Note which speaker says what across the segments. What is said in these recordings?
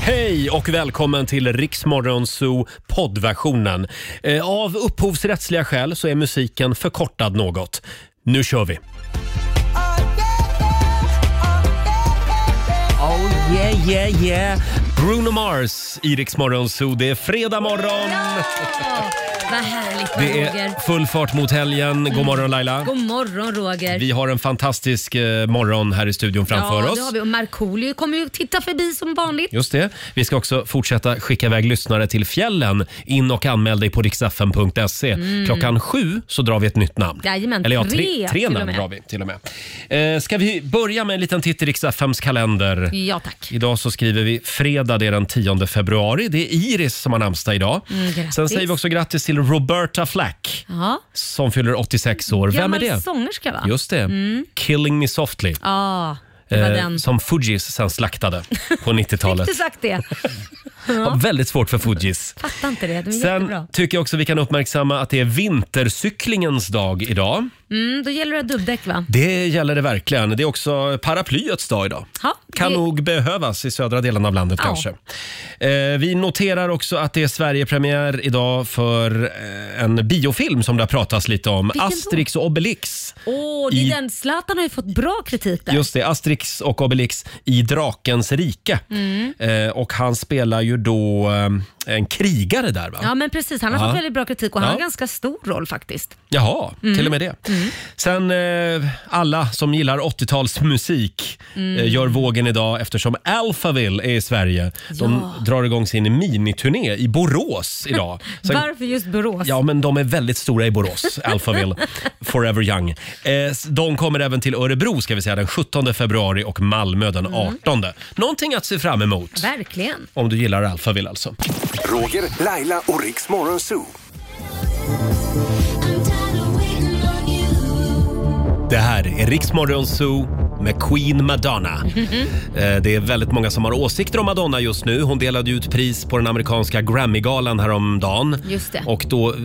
Speaker 1: Hej och välkommen till Riksmorgon Zoo poddversionen. Eh, Av upphovsrättsliga skäl så är musiken förkortad något. Nu kör vi! Oh yeah, yeah, yeah! Bruno Mars i Riksmorgon Zoo. Det är fredag morgon.
Speaker 2: Vad härligt
Speaker 1: Det
Speaker 2: Roger. Mm.
Speaker 1: är full fart mot helgen. God morgon Laila.
Speaker 2: God morgon Roger.
Speaker 1: Vi har en fantastisk eh, morgon här i studion framför
Speaker 2: ja,
Speaker 1: oss.
Speaker 2: det har vi. Och Markoolio kommer ju titta förbi som vanligt.
Speaker 1: Just det. Vi ska också fortsätta skicka iväg lyssnare till fjällen. In och anmäl dig på riksfn.se. Klockan sju så drar vi ett nytt namn.
Speaker 2: Mm. Jajamän,
Speaker 1: Eller ja,
Speaker 2: tre
Speaker 1: tre, tre
Speaker 2: till och
Speaker 1: namn
Speaker 2: med.
Speaker 1: drar vi till och med. Eh, ska vi börja med en liten titt i riksfms kalender?
Speaker 2: Ja tack.
Speaker 1: Idag så skriver vi fredag, det är den 10 februari. Det är Iris som har namnsdag idag.
Speaker 2: Mm, grattis.
Speaker 1: Sen säger vi också grattis till Roberta Flack
Speaker 2: Ja.
Speaker 1: som fyller 86 år. Vem är
Speaker 2: Gammal
Speaker 1: det?
Speaker 2: sångerska va? Mm.
Speaker 1: Just det. Killing Me Softly,
Speaker 2: Ja, det var
Speaker 1: eh,
Speaker 2: den.
Speaker 1: som Fugees sen slaktade på
Speaker 2: Fick
Speaker 1: 90-talet.
Speaker 2: du sagt det?
Speaker 1: Ja, väldigt svårt för Fugees.
Speaker 2: Fattar inte det. De är jättebra.
Speaker 1: Sen tycker jag också vi kan uppmärksamma att det är vintercyklingens dag idag.
Speaker 2: Mm, då gäller det dubbdäck va?
Speaker 1: Det gäller det verkligen. Det är också paraplyets dag idag.
Speaker 2: Ja,
Speaker 1: Kan
Speaker 2: det-
Speaker 1: nog behövas i södra delen av landet
Speaker 2: Ja.
Speaker 1: kanske. Eh, vi noterar också att det är Sverigepremiär idag för eh, en biofilm som det har pratats lite om.
Speaker 2: Vilken då?
Speaker 1: Asterix och Obelix.
Speaker 2: Åh, det är
Speaker 1: I-
Speaker 2: den. Zlatan har ju fått bra kritik där.
Speaker 1: Just det, Asterix och Obelix i Drakens rike.
Speaker 2: Mm.
Speaker 1: Eh, och han spelar ju då eh, en krigare där va?
Speaker 2: Ja men precis, han har
Speaker 1: Ja.
Speaker 2: fått väldigt bra kritik och han
Speaker 1: Ja.
Speaker 2: har ganska stor roll faktiskt.
Speaker 1: Jaha, till och med det. Sen eh, alla som gillar 80-talsmusik eh, gör vågen idag eftersom Alphaville är i Sverige. De drar igång sin miniturné i Borås idag. Sen,
Speaker 2: Varför just Borås?
Speaker 1: ja, men de är väldigt stora i Borås, Alphaville. Forever Young. Eh, s- de kommer även till Örebro ska vi säga, den 17 februari och Malmö den 18. Någonting att se fram emot.
Speaker 2: Verkligen.
Speaker 1: Om du gillar Alphaville alltså.
Speaker 3: Roger, Laila och Riks Morgonzoo.
Speaker 1: Det här är Riksmorgon Zoo med Queen Madonna. Eh, Det är väldigt många som har åsikter om Madonna just nu. Hon delade ut pris på den amerikanska Grammygalan häromdagen.
Speaker 2: Just det.
Speaker 1: Och då, eh,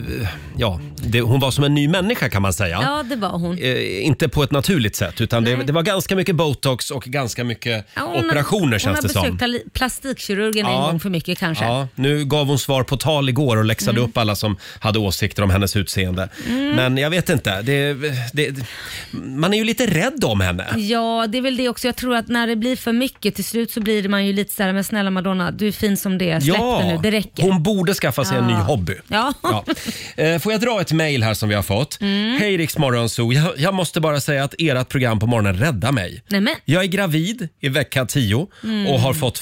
Speaker 1: ja, det, hon var som en ny människa kan man säga.
Speaker 2: Ja, det var hon.
Speaker 1: Eh, inte på ett naturligt sätt utan det,
Speaker 2: Nej.
Speaker 1: det var ganska mycket botox och ganska mycket
Speaker 2: Ja, hon har-
Speaker 1: operationer känns det
Speaker 2: Hon har
Speaker 1: som.
Speaker 2: besökt pl- plastikkirurgen
Speaker 1: Ja.
Speaker 2: en gång för mycket kanske. Mm.
Speaker 1: Ja, nu gav hon svar på tal igår och läxade upp alla som hade åsikter om hennes utseende. Men jag vet inte. Det, det, man är ju lite rädd om henne.
Speaker 2: Ja, det är väl det också. Jag tror att när det blir för mycket till slut så blir man ju lite så här, men snälla Madonna, du är fin som det är. Släpp det nu, det räcker.
Speaker 1: Hon borde skaffa sig en ny
Speaker 2: Ja.
Speaker 1: hobby.
Speaker 2: Ja.
Speaker 1: Eh, Får jag dra ett mejl här som vi har fått?
Speaker 2: Mm.
Speaker 1: Hej Rix Morgonzoo. Jag, jag måste bara säga att ert program på morgonen räddar mig.
Speaker 2: Nej, men.
Speaker 1: Jag är gravid i vecka 10
Speaker 2: Mm.
Speaker 1: och har fått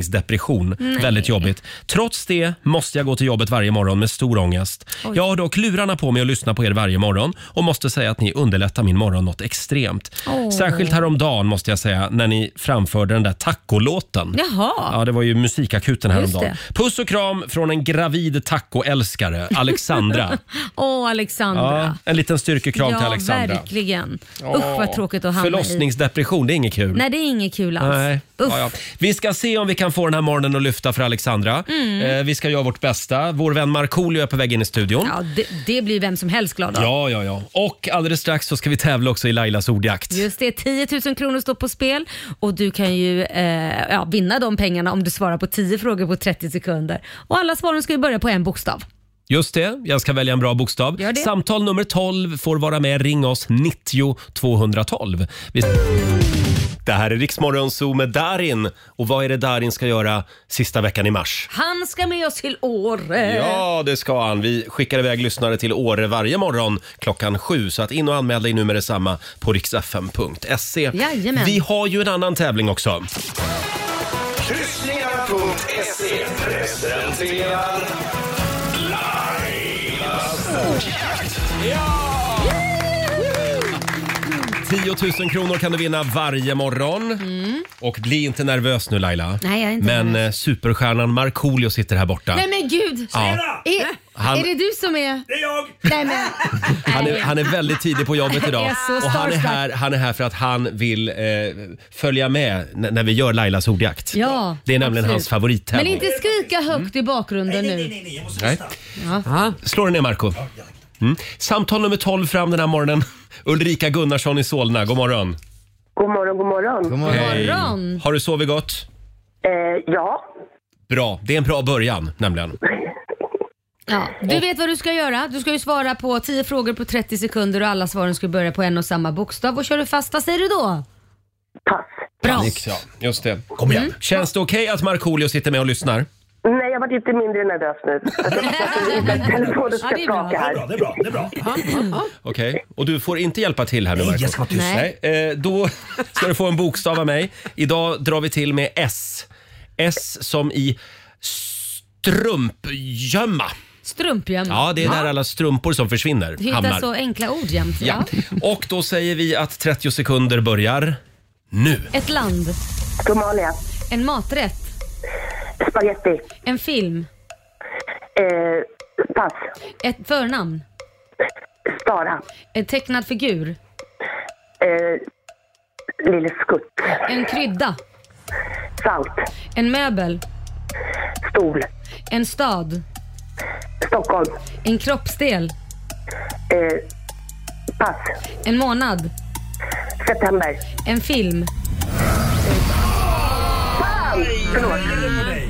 Speaker 1: förlossningsdepression. Väldigt jobbigt. Trots det måste jag gå till jobbet varje morgon med stor ångest. Jag har dock lurarna på mig och lyssnar på er varje morgon och måste säga att ni underlättar min morgon något extremt.
Speaker 2: Åh.
Speaker 1: Särskilt häromdagen måste jag säga när ni framförde den där tacolåten.
Speaker 2: Jaha.
Speaker 1: Ja, det var ju musikakuten häromdagen.
Speaker 2: Just
Speaker 1: Puss och kram från en gravid tacoälskare, Alexandra.
Speaker 2: Åh,
Speaker 1: ja,
Speaker 2: Alexandra.
Speaker 1: en liten styrkekram till Alexandra.
Speaker 2: verkligen. Usch vad tråkigt att hamna i.
Speaker 1: Förlossningsdepression, det är inget kul.
Speaker 2: Nej, det är inget kul alls.
Speaker 1: Nej.
Speaker 2: Uff.
Speaker 1: Ja, ja. Vi ska se om vi kan få den här morgonen att lyfta för Alexandra.
Speaker 2: Mm.
Speaker 1: Eh, vi ska göra vårt bästa. Vår vän Markoolio är på väg in i studion.
Speaker 2: Ja, det, det blir vem som helst glad av.
Speaker 1: Ja, ja, ja. Och alldeles strax så ska vi tävla också i Lailas ordjakt.
Speaker 2: Just det, 10 000 kronor står på spel och du kan ju eh, ja, vinna de pengarna om du svarar på 10 frågor på 30 sekunder. Och alla svaren ska ju börja på en bokstav.
Speaker 1: Just det, jag ska välja en bra bokstav.
Speaker 2: Gör det.
Speaker 1: Samtal nummer 12 får vara med. Ring oss 90 212. Vi... Det här är Riksmorgon Zoo med Darin. Och vad är det Darin ska göra sista veckan i mars?
Speaker 2: Han ska med oss till Åre.
Speaker 1: Ja, det ska han. Vi skickar iväg lyssnare till Åre varje morgon klockan sju. Så att in och anmäl dig nu med detsamma på riksfm.se.
Speaker 2: Jajamän.
Speaker 1: Vi har ju en annan tävling också.
Speaker 3: Kryssningar.se presenterar Lailas ordjakt.
Speaker 1: 10 000 kronor kan du vinna varje morgon. Och bli inte nervös nu Laila.
Speaker 2: Nej, jag är inte
Speaker 1: Men
Speaker 2: nervös.
Speaker 1: eh, superstjärnan Markoolio sitter här borta.
Speaker 4: Nej men gud!
Speaker 1: Ja.
Speaker 4: Är,
Speaker 1: Han-
Speaker 4: är det du som är... Det är jag! Nej men,
Speaker 1: Han är, han är väldigt tidig på jobbet idag.
Speaker 2: Jag är så
Speaker 1: Och han är,
Speaker 2: starstruck.
Speaker 1: här, han är här för att han vill eh, följa med n- när vi gör Lailas ordjakt.
Speaker 2: Ja,
Speaker 1: det är nämligen
Speaker 2: absolut.
Speaker 1: hans favorittävling.
Speaker 4: men inte skrika högt i bakgrunden nu.
Speaker 1: Nej. Slå dig ner Marco. Mm. Samtal nummer 12 fram den här morgonen. Ulrika Gunnarsson i Solna, god morgon.
Speaker 5: God morgon, god morgon.
Speaker 2: God morgon.
Speaker 1: Har du sovit gott?
Speaker 5: Eh, ja,
Speaker 1: Bra, det är en bra början nämligen.
Speaker 2: Ja, du vet vad du ska göra. Du ska ju svara på 10 frågor på 30 sekunder och alla svaren ska börja på en och samma bokstav. Och kör du fast, vad säger du då? Pass. Bra.
Speaker 1: Ja, just det. Kom igen. Känns det okej att Markoolio sitter med och lyssnar?
Speaker 5: Nej, jag var lite mindre nervös nu. Alltså, Jag tänkte att telefonen
Speaker 2: Ja,
Speaker 5: ska
Speaker 2: det är bra.
Speaker 5: skaka här.
Speaker 6: Det är bra, det är bra.
Speaker 1: Okej, och du får inte hjälpa till här nu Marco.
Speaker 6: jag ska vara tyst.
Speaker 2: Nej.
Speaker 1: Nej, eh, då ska du få en bokstav av mig. Idag drar vi till med S. S som i strumpgömma.
Speaker 2: Mm. Strumpjämma.
Speaker 1: Ja, det är där alla strumpor som försvinner
Speaker 2: Du hittar
Speaker 1: hamnar.
Speaker 2: så enkla ord jämt.
Speaker 1: Ja.
Speaker 2: Ja.
Speaker 1: Och då säger vi att 30 sekunder börjar nu.
Speaker 2: Ett land,
Speaker 5: Somalia.
Speaker 2: en maträtt,
Speaker 5: Spaghetti.
Speaker 2: en film,
Speaker 5: Eh, pass.
Speaker 2: ett förnamn,
Speaker 5: Stara.
Speaker 2: en tecknad figur,
Speaker 5: Eh, lille Skutt.
Speaker 2: en krydda,
Speaker 5: Salt.
Speaker 2: en möbel,
Speaker 5: Stol.
Speaker 2: en stad,
Speaker 5: Stockholm.
Speaker 2: en kroppsdel,
Speaker 5: Eh, pass.
Speaker 2: en månad,
Speaker 5: September.
Speaker 2: en film.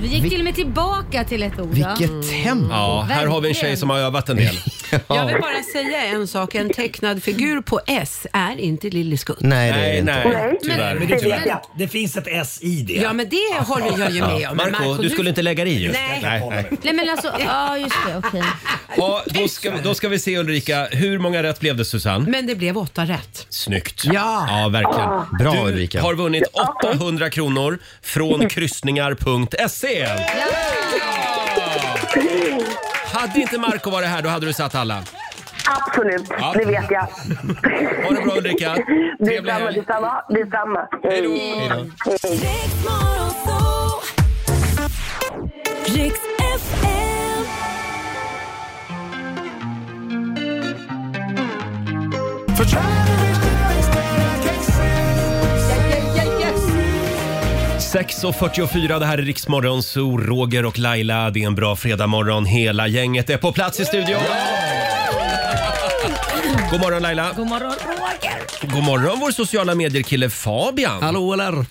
Speaker 2: Vi gick till och med tillbaka till ett ord. ja.
Speaker 6: Vilket tempo.
Speaker 1: Ja, här har vi en tjej
Speaker 2: Verkligen.
Speaker 1: som har övat en del.
Speaker 7: Jag vill bara säga en sak. En tecknad figur på S är inte Lille Skutt.
Speaker 6: Nej, det är det
Speaker 1: Nej,
Speaker 6: inte.
Speaker 1: nej, tyvärr.
Speaker 6: Men det, är
Speaker 5: Det vet
Speaker 6: tyvärr.
Speaker 5: jag.
Speaker 6: det finns ett S i det.
Speaker 7: Ja, men det håller jag ju med om. Men
Speaker 1: Marco, du skulle inte lägga dig i just.
Speaker 7: Nej.
Speaker 1: nej.
Speaker 2: Nej men alltså, ja just det, okej.
Speaker 1: Ja, då, ska, då ska vi se Ulrika, hur många rätt blev det Susanne?
Speaker 7: Men det blev åtta rätt.
Speaker 1: Snyggt.
Speaker 7: Ja.
Speaker 1: ja verkligen.
Speaker 6: Bra
Speaker 1: Ah. Du
Speaker 6: Ulrika.
Speaker 1: har vunnit 800 kronor från kryssningar.se. Hade inte Marco varit här då hade du satt alla.
Speaker 5: Absolut,
Speaker 1: Ja.
Speaker 5: det vet jag.
Speaker 1: Ha det bra, Ulrika. Trevlig
Speaker 5: Detsamma,
Speaker 1: helg.
Speaker 5: detsamma. detsamma. Hej då.
Speaker 8: Riks FM.
Speaker 2: Okay.
Speaker 1: 6.44, det här är Riksmorgon, så Roger och Laila. Det är en bra fredagmorgon. Hela gänget är på plats i studion. God morgon Laila! God morgon Roger! God morgon vår sociala medier-kille Fabian.
Speaker 9: Hallå eller?
Speaker 2: Mm.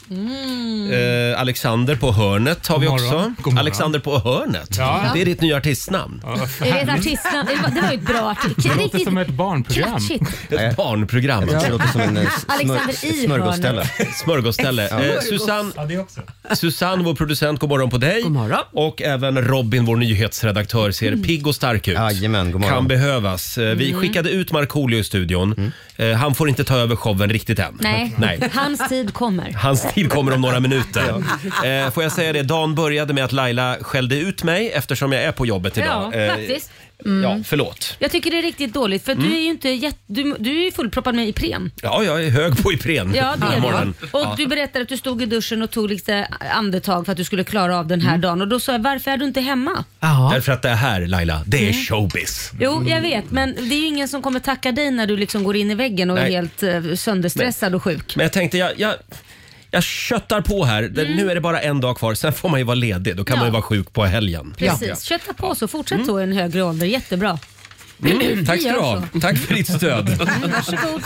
Speaker 1: Eh, Alexander på hörnet har vi
Speaker 9: God morgon.
Speaker 1: också.
Speaker 9: God morgon.
Speaker 1: Alexander på hörnet.
Speaker 9: Ja.
Speaker 1: Det är ditt nya artistnamn.
Speaker 2: Är det ett artistnamn? Det var- Det var ju ett bra artistnamn.
Speaker 10: Det låter som ett barnprogram.
Speaker 2: Catchigt.
Speaker 1: Ett barnprogram. alltså.
Speaker 6: Det låter som en eh,
Speaker 2: Alexander
Speaker 6: smör,
Speaker 2: i
Speaker 6: smörgåsställe.
Speaker 1: Smörgåsställe. Eh, Susanne,
Speaker 10: Ja, det också.
Speaker 1: Susanne, vår producent, god morgon på dig.
Speaker 7: God morgon.
Speaker 1: Och även Robin, vår nyhetsredaktör, ser
Speaker 2: Mm.
Speaker 1: pigg och stark ut.
Speaker 6: Jajamän, god morgon. Mm.
Speaker 1: Kan behövas. Eh, Vi skickade ut Markoolio i studion. Eh, Han får inte ta över showen riktigt än.
Speaker 2: Nej.
Speaker 1: Nej.
Speaker 2: hans tid kommer.
Speaker 1: Hans tid kommer om några minuter. Eh, får jag säga det, dagen började med att Laila skällde ut mig eftersom jag är på jobbet idag.
Speaker 2: Ja,
Speaker 1: Eh,
Speaker 2: faktiskt. Mm.
Speaker 1: Ja, Mm. förlåt.
Speaker 2: Jag tycker det är riktigt dåligt för du är ju inte jätte, du, du är ju fullproppad med Ipren.
Speaker 1: Ja, jag är hög på Ipren
Speaker 2: Ja, det
Speaker 1: den här
Speaker 2: är
Speaker 1: morgonen.
Speaker 2: du. Och du berättade att du stod i duschen och tog lite andetag för att du skulle klara av den här
Speaker 1: Mm.
Speaker 2: dagen. Och då sa jag, varför är du inte hemma?
Speaker 7: Ja.
Speaker 1: Därför att det här, Laila, det
Speaker 2: Mm.
Speaker 1: är showbiz.
Speaker 2: Jo, jag vet, men det är ju ingen som kommer tacka dig när du liksom går in i väggen och
Speaker 1: Nej.
Speaker 2: är helt eh, sönderstressad och sjuk.
Speaker 1: Men jag tänkte, jag, jag, jag köttar på här. Det- Nu är det bara en dag kvar, sen får man ju vara ledig. Då kan
Speaker 2: Mm. Ja.
Speaker 1: man ju vara sjuk på helgen.
Speaker 2: Precis, kötta på så. Fortsätt så i en högre ålder. Jättebra.
Speaker 1: Mm, tack ska
Speaker 2: gör
Speaker 1: du ha. Tack för ditt stöd.
Speaker 2: Mm. Varsågod.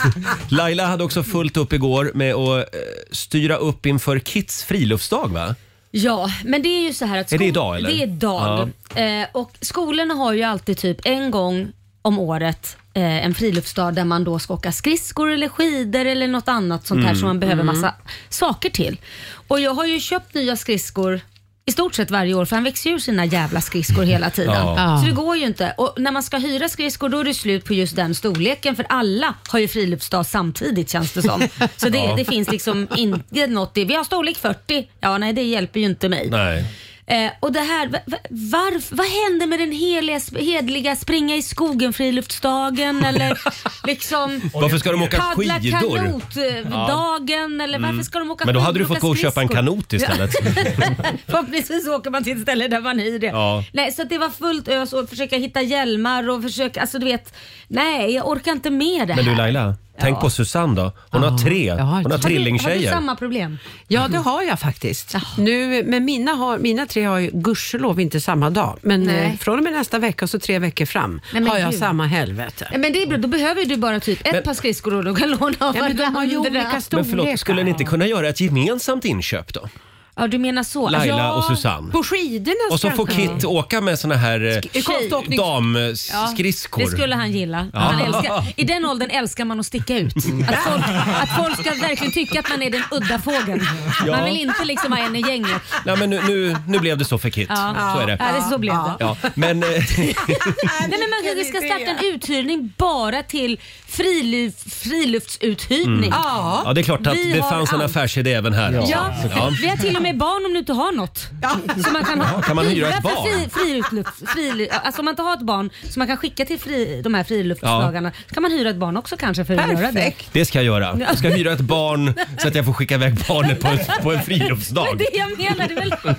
Speaker 1: Laila hade också fullt upp igår med att eh, styra upp inför Kids friluftsdag, va?
Speaker 2: Ja, men det är ju så här att
Speaker 1: Är det
Speaker 2: skol-
Speaker 1: idag, eller?
Speaker 2: Det är idag. Eh, och skolorna har ju alltid typ en gång om året eh, en friluftsdag där man då ska åka skridskor eller skidor eller något annat sånt
Speaker 1: Mm,
Speaker 2: här som man behöver massa saker till. Och jag har ju köpt nya skridskor i stort sett varje år för han växer ju ur sina jävla skridskor hela tiden.
Speaker 1: Ja.
Speaker 2: Så det går ju inte. Och när man ska hyra skridskor då är det slut på just den storleken för alla har ju friluftsdag samtidigt känns det som. Så det, det finns liksom inte något i, vi har storlek 40, ja nej det hjälper ju inte mig.
Speaker 1: Nej.
Speaker 2: Eh, och det här, va- va- varf, vad hände med den heliga, sp- hedliga springa i skogen friluftsdagen eller liksom
Speaker 1: Varför ska de åka
Speaker 2: paddla
Speaker 1: skidor? Mm.
Speaker 2: kanot-dagen eller varför ska de åka
Speaker 1: Men då hade du
Speaker 2: skidor och
Speaker 1: fått gå och köpa en
Speaker 2: skridskor?
Speaker 1: kanot istället.
Speaker 2: Förhoppningsvis åker man till ett ställe där man hyr det.
Speaker 1: Ja.
Speaker 2: Nej, så att det var fullt ös och försöka hitta hjälmar och försöka, alltså du vet, nej jag orkar inte med det
Speaker 1: Men du
Speaker 2: här.
Speaker 1: Laila, tänk
Speaker 2: Ja.
Speaker 1: på Susanne då. Hon har tre,
Speaker 7: jag har
Speaker 1: hon har
Speaker 7: tre.
Speaker 2: Har du
Speaker 1: trillingtjejer.
Speaker 2: samma problem?
Speaker 7: ja, det har jag faktiskt. Nu, men mina, har, mina tre har ju gudskelov inte samma dag. Men
Speaker 2: Nej.
Speaker 7: eh, från och med nästa vecka och så tre veckor fram
Speaker 2: Nej, men
Speaker 7: har jag
Speaker 2: gud.
Speaker 7: samma helvete.
Speaker 2: Nej, Men det är bra, då behöver du bara typ ett par skridskor och du kan låna av
Speaker 7: Ja, men de har ju
Speaker 2: varandra.
Speaker 7: olika
Speaker 1: Men
Speaker 7: storlekar.
Speaker 1: förlåt, skulle ni inte kunna göra ett gemensamt inköp då?
Speaker 2: Ja, du menar så.
Speaker 1: Laila
Speaker 2: ja.
Speaker 1: och Susanne.
Speaker 7: På skidorna
Speaker 1: Och så får
Speaker 7: sprang han.
Speaker 1: Kit åka med såna här eh,
Speaker 7: konståknings-
Speaker 2: Ja,
Speaker 1: damskridskor.
Speaker 2: Det skulle han gilla. Han
Speaker 1: Ja. Mm.
Speaker 2: älskar. I den åldern älskar man att sticka ut. Att folk, att folk ska verkligen tycka att man är den udda fågeln.
Speaker 1: Ja.
Speaker 2: Man vill inte liksom vara en i gänget.
Speaker 1: Nej, men nu, nu, nu blev det så för Kit. Så är det.
Speaker 2: Ja, det så blev det.
Speaker 1: Ja, men, eh,
Speaker 2: Nej, men man kanske ska starta en uthyrning bara till friluft, friluftsuthyrning.
Speaker 1: Mm. ja, det är klart att
Speaker 2: Vi
Speaker 1: det
Speaker 2: har
Speaker 1: fanns en
Speaker 2: allt.
Speaker 1: affärsidé även här.
Speaker 2: Ja,
Speaker 1: Ja.
Speaker 2: vi har till och med barn om du inte har något. Så man kan, ha,
Speaker 1: kan man hyra ett
Speaker 2: för
Speaker 1: barn?
Speaker 2: Fri, friluft, fri, alltså om man inte har ett barn som man kan skicka till fri, de här friluftsdagarna så kan man hyra ett barn också kanske för att göra det.
Speaker 7: Perfekt.
Speaker 1: Det ska jag göra. Jag ska hyra ett barn så att jag får skicka iväg barnet på, en- på en
Speaker 2: Men
Speaker 1: friluftsdag.
Speaker 2: det jag menar, det är väl, va?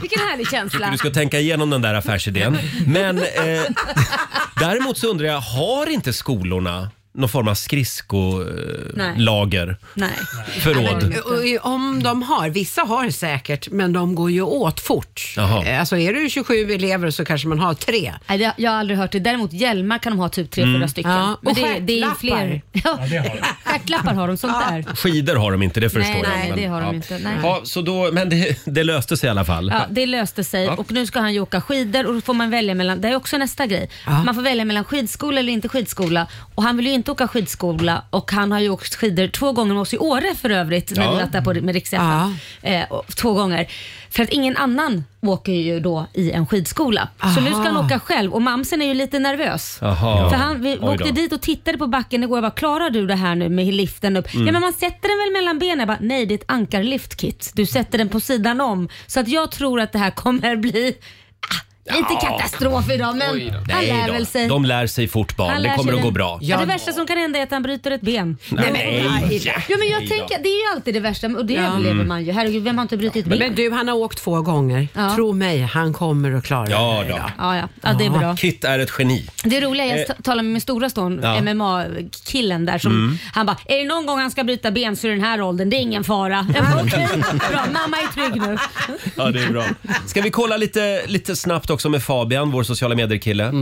Speaker 2: Vilken härlig känsla.
Speaker 1: Du ska tänka igenom den där affärsidén. Men eh, däremot så undrar jag, har inte skolorna någon form av
Speaker 2: Nej.
Speaker 1: skridskolager?
Speaker 2: Nej.
Speaker 1: Förråd?
Speaker 7: Och Om de har, vissa har säkert, men de går ju åt fort.
Speaker 1: Jaha.
Speaker 7: Eh, Alltså är du 27 elever så kanske man har tre.
Speaker 2: Nej, det, jag har aldrig hört det. Däremot hjälmar kan de ha typ tre,
Speaker 1: Mm.
Speaker 2: fyra stycken.
Speaker 7: Ja,
Speaker 2: Men
Speaker 7: och
Speaker 2: det, det är ju
Speaker 7: stjärtlappar.
Speaker 2: fler. Ja, Stjärtlappar har de, sånt där.
Speaker 1: Skidor har de inte, det förstår
Speaker 2: Nej,
Speaker 1: jag.
Speaker 2: nej,
Speaker 1: men,
Speaker 2: det har de
Speaker 1: ja.
Speaker 2: inte, nej.
Speaker 1: Ja, så då, men det, det löste sig i alla fall.
Speaker 2: Ja, det löste sig och nu ska han ju åka skidor och då får man välja mellan, det är också nästa grej, man får välja mellan skidskola eller inte skidskola och han vill ju inte åka skidskola och han har ju åkt skidor två gånger med oss i Åre för övrigt när
Speaker 1: Ja.
Speaker 2: vi varit där på, med riks
Speaker 7: Ja.
Speaker 2: eh, och- Två gånger. För att ingen annan åker ju då i en skidskola. Så nu ska han åka själv och mamsen är ju lite nervös.
Speaker 1: Jaha.
Speaker 2: För han, vi, vi
Speaker 1: Oj då.
Speaker 2: åkte dit och tittade på backen igår och bara, klarar du det här nu med liften upp?
Speaker 1: Mm.
Speaker 2: Ja men man sätter den väl mellan benen? Jag bara, nej det är ett ankarlift Kit. Du sätter den på sidan om. Så att jag tror att det här kommer bli ah, lite katastrof idag men han
Speaker 1: Nej
Speaker 2: lär
Speaker 1: då,
Speaker 2: väl sig.
Speaker 1: De lär sig fort barn.
Speaker 2: han
Speaker 1: Det
Speaker 2: lär
Speaker 1: kommer
Speaker 2: sig
Speaker 1: att gå
Speaker 2: den-
Speaker 1: bra.
Speaker 2: Ja, det värsta som kan hända är att han bryter ett ben.
Speaker 1: Nej, nej. Mm.
Speaker 2: Jo men jag tänker, det är ju alltid det värsta och det överlever man ju. Herregud, vem har inte brutit ett
Speaker 7: Men
Speaker 2: ben?
Speaker 7: du, han har åkt två gånger.
Speaker 2: Ja.
Speaker 7: Tro mig, han kommer att klara
Speaker 1: Ja
Speaker 7: det.
Speaker 1: då.
Speaker 2: Ja, ja. ja, det är bra.
Speaker 1: Kit är ett geni.
Speaker 2: Det roliga är att jag talade med min stora son,
Speaker 1: Eh. Ja. Mm.
Speaker 2: MMA-killen där, som, han bara “Är det någon gång han ska bryta ben så är det den här åldern, det är ingen fara”. Jag bara, Okej,
Speaker 1: Mm.
Speaker 2: bra. Mamma är trygg nu.
Speaker 1: Ja, det är bra. Ska vi kolla lite, lite snabbt också med Fabian, vår sociala medier-kille.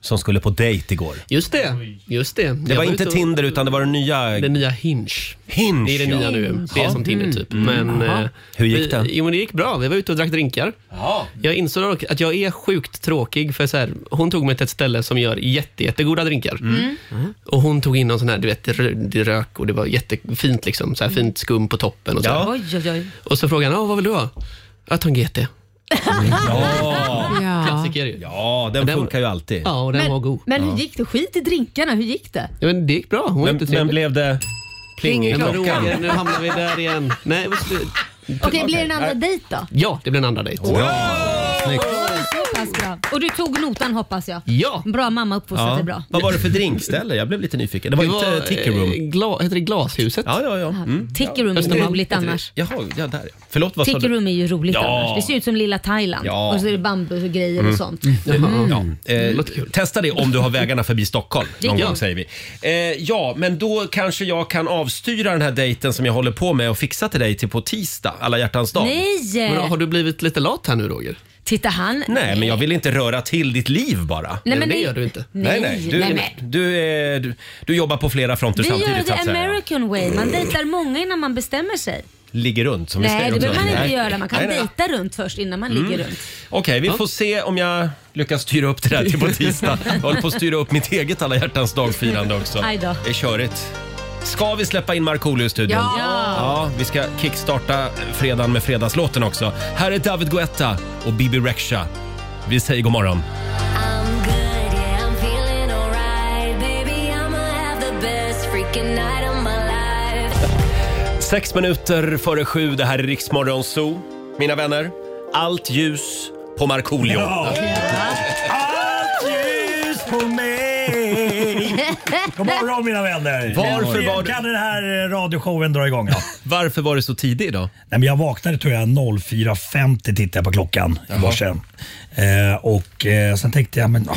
Speaker 1: Som skulle på dejt igår.
Speaker 9: Mm. Just det. Just det.
Speaker 1: Det var inte Tinder utan det var den nya
Speaker 9: Den nya Hinge.
Speaker 1: Hinge.
Speaker 9: Det är det nya
Speaker 1: ja. Mm.
Speaker 9: nu. Det är som Tinder typ. Men, eh,
Speaker 1: Hur gick det?
Speaker 9: Vi, jo, men det gick bra. Vi var ute och drack drinkar. Jag insåg dock att jag är sjukt tråkig. För så här, hon tog mig till ett ställe som gör jätte, jättegoda drinkar.
Speaker 1: Mm.
Speaker 2: Mm.
Speaker 9: Och Hon tog in någon sån här, du vet, det rö- det rök och det var jättefint. Liksom, så här, fint skum på toppen. Och så, här.
Speaker 1: Ja.
Speaker 2: Oj, oj, oj.
Speaker 9: och så frågade han, "Ja, vad vill du ha? Jag tar en GT.
Speaker 7: Ja.
Speaker 9: Klassiker ju. Ja.
Speaker 1: ja, den
Speaker 9: Den var-
Speaker 1: funkar ju alltid.
Speaker 9: och den var god.
Speaker 2: Men hur gick det? Skit i drinkarna, hur gick det?
Speaker 9: Ja, men det gick bra. Hon var
Speaker 1: Men, men
Speaker 9: jättetrevlig.
Speaker 1: blev det pling i
Speaker 9: Men
Speaker 1: klockan?
Speaker 9: Roger, nu hamnar vi där igen. Nej, men slut.
Speaker 1: Mm.
Speaker 2: Okej, blir det en andra dejt då?
Speaker 9: ja, det blev en andra dejt.
Speaker 2: Så pass bra. Och du tog notan hoppas jag?
Speaker 9: Ja.
Speaker 2: Bra mamma uppfostrat dig bra.
Speaker 1: Vad var det för drinkställe? Jag blev lite nyfiken. Det var, inte Ticker
Speaker 9: eh,
Speaker 1: Room?
Speaker 9: Gla, heter det Glashuset?
Speaker 1: Ja, ja, ja. Mm.
Speaker 2: Ticker room är
Speaker 9: Östermalm
Speaker 2: roligt
Speaker 9: heter det.
Speaker 2: annars.
Speaker 1: Jaha, ja, där ja. Förlåt, vad sa
Speaker 2: Ticker
Speaker 1: du?
Speaker 2: room är ju roligt
Speaker 1: Ja.
Speaker 2: annars. Det ser ut som lilla Thailand.
Speaker 1: Ja. Mm.
Speaker 2: Och så är det bambugrejer
Speaker 9: Mm.
Speaker 2: och sånt. Mm.
Speaker 1: Ja, eh, testa det om du har vägarna förbi Stockholm. Någon
Speaker 9: Ja.
Speaker 1: gång, säger vi. Eh, ja, men då kanske jag kan avstyra den här dejten som jag håller på med och fixa till dig till på tisdag, alla hjärtans dag.
Speaker 2: Nej!
Speaker 9: Men har du blivit lite lat här nu Roger?
Speaker 2: Titta han.
Speaker 1: Nej, men jag vill inte röra till ditt liv bara.
Speaker 2: Nej, men
Speaker 9: det
Speaker 2: det-
Speaker 9: gör du inte.
Speaker 1: Nej, nej. Du,
Speaker 2: nej,
Speaker 1: Du, är, du, du jobbar på flera fronter
Speaker 2: Vi gör
Speaker 1: samtidigt.
Speaker 2: the
Speaker 1: så att säga.
Speaker 2: American way. Man dejtar många innan man bestämmer sig.
Speaker 1: Ligger runt som vi
Speaker 2: Nej,
Speaker 1: säger
Speaker 2: det
Speaker 1: också.
Speaker 2: behöver man inte
Speaker 1: Nej.
Speaker 2: göra. Man kan
Speaker 1: Nej, Mm. nej.
Speaker 2: dejta runt först innan man ligger runt.
Speaker 1: Okej, vi får se om jag lyckas styra upp det där till på tisdag. Jag håller på att styra upp mitt eget alla hjärtans dagfirande också.
Speaker 2: Aj då.
Speaker 1: Det är körigt. Ska vi släppa in Markoolio i studion?
Speaker 7: Ja.
Speaker 1: ja! Vi ska kickstarta fredagen med fredagslåten också. Här är David Guetta och Bibi Rexha. Vi säger god morgon.
Speaker 8: I'm good, yeah, I'm feeling alright. Baby, I'ma have the best freaking night of my life.
Speaker 1: Sex minuter före sju, det här är Riksmorgon Zoo. Mina vänner, allt ljus på Markoolio.
Speaker 6: Allt ljus på mig. God morgon mina vänner.
Speaker 1: Varför var det-
Speaker 6: kan den här eh, radioshowen dra igång? Ja.
Speaker 1: Varför var det så tidigt idag?
Speaker 6: Nej, men jag vaknade tror jag 04.50 tittade jag på klockan i morse. Eh, och eh, sen tänkte jag, men ah,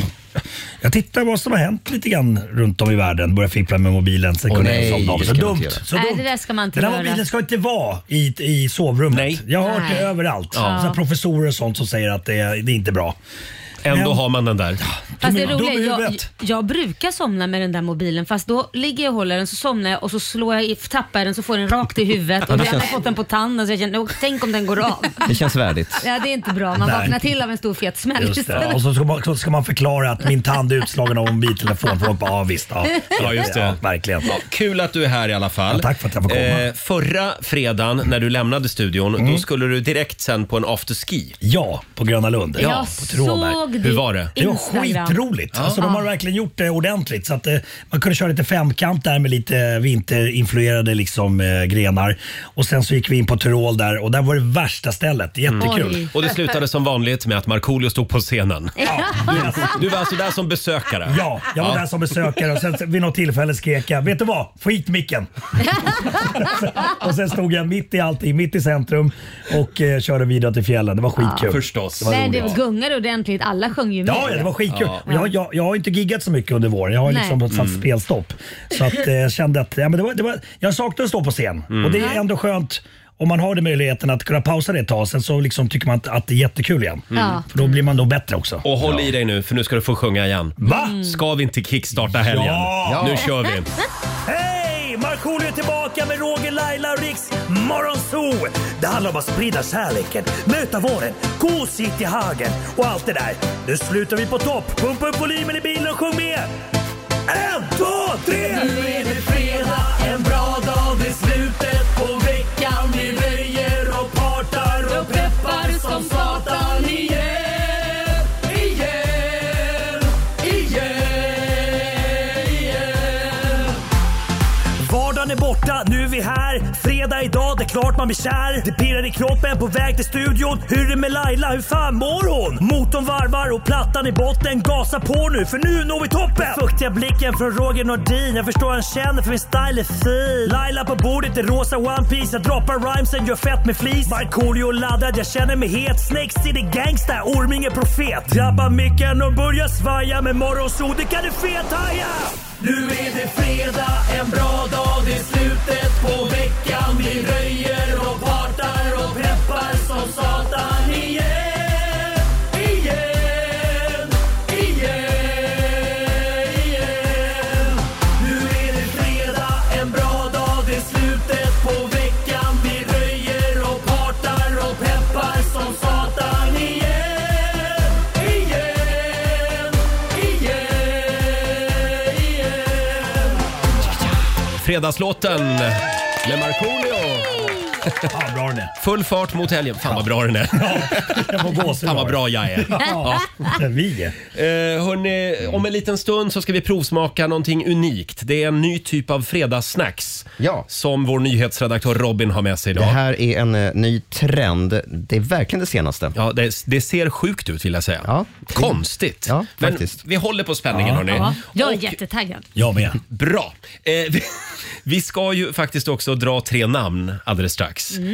Speaker 6: jag tittar vad som har hänt lite grann runt om i världen. Började fippla med mobilen, sen
Speaker 9: Åh,
Speaker 6: kunde
Speaker 9: nej,
Speaker 6: jag somna av.
Speaker 9: det
Speaker 6: Så
Speaker 9: ska man inte
Speaker 6: dumt.
Speaker 9: göra.
Speaker 6: Så
Speaker 2: Nej,
Speaker 6: dumt.
Speaker 2: det där ska man inte
Speaker 6: Den här
Speaker 2: göra.
Speaker 6: mobilen ska inte vara i, i sovrummet.
Speaker 1: Nej.
Speaker 6: Jag har hört
Speaker 2: Nej.
Speaker 6: det överallt. Så här professorer och sånt som säger att det är, det är inte bra.
Speaker 1: Ändå har man den där.
Speaker 2: Fast det roliga, är, jag, jag brukar somna med den där mobilen fast då ligger jag och håller den så somnar jag och så slår jag i, tappar jag den så får jag den rakt i huvudet
Speaker 10: Ja,
Speaker 2: och
Speaker 10: det
Speaker 2: jag har
Speaker 10: känns-
Speaker 2: fått den på tanden så jag känner, "Åh, tänk om den går av.
Speaker 10: Det känns värdigt.
Speaker 2: Ja, det är inte bra. Man
Speaker 6: Nej.
Speaker 2: vaknar till av en stor fet smäll.
Speaker 6: Just det. Och så ska, man, så ska man förklara att min tand är utslagen av en mobiltelefon. Folk bara, ja visst. Ja,
Speaker 1: Ja, just det.
Speaker 6: Ja, verkligen.
Speaker 1: Ja, kul att du är här i alla fall.
Speaker 6: Ja, tack för att jag får komma. Mm.
Speaker 1: Eh, förra fredagen när du lämnade studion, då skulle du direkt sen på en afterski.
Speaker 6: Ja, på Gröna Lund.
Speaker 1: Ja,
Speaker 2: Jag
Speaker 1: på Tråberg.
Speaker 2: såg
Speaker 1: Hur
Speaker 2: ditt
Speaker 1: var det?
Speaker 6: Det var
Speaker 2: Instagram.
Speaker 6: skitroligt. Alltså, de har verkligen gjort det ordentligt. Så att, eh, man kunde köra lite femkamp där med lite vinterinfluerade liksom, eh, grenar. Och Sen så gick vi in på Tyrol där och där var det värsta stället. Jättekul.
Speaker 2: Oj.
Speaker 1: Mm. Och det slutade som vanligt med att Markoolio stod på scenen.
Speaker 6: Yes.
Speaker 1: Du var alltså där som besökare?
Speaker 6: Ja, jag var
Speaker 1: Ja.
Speaker 6: där som besökare och sen vid något tillfälle skrek jag “Vet du vad? Få hit micken!” Och sen stod jag mitt i allting, mitt i centrum och eh, körde vidare till fjällen. Det var skitkul.
Speaker 1: Förstås.
Speaker 6: var
Speaker 2: Nej,
Speaker 6: roligt.
Speaker 2: det gungade ordentligt. Alla sjöng ju med.
Speaker 6: Ja, ja, det var skitkul.
Speaker 1: Ja. Mm.
Speaker 6: Och Jag, jag, jag har inte giggat så mycket under våren. Jag har
Speaker 2: Nej.
Speaker 6: liksom satt spelstopp. Så att, eh, jag kände att ja, men det var, det var, jag saknade att stå på scen.
Speaker 1: Mm.
Speaker 6: Och det är ändå skönt om man har den möjligheten att kunna pausa det ett tag. Sen så liksom tycker man att, att det är jättekul igen.
Speaker 2: Ja.
Speaker 6: För då blir man nog bättre också.
Speaker 1: Och håll i dig nu för nu ska du få sjunga igen.
Speaker 6: Va?
Speaker 1: Ska vi inte kickstarta helgen?
Speaker 6: Ja.
Speaker 1: Nu kör vi!
Speaker 6: Hej! Markoolio är tillbaka med Roger, Laila och Riks Morgonzoo! Det handlar om att sprida kärleken, möta våren, gosigt i hagen och allt det där. Nu slutar vi på topp! Pumpa upp volymen i bilen och sjung med! En, två, tre! Nu är det fredag, en bra dag, det är slutet på veckan. Vi röjer och partar och peppar som satan igen, igen, igen, igen. Vardagen är borta, nu är vi här. Fredag idag, det är klart man blir kär. Det pirrar i kroppen på väg till studion. Hur är det med Laila, hur fan mår hon? Motorn varvar och plattan i botten. Gasa på nu, för nu når vi toppen! Den fuktiga blicken från Roger Nordin. Jag förstår han känner för min style är fin. Laila på bordet i rosa One Piece Jag droppar rhymesen, gör fett med flis. Markoolio laddad, jag känner mig het. Snake City Gangsta, Orminge Profet. Drabbar micken och börjar svaja. Med morgonsol, det kan du fethaja! Nu är det fredag, en bra dag, det är slutet på veckan. Vi röjer och partar och peppar som satan igen. Igen, igen, igen. Nu är det fredag, en bra dag, det är slutet på veckan. Vi röjer och partar och peppar som satan igen. Igen, igen, igen.
Speaker 1: Fredagslåten med Markoolio.
Speaker 6: Fan bra den är.
Speaker 1: Full fart mot helgen. Fan vad bra den är.
Speaker 6: Jag får gåshud
Speaker 1: Fan
Speaker 6: av
Speaker 1: vad
Speaker 6: det.
Speaker 1: bra jag är.
Speaker 6: Ja, vi är.
Speaker 1: Eh, hörni, om en liten stund så ska vi provsmaka någonting unikt. Det är en ny typ av fredagssnacks
Speaker 10: Ja.
Speaker 1: som vår nyhetsredaktör Robin har med sig
Speaker 10: Det
Speaker 1: idag.
Speaker 10: här är en eh, ny trend. Det är verkligen det senaste.
Speaker 1: Ja, det, det ser sjukt ut vill jag säga.
Speaker 10: Ja.
Speaker 1: Konstigt.
Speaker 10: Ja,
Speaker 1: Men
Speaker 10: faktiskt.
Speaker 1: vi håller på spänningen hörni.
Speaker 2: Ja, jag är
Speaker 1: Och-
Speaker 2: jättetaggad.
Speaker 6: Jag med.
Speaker 1: Bra. Eh, vi, vi ska ju faktiskt också dra tre namn alldeles strax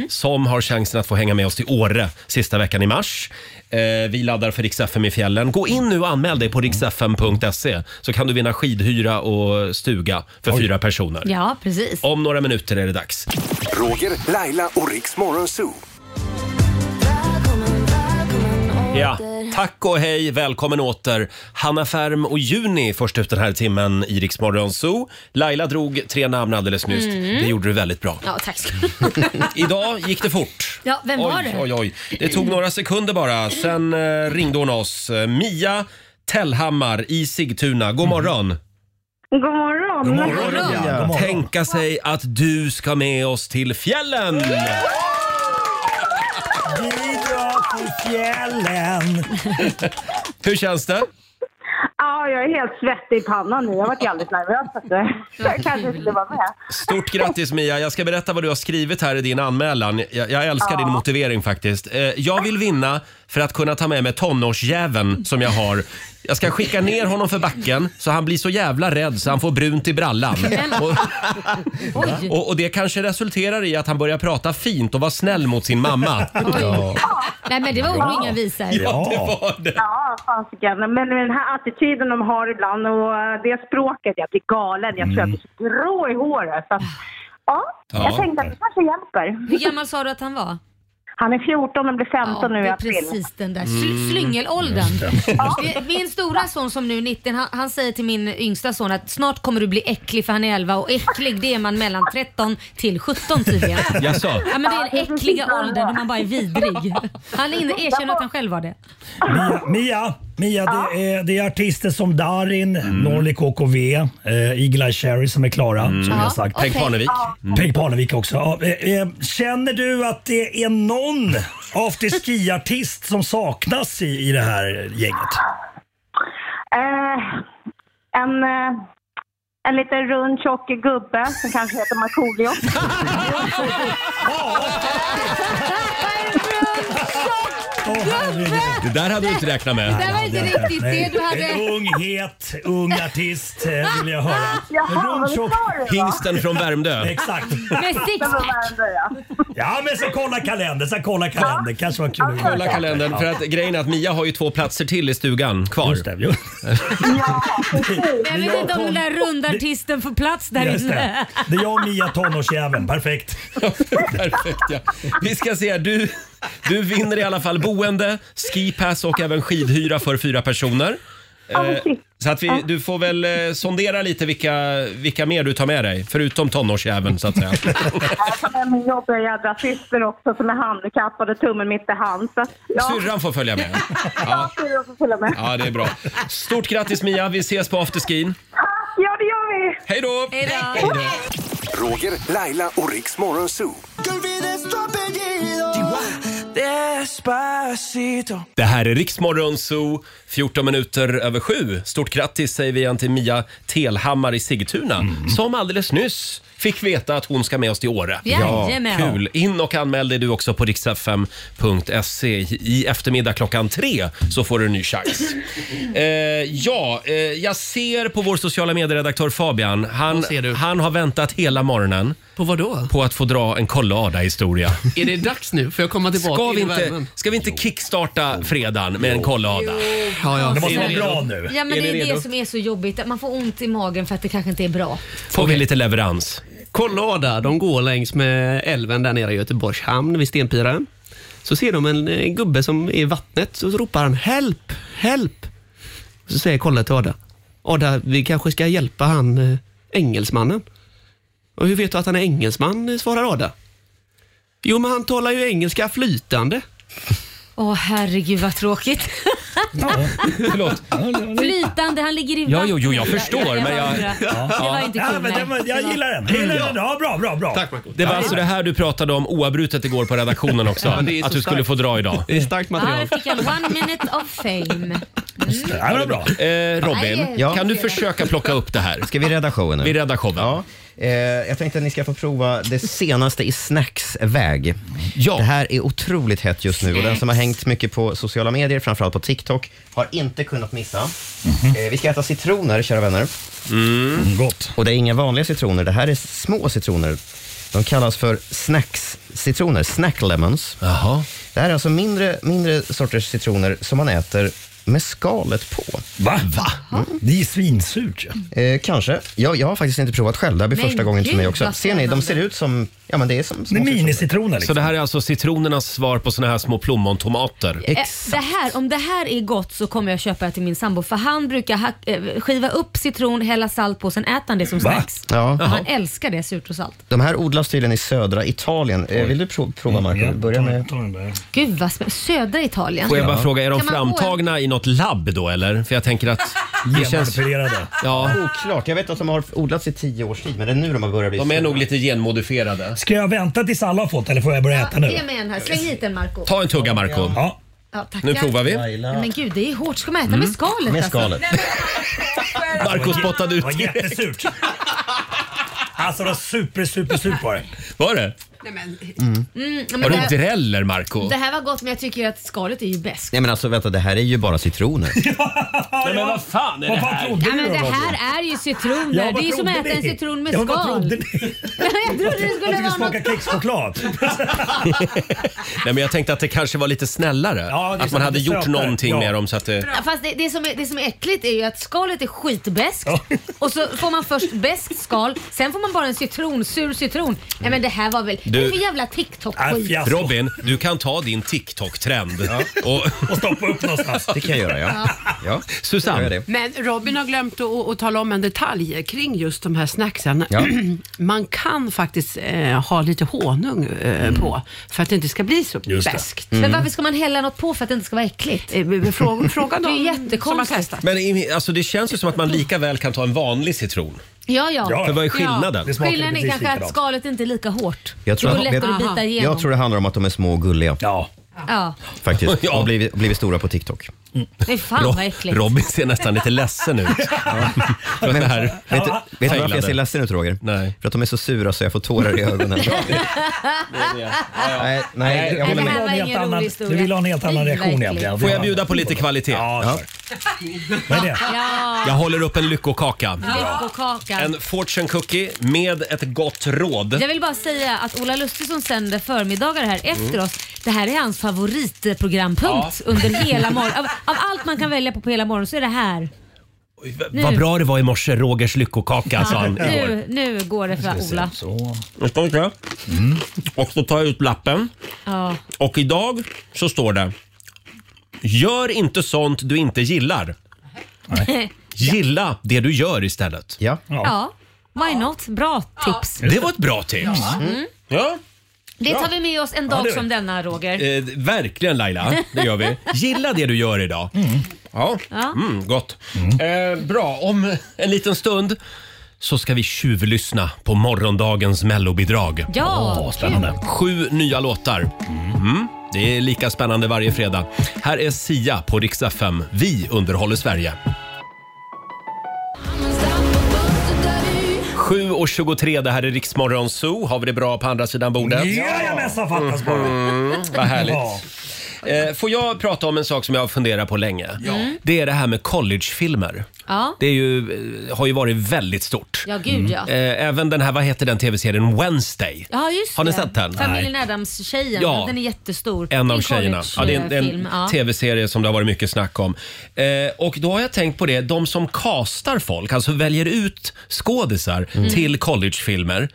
Speaker 1: som har chansen att få hänga med oss till Åre sista veckan i mars. Eh, vi laddar för Rix FM i fjällen. Gå in nu och anmäl dig på riksfm.se så kan du vinna skidhyra och stuga för fyra personer.
Speaker 2: Ja, precis.
Speaker 1: Om några minuter är det dags.
Speaker 3: Roger, Laila och Riks Morgonzoo.
Speaker 1: Ja. Tack och hej, välkommen åter. Hanna Färm och Juni först ut den här timmen i Rix Morgon Zoo. Laila drog tre namn alldeles nyss. Det gjorde du väldigt bra.
Speaker 2: Ja, tack ska du ha.
Speaker 1: Idag gick det fort.
Speaker 2: Ja, vem
Speaker 1: oj,
Speaker 2: var det?
Speaker 1: Oj, oj. Det tog några sekunder bara. Sen eh, ringde hon oss. Eh, Mia Tellhammar i Sigtuna. God morgon.
Speaker 5: God morgon. God
Speaker 6: Ja, Mm. god morgon.
Speaker 1: Tänka sig att du ska med oss till fjällen!
Speaker 6: Vi drar till fjällen.
Speaker 1: Hur känns det?
Speaker 5: Ja, jag är helt svettig i pannan nu. Jag har varit jävligt nervös. så att, eh, Jag kanske skulle vara med.
Speaker 1: Stort grattis Mia! Jag ska berätta vad du har skrivit här i din anmälan. Jag, jag älskar din motivering faktiskt. Eh, jag vill vinna för att kunna ta med mig tonårsjäveln som jag har. Jag ska skicka ner honom för backen så han blir så jävla rädd så han får brunt i brallan. Och,
Speaker 2: Oj.
Speaker 1: Och, och det kanske resulterar i att han börjar prata fint och vara snäll mot sin mamma.
Speaker 2: Nej, men det var ord och inga visor.
Speaker 1: Det var det.
Speaker 5: Ja, fasiken. Men den här attityden de har ibland och eh, det språket, jag blir galen. Jag tror jag blir
Speaker 2: Mm.
Speaker 5: så grå i håret. Så att, ja,
Speaker 1: Ja.
Speaker 5: jag tänkte att det kanske hjälper.
Speaker 2: Hur gammal sa du att han var?
Speaker 5: Han är 14 men blir 15 nu i
Speaker 2: det är
Speaker 5: april.
Speaker 2: precis den där
Speaker 1: Mm.
Speaker 2: sl- slyngelåldern. Det- Min stora son som nu är 19, han, han säger till min yngsta son att snart kommer du bli äcklig för han är 11 och äcklig det är man mellan 13 till 17 tydligen.
Speaker 1: Jaså?
Speaker 2: Ja men det är den äckliga åldern då man bara är vidrig. Han in- erkänner att han själv var det.
Speaker 6: Mia, Mia, Mia det, är, det är artister som Darin,
Speaker 1: Mm.
Speaker 6: Norli KKV, eh, Eagle Eye Cherry som är klara. Som jag
Speaker 1: Mm. Ja,
Speaker 6: har sagt.
Speaker 1: Peg okej. Parnevik. Mm.
Speaker 6: Peg Parnevik också. Ja, eh, eh, känner du att det är någon afterski-artist som saknas i, i det här gänget?
Speaker 5: Eh, en, eh, en liten rund tjock gubbe som kanske heter Markoolio.
Speaker 1: Det där hade du inte räknat med.
Speaker 6: Nej,
Speaker 4: där var inte
Speaker 6: hade jag
Speaker 4: riktigt
Speaker 6: Nej.
Speaker 4: det du hade-
Speaker 6: En ung, het, ung artist eh, vill jag höra.
Speaker 5: Jaha, vad
Speaker 6: tjock-
Speaker 5: sa du då?
Speaker 1: Hingsten från Värmdö.
Speaker 6: Exakt.
Speaker 2: Med sixpack.
Speaker 6: Ja, men så kolla kalendern, så kolla kalendern. Kanske var kul att
Speaker 1: Kolla kalendern, för att grejen är att Mia har ju två platser till i stugan kvar. Eh, Just
Speaker 6: det,
Speaker 2: Jag vet inte om den där runda artisten får plats där
Speaker 6: Just
Speaker 2: inne.
Speaker 6: det. det är jag och Mia, tonårsjäveln. Perfekt.
Speaker 1: Perfekt ja. Vi ska se, du, du vinner i alla fall boende, skipass och även skidhyra för fyra personer.
Speaker 5: Ja, men
Speaker 1: Eh,
Speaker 5: shit.
Speaker 1: Så att vi,
Speaker 5: Ja.
Speaker 1: du får väl eh, sondera lite vilka, vilka mer du tar med dig, förutom tonårsjäveln så att säga.
Speaker 5: Jag tar med min jobbiga jädra syster också som är handikappad och tummen mitt i hand. Så, att, ja,
Speaker 1: Syrran får följa med. Ja,
Speaker 5: syrran får följa med.
Speaker 1: ja, det är bra. Stort grattis Mia, vi ses på afterskin.
Speaker 5: Ja, det gör vi!
Speaker 1: Hej då!
Speaker 5: Hej
Speaker 3: Roger, Laila och Riks Morgonzoo.
Speaker 1: Det här är Riksmorgon Zoo, 14 minuter över sju. Stort grattis säger vi igen till Mia Telhammar i Sigtuna
Speaker 9: Mm.
Speaker 1: som alldeles nyss fick veta att hon ska med oss till Åre.
Speaker 2: Jajamän.
Speaker 1: Kul! In och anmäl dig du också på riksfm.se. I eftermiddag klockan tre så får du en ny chans. eh, ja, eh, jag ser på vår sociala medieredaktör Fabian. Han, han har väntat hela morgonen.
Speaker 9: På vad då?
Speaker 1: På att få dra en kolla-Ada-historia.
Speaker 9: Är det dags nu? Får jag komma tillbaka
Speaker 1: Ska vi
Speaker 9: in i
Speaker 1: inte,
Speaker 9: värmen?
Speaker 1: ska vi inte kickstarta fredagen med en kolla-Ada?
Speaker 9: Ja, ja.
Speaker 1: Det måste
Speaker 9: Är
Speaker 1: vara
Speaker 9: ni
Speaker 1: bra
Speaker 9: redo?
Speaker 1: nu.
Speaker 2: Ja men det
Speaker 1: Är ni
Speaker 2: är
Speaker 1: redo?
Speaker 2: det som är så jobbigt. att Man får ont i magen för att det kanske inte är bra.
Speaker 1: Får vi lite leverans?
Speaker 9: Kollada, de går längs med älven där nere i Göteborgs hamn vid Stenpira. Så ser de en eh, gubbe som är i vattnet så ropar han “Help! Help!” Så säger Kolla till Ada. Ada, vi kanske ska hjälpa han eh, engelsmannen. Och hur vet du att han är engelsman? eh, svarar Ada. Jo, men han talar ju engelska flytande.
Speaker 2: Åh herregud vad tråkigt.
Speaker 1: Förlåt.
Speaker 2: Flytande, han ligger i
Speaker 1: Ja, jo, jo,
Speaker 2: vattnet.
Speaker 1: jag förstår, men jag-
Speaker 2: Det
Speaker 1: Ja.
Speaker 2: var inte
Speaker 6: Ja,
Speaker 2: kul.
Speaker 6: men
Speaker 2: nej.
Speaker 6: den var- jag gillar den. Jag gillar den. Ja, bra, bra, bra. Tack,
Speaker 1: Det var alltså det här du pratade om oavbrutet igår på redaktionen också.
Speaker 9: Ja, det är så
Speaker 1: att du skulle
Speaker 9: starkt.
Speaker 1: få dra idag.
Speaker 9: Det är starkt
Speaker 2: Ja, där
Speaker 9: material.
Speaker 2: fick jag one minute of fame. Eh,
Speaker 6: det var bra.
Speaker 1: Eh, Robin,
Speaker 2: Nej, jag
Speaker 1: kan du
Speaker 2: ser det.
Speaker 1: försöka plocka upp det här?
Speaker 10: Ska vi rädda showen nu?
Speaker 1: Vi räddar showen.
Speaker 10: Ja. Eh, jag tänkte att ni ska få prova det senaste i snacksväg.
Speaker 1: Ja.
Speaker 10: Det här är otroligt hett just nu och den som har hängt mycket på sociala medier, framförallt på TikTok, har inte kunnat missa. Eh, vi ska äta citroner, kära vänner.
Speaker 6: Mm. Gott.
Speaker 10: Och det är inga vanliga citroner, det här är små citroner. De kallas för snacks-citroner, snack lemons.
Speaker 1: Jaha.
Speaker 10: Det här är alltså mindre, mindre sorters citroner som man äter med skalet på. Mm.
Speaker 6: Va? Va? Det är ju svinsurt ju.
Speaker 10: Eh, kanske. Jag, jag har faktiskt inte provat själv. Det här blir
Speaker 2: Men
Speaker 10: första gången för
Speaker 2: gud,
Speaker 10: mig också.
Speaker 2: vad
Speaker 10: Ser ni, de
Speaker 2: spännande.
Speaker 10: ser ut som... Ja, men det är som
Speaker 6: Det
Speaker 10: små
Speaker 6: är minicitroner
Speaker 1: Så
Speaker 6: liksom.
Speaker 1: det här är alltså citronernas svar på såna här små plommontomater?
Speaker 2: Eh, Det här, om det här är gott så kommer jag köpa det till min sambo för han brukar hack, eh, skiva upp citron, hälla salt på sen äter han det som
Speaker 6: Va?
Speaker 2: snacks.
Speaker 10: Ja.
Speaker 2: Han älskar det, surt och salt.
Speaker 10: De här odlas tydligen i södra Italien. Eh, vill du pro- prova, Marco?
Speaker 6: Ja,
Speaker 10: Börja med...
Speaker 6: ta den där.
Speaker 2: Gud vad spännande. Södra Italien.
Speaker 1: Får jag bara fråga, är de
Speaker 2: Kan man få en-
Speaker 1: framtagna i något labb då eller? För jag tänker att det känns...
Speaker 6: Genmanipulerade.
Speaker 1: Ja,
Speaker 10: Oklart. Jag vet att de har odlats i tio års tid, men det är nu de har börjat bli
Speaker 1: de är
Speaker 10: stora.
Speaker 1: nog lite genmodifierade.
Speaker 6: Ska jag vänta tills alla har fått eller får jag börja äta nu?
Speaker 2: Ge mig en här. Släng hit en Marco
Speaker 1: Ta en tugga Marco.
Speaker 6: Ja.
Speaker 2: Ja, tackar.
Speaker 1: Nu provar vi. Mm.
Speaker 10: Laila.
Speaker 2: Nej, Men gud, det är hårt. Ska man äta med skalet?
Speaker 10: Med
Speaker 2: alltså?
Speaker 10: skalet.
Speaker 1: Marco spottade ut
Speaker 6: Det var
Speaker 1: direkt.
Speaker 6: jättesurt. Alltså det var super, super, surt var det.
Speaker 1: Var det?
Speaker 7: Nej, men,
Speaker 2: Mm,
Speaker 1: Var
Speaker 2: men det,
Speaker 1: du
Speaker 2: här,
Speaker 1: dräller Marco?
Speaker 2: det här var gott men jag tycker ju att skalet är ju bäst.
Speaker 10: Nej, men alltså vänta, det här är ju bara citroner.
Speaker 1: Nej men vad fan är det
Speaker 6: Vad fan
Speaker 1: här?
Speaker 6: trodde
Speaker 2: Ja,
Speaker 6: du
Speaker 2: men
Speaker 6: då,
Speaker 2: det
Speaker 6: Roger?
Speaker 2: här är ju citroner.
Speaker 6: Ja, vad
Speaker 2: det är ju som att
Speaker 6: trodde
Speaker 2: äta en
Speaker 6: ni?
Speaker 2: citron med
Speaker 6: Ja,
Speaker 2: skal.
Speaker 6: men vad trodde ni?
Speaker 2: jag trodde det
Speaker 6: Jag
Speaker 2: skulle
Speaker 6: skulle
Speaker 2: vara något
Speaker 6: smaka kexchoklad.
Speaker 1: Nej men jag tänkte att det kanske var lite snällare.
Speaker 6: Ja, det är
Speaker 1: att man
Speaker 6: så-
Speaker 1: hade
Speaker 6: det är
Speaker 1: gjort
Speaker 6: sötare.
Speaker 1: någonting
Speaker 6: Ja.
Speaker 1: med dem så att det...
Speaker 2: Ja, Fast det, det, som är, det som är äckligt är ju att skalet är skitbäst
Speaker 6: Ja.
Speaker 2: och så får man först bäst skal, sen får man bara en citron, sur citron. Nej men det här var väl...
Speaker 1: Du
Speaker 2: Vad är det för jävla
Speaker 1: Äh,
Speaker 6: Äh,
Speaker 2: TikTok-skit?
Speaker 1: Robin, du kan ta din TikTok-trend och... stoppa upp någonstans.
Speaker 10: Det kan jag göra, ja. ja.
Speaker 1: Susanne,
Speaker 7: Men Robin har glömt att, att tala om en detalj kring just de här snacksen.
Speaker 1: Ja.
Speaker 7: Man kan faktiskt eh, ha lite honung eh, på för att det inte ska bli så
Speaker 1: Mm. Just det.
Speaker 7: beskt.
Speaker 1: Mm. Men varför
Speaker 7: ska man hälla något på för att det inte ska vara äckligt? Eh, Fråga, fråga
Speaker 2: Det är
Speaker 7: dem som har
Speaker 2: jättekonstigt.
Speaker 7: testat.
Speaker 1: men i- alltså, det känns ju som att man lika väl kan ta en vanlig citron.
Speaker 2: Ja, ja.
Speaker 1: För vad är skillnaden?
Speaker 2: Ja. Skillnaden är kanske att skalet inte är lika hårt.
Speaker 10: Jag tror,
Speaker 2: det går
Speaker 10: jag,
Speaker 2: lättare att bita igenom.
Speaker 10: jag tror det handlar om att de är små och gulliga.
Speaker 1: Ja.
Speaker 2: Ja.
Speaker 10: Faktiskt. Och blivit, blivit stora på TikTok.
Speaker 2: Nej, fan
Speaker 10: Ro-
Speaker 2: vad äckligt.
Speaker 1: Robin ser nästan lite ledsen ut.
Speaker 10: Men,
Speaker 1: det här
Speaker 10: vet du, vet du varför
Speaker 1: heilade.
Speaker 10: jag ser ledsen ut Roger? Nej. För att de är så sura så jag får tårar i ögonen. nej, nej, jag håller
Speaker 6: vill
Speaker 10: med.
Speaker 6: ha en
Speaker 2: ingen
Speaker 6: helt
Speaker 2: rolig
Speaker 6: annan-
Speaker 2: historia.
Speaker 6: Du vill ha en helt annan
Speaker 2: Fy,
Speaker 6: reaktion
Speaker 2: verkligen.
Speaker 6: egentligen.
Speaker 1: Får jag bjuda på lite kvalitet?
Speaker 6: Ja, Vad är det?
Speaker 1: Jag håller upp en lyckokaka.
Speaker 2: Lyckokaka.
Speaker 1: En fortune cookie med ett gott råd.
Speaker 2: Jag vill bara säga att Ola Lustig som sänder förmiddagar här efter
Speaker 1: Mm.
Speaker 2: oss, det här är hans favoritprogrampunkt under hela morgonen. Av, av allt man kan välja på på hela morgonen så är det här. Nu.
Speaker 1: Vad bra det var i morse, Rogers lyckokaka sa han igår.
Speaker 2: nu, nu går det för Ola.
Speaker 1: Nu ska vi se. Mm. Och så tar jag ut lappen.
Speaker 2: Ja.
Speaker 1: Och idag så står det Gör inte sånt du inte gillar. Gilla det du gör istället.
Speaker 2: ja, why not? Bra tips.
Speaker 1: Det var ett bra tips.
Speaker 2: Mm.
Speaker 1: Ja.
Speaker 2: Det
Speaker 1: Bra.
Speaker 2: tar vi med oss en
Speaker 1: Ja,
Speaker 2: dag
Speaker 1: det gör
Speaker 2: som
Speaker 1: vi.
Speaker 2: denna Roger.
Speaker 1: Eh, verkligen Laila, det gör vi. Gilla det du gör idag. Ja,
Speaker 2: Ja.
Speaker 1: mm, gott. Eh, bra, om en liten stund så ska vi tjuvlyssna på morgondagens mellobidrag.
Speaker 2: Ja, Åh, spännande. kul.
Speaker 1: Sju nya låtar. Mm. Det är lika spännande varje fredag. Här är Sia på Rix FM. Vi underhåller Sverige. 7.23, det här är Riksmorgon Zoo. Har vi det bra på andra sidan bordet?
Speaker 6: Jajamensan, fattas bara.
Speaker 1: Mm, vad härligt.
Speaker 6: Ja.
Speaker 1: Eh, Får jag prata om en sak som jag har funderat på länge?
Speaker 2: Ja. Mm.
Speaker 1: Det är det här med collegefilmer.
Speaker 2: Ja.
Speaker 1: Det är ju, eh, har ju varit väldigt stort.
Speaker 2: Ja, gud, ja.
Speaker 1: Eh, Även den här, vad heter den tv-serien, Wednesday?
Speaker 2: Ja, just
Speaker 1: Har ni
Speaker 2: det.
Speaker 1: sett den?
Speaker 2: Familjen Adams-tjejen.
Speaker 1: Ja.
Speaker 2: Den är jättestor.
Speaker 1: En av
Speaker 2: Det är
Speaker 1: tjejerna. Ja, det är en, det är
Speaker 2: collegefilm,
Speaker 1: en
Speaker 2: eh, ja.
Speaker 1: tv-serie som det har varit mycket snack om. Eh, och då har jag tänkt på det, de som castar folk, alltså väljer ut skådisar
Speaker 2: Mm.
Speaker 1: till collegefilmer.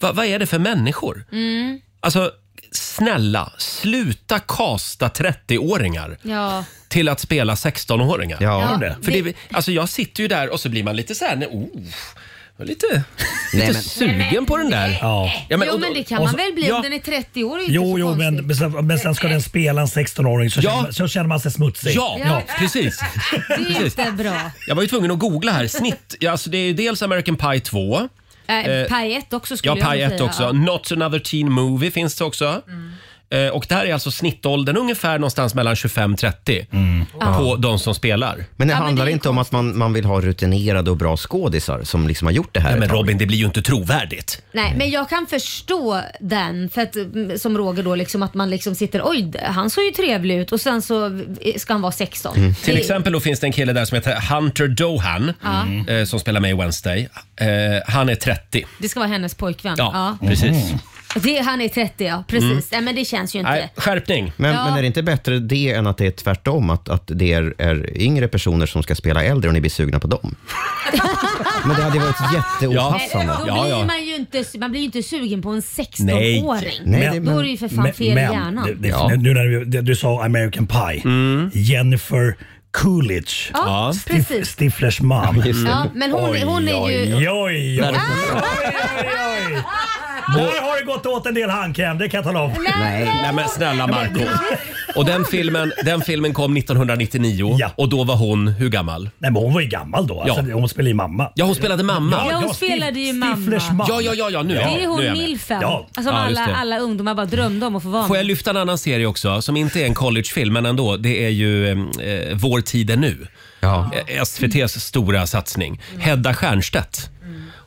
Speaker 1: Va, vad är det för människor?
Speaker 2: Mm.
Speaker 1: Alltså, snälla, sluta casta 30-åringar.
Speaker 2: Ja.
Speaker 1: till att spela 16-åringar.
Speaker 2: Ja, det.
Speaker 1: För det, alltså jag sitter ju där och så blir man lite så här, nej, oh, jag är lite, lite
Speaker 6: men-
Speaker 1: sugen på den där. Ja.
Speaker 2: jo
Speaker 1: och då-
Speaker 2: men det kan
Speaker 6: och
Speaker 2: man
Speaker 6: så-
Speaker 2: väl bli om
Speaker 6: ja.
Speaker 2: den är 30 år. är inte
Speaker 6: Jo,
Speaker 2: så
Speaker 6: jo,
Speaker 2: konstigt.
Speaker 6: men, men sen- men sen ska den spela en 16-åring så,
Speaker 1: Ja.
Speaker 6: känner man- så känner man sig smutsig.
Speaker 1: Ja, precis.
Speaker 2: Det är
Speaker 1: precis.
Speaker 2: inte bra.
Speaker 1: Jag var ju tvungen att googla här. Snitt, ja, alltså det är ju dels American Pie 2.
Speaker 2: Äh,
Speaker 1: Eh,
Speaker 2: Paj 1 också skulle
Speaker 1: Ja,
Speaker 2: jag
Speaker 1: Pie
Speaker 2: nog
Speaker 1: 1
Speaker 2: säga. Mm.
Speaker 1: också. Not another teen movie finns det också. Eh, Och där är alltså snittåldern ungefär någonstans mellan 25-30 på de som spelar.
Speaker 10: Men det handlar inte om att man, man vill ha rutinerade och bra skådisar som liksom har gjort det här
Speaker 1: Nej, men
Speaker 10: Robin,
Speaker 1: det blir ju inte trovärdigt.
Speaker 2: Nej, men jag kan förstå den, för att, mm, som Roger då, liksom, att man liksom sitter oj, d- han såg ju trevlig ut och sen så eh, ska han vara 16.
Speaker 1: Mm. Till exempel då finns det en kille där som heter Hunter Dohan
Speaker 2: Ja.
Speaker 1: eh, som spelar med i Wednesday. Eh, han är 30.
Speaker 2: Det ska vara hennes pojkvän.
Speaker 1: Ja, precis.
Speaker 2: Det, han är 30 ja, precis.
Speaker 10: Mm.
Speaker 2: Nej men det känns ju inte.
Speaker 10: Nej,
Speaker 1: skärpning.
Speaker 10: Men,
Speaker 2: Ja.
Speaker 10: men är det inte bättre det än att det är tvärtom? Att, att det är, är yngre personer som ska spela äldre och ni blir sugna på dem? Men det hade ju varit jätteopassande.
Speaker 2: Då blir man ju inte, man blir ju inte sugen på en 16-åring.
Speaker 6: 16-åring.
Speaker 2: Då är det ju för fan fel i hjärnan.
Speaker 6: Det, det, Nu när du, det, du sa American Pie,
Speaker 1: Mm.
Speaker 6: Jennifer Coolidge,
Speaker 2: Ja,
Speaker 6: Stif-
Speaker 2: precis.
Speaker 6: Stiflers mom.
Speaker 2: Ja, men hon- hon är ju-
Speaker 6: Oj, oj, oj.
Speaker 2: Ah!
Speaker 6: Där har det gått åt en del handkräm, det kan jag tala om.
Speaker 1: Nej. Nej men snälla Marco Och den filmen, den filmen kom 1999 och då var hon hur gammal?
Speaker 6: Nej men hon var ju gammal då. Alltså, Hon spelade ju mamma.
Speaker 1: Ja hon spelade mamma.
Speaker 2: Ja, hon spelade ju mamma.
Speaker 6: Stiflers man.
Speaker 1: Ja, ja, ja, ja, nu är jag-
Speaker 2: det är
Speaker 1: nu
Speaker 2: hon
Speaker 1: är jag med.
Speaker 2: milfen.
Speaker 1: Ja.
Speaker 2: Alltså,
Speaker 1: Ja, just
Speaker 2: alla,
Speaker 1: det.
Speaker 2: alla ungdomar bara drömde om att få vara
Speaker 1: Får
Speaker 2: med.
Speaker 1: jag lyfta en annan serie också som inte är en collegefilm men ändå. Det är ju eh, Vår tid är nu. Eh, SVTs stora satsning. Hedda Stiernstedt.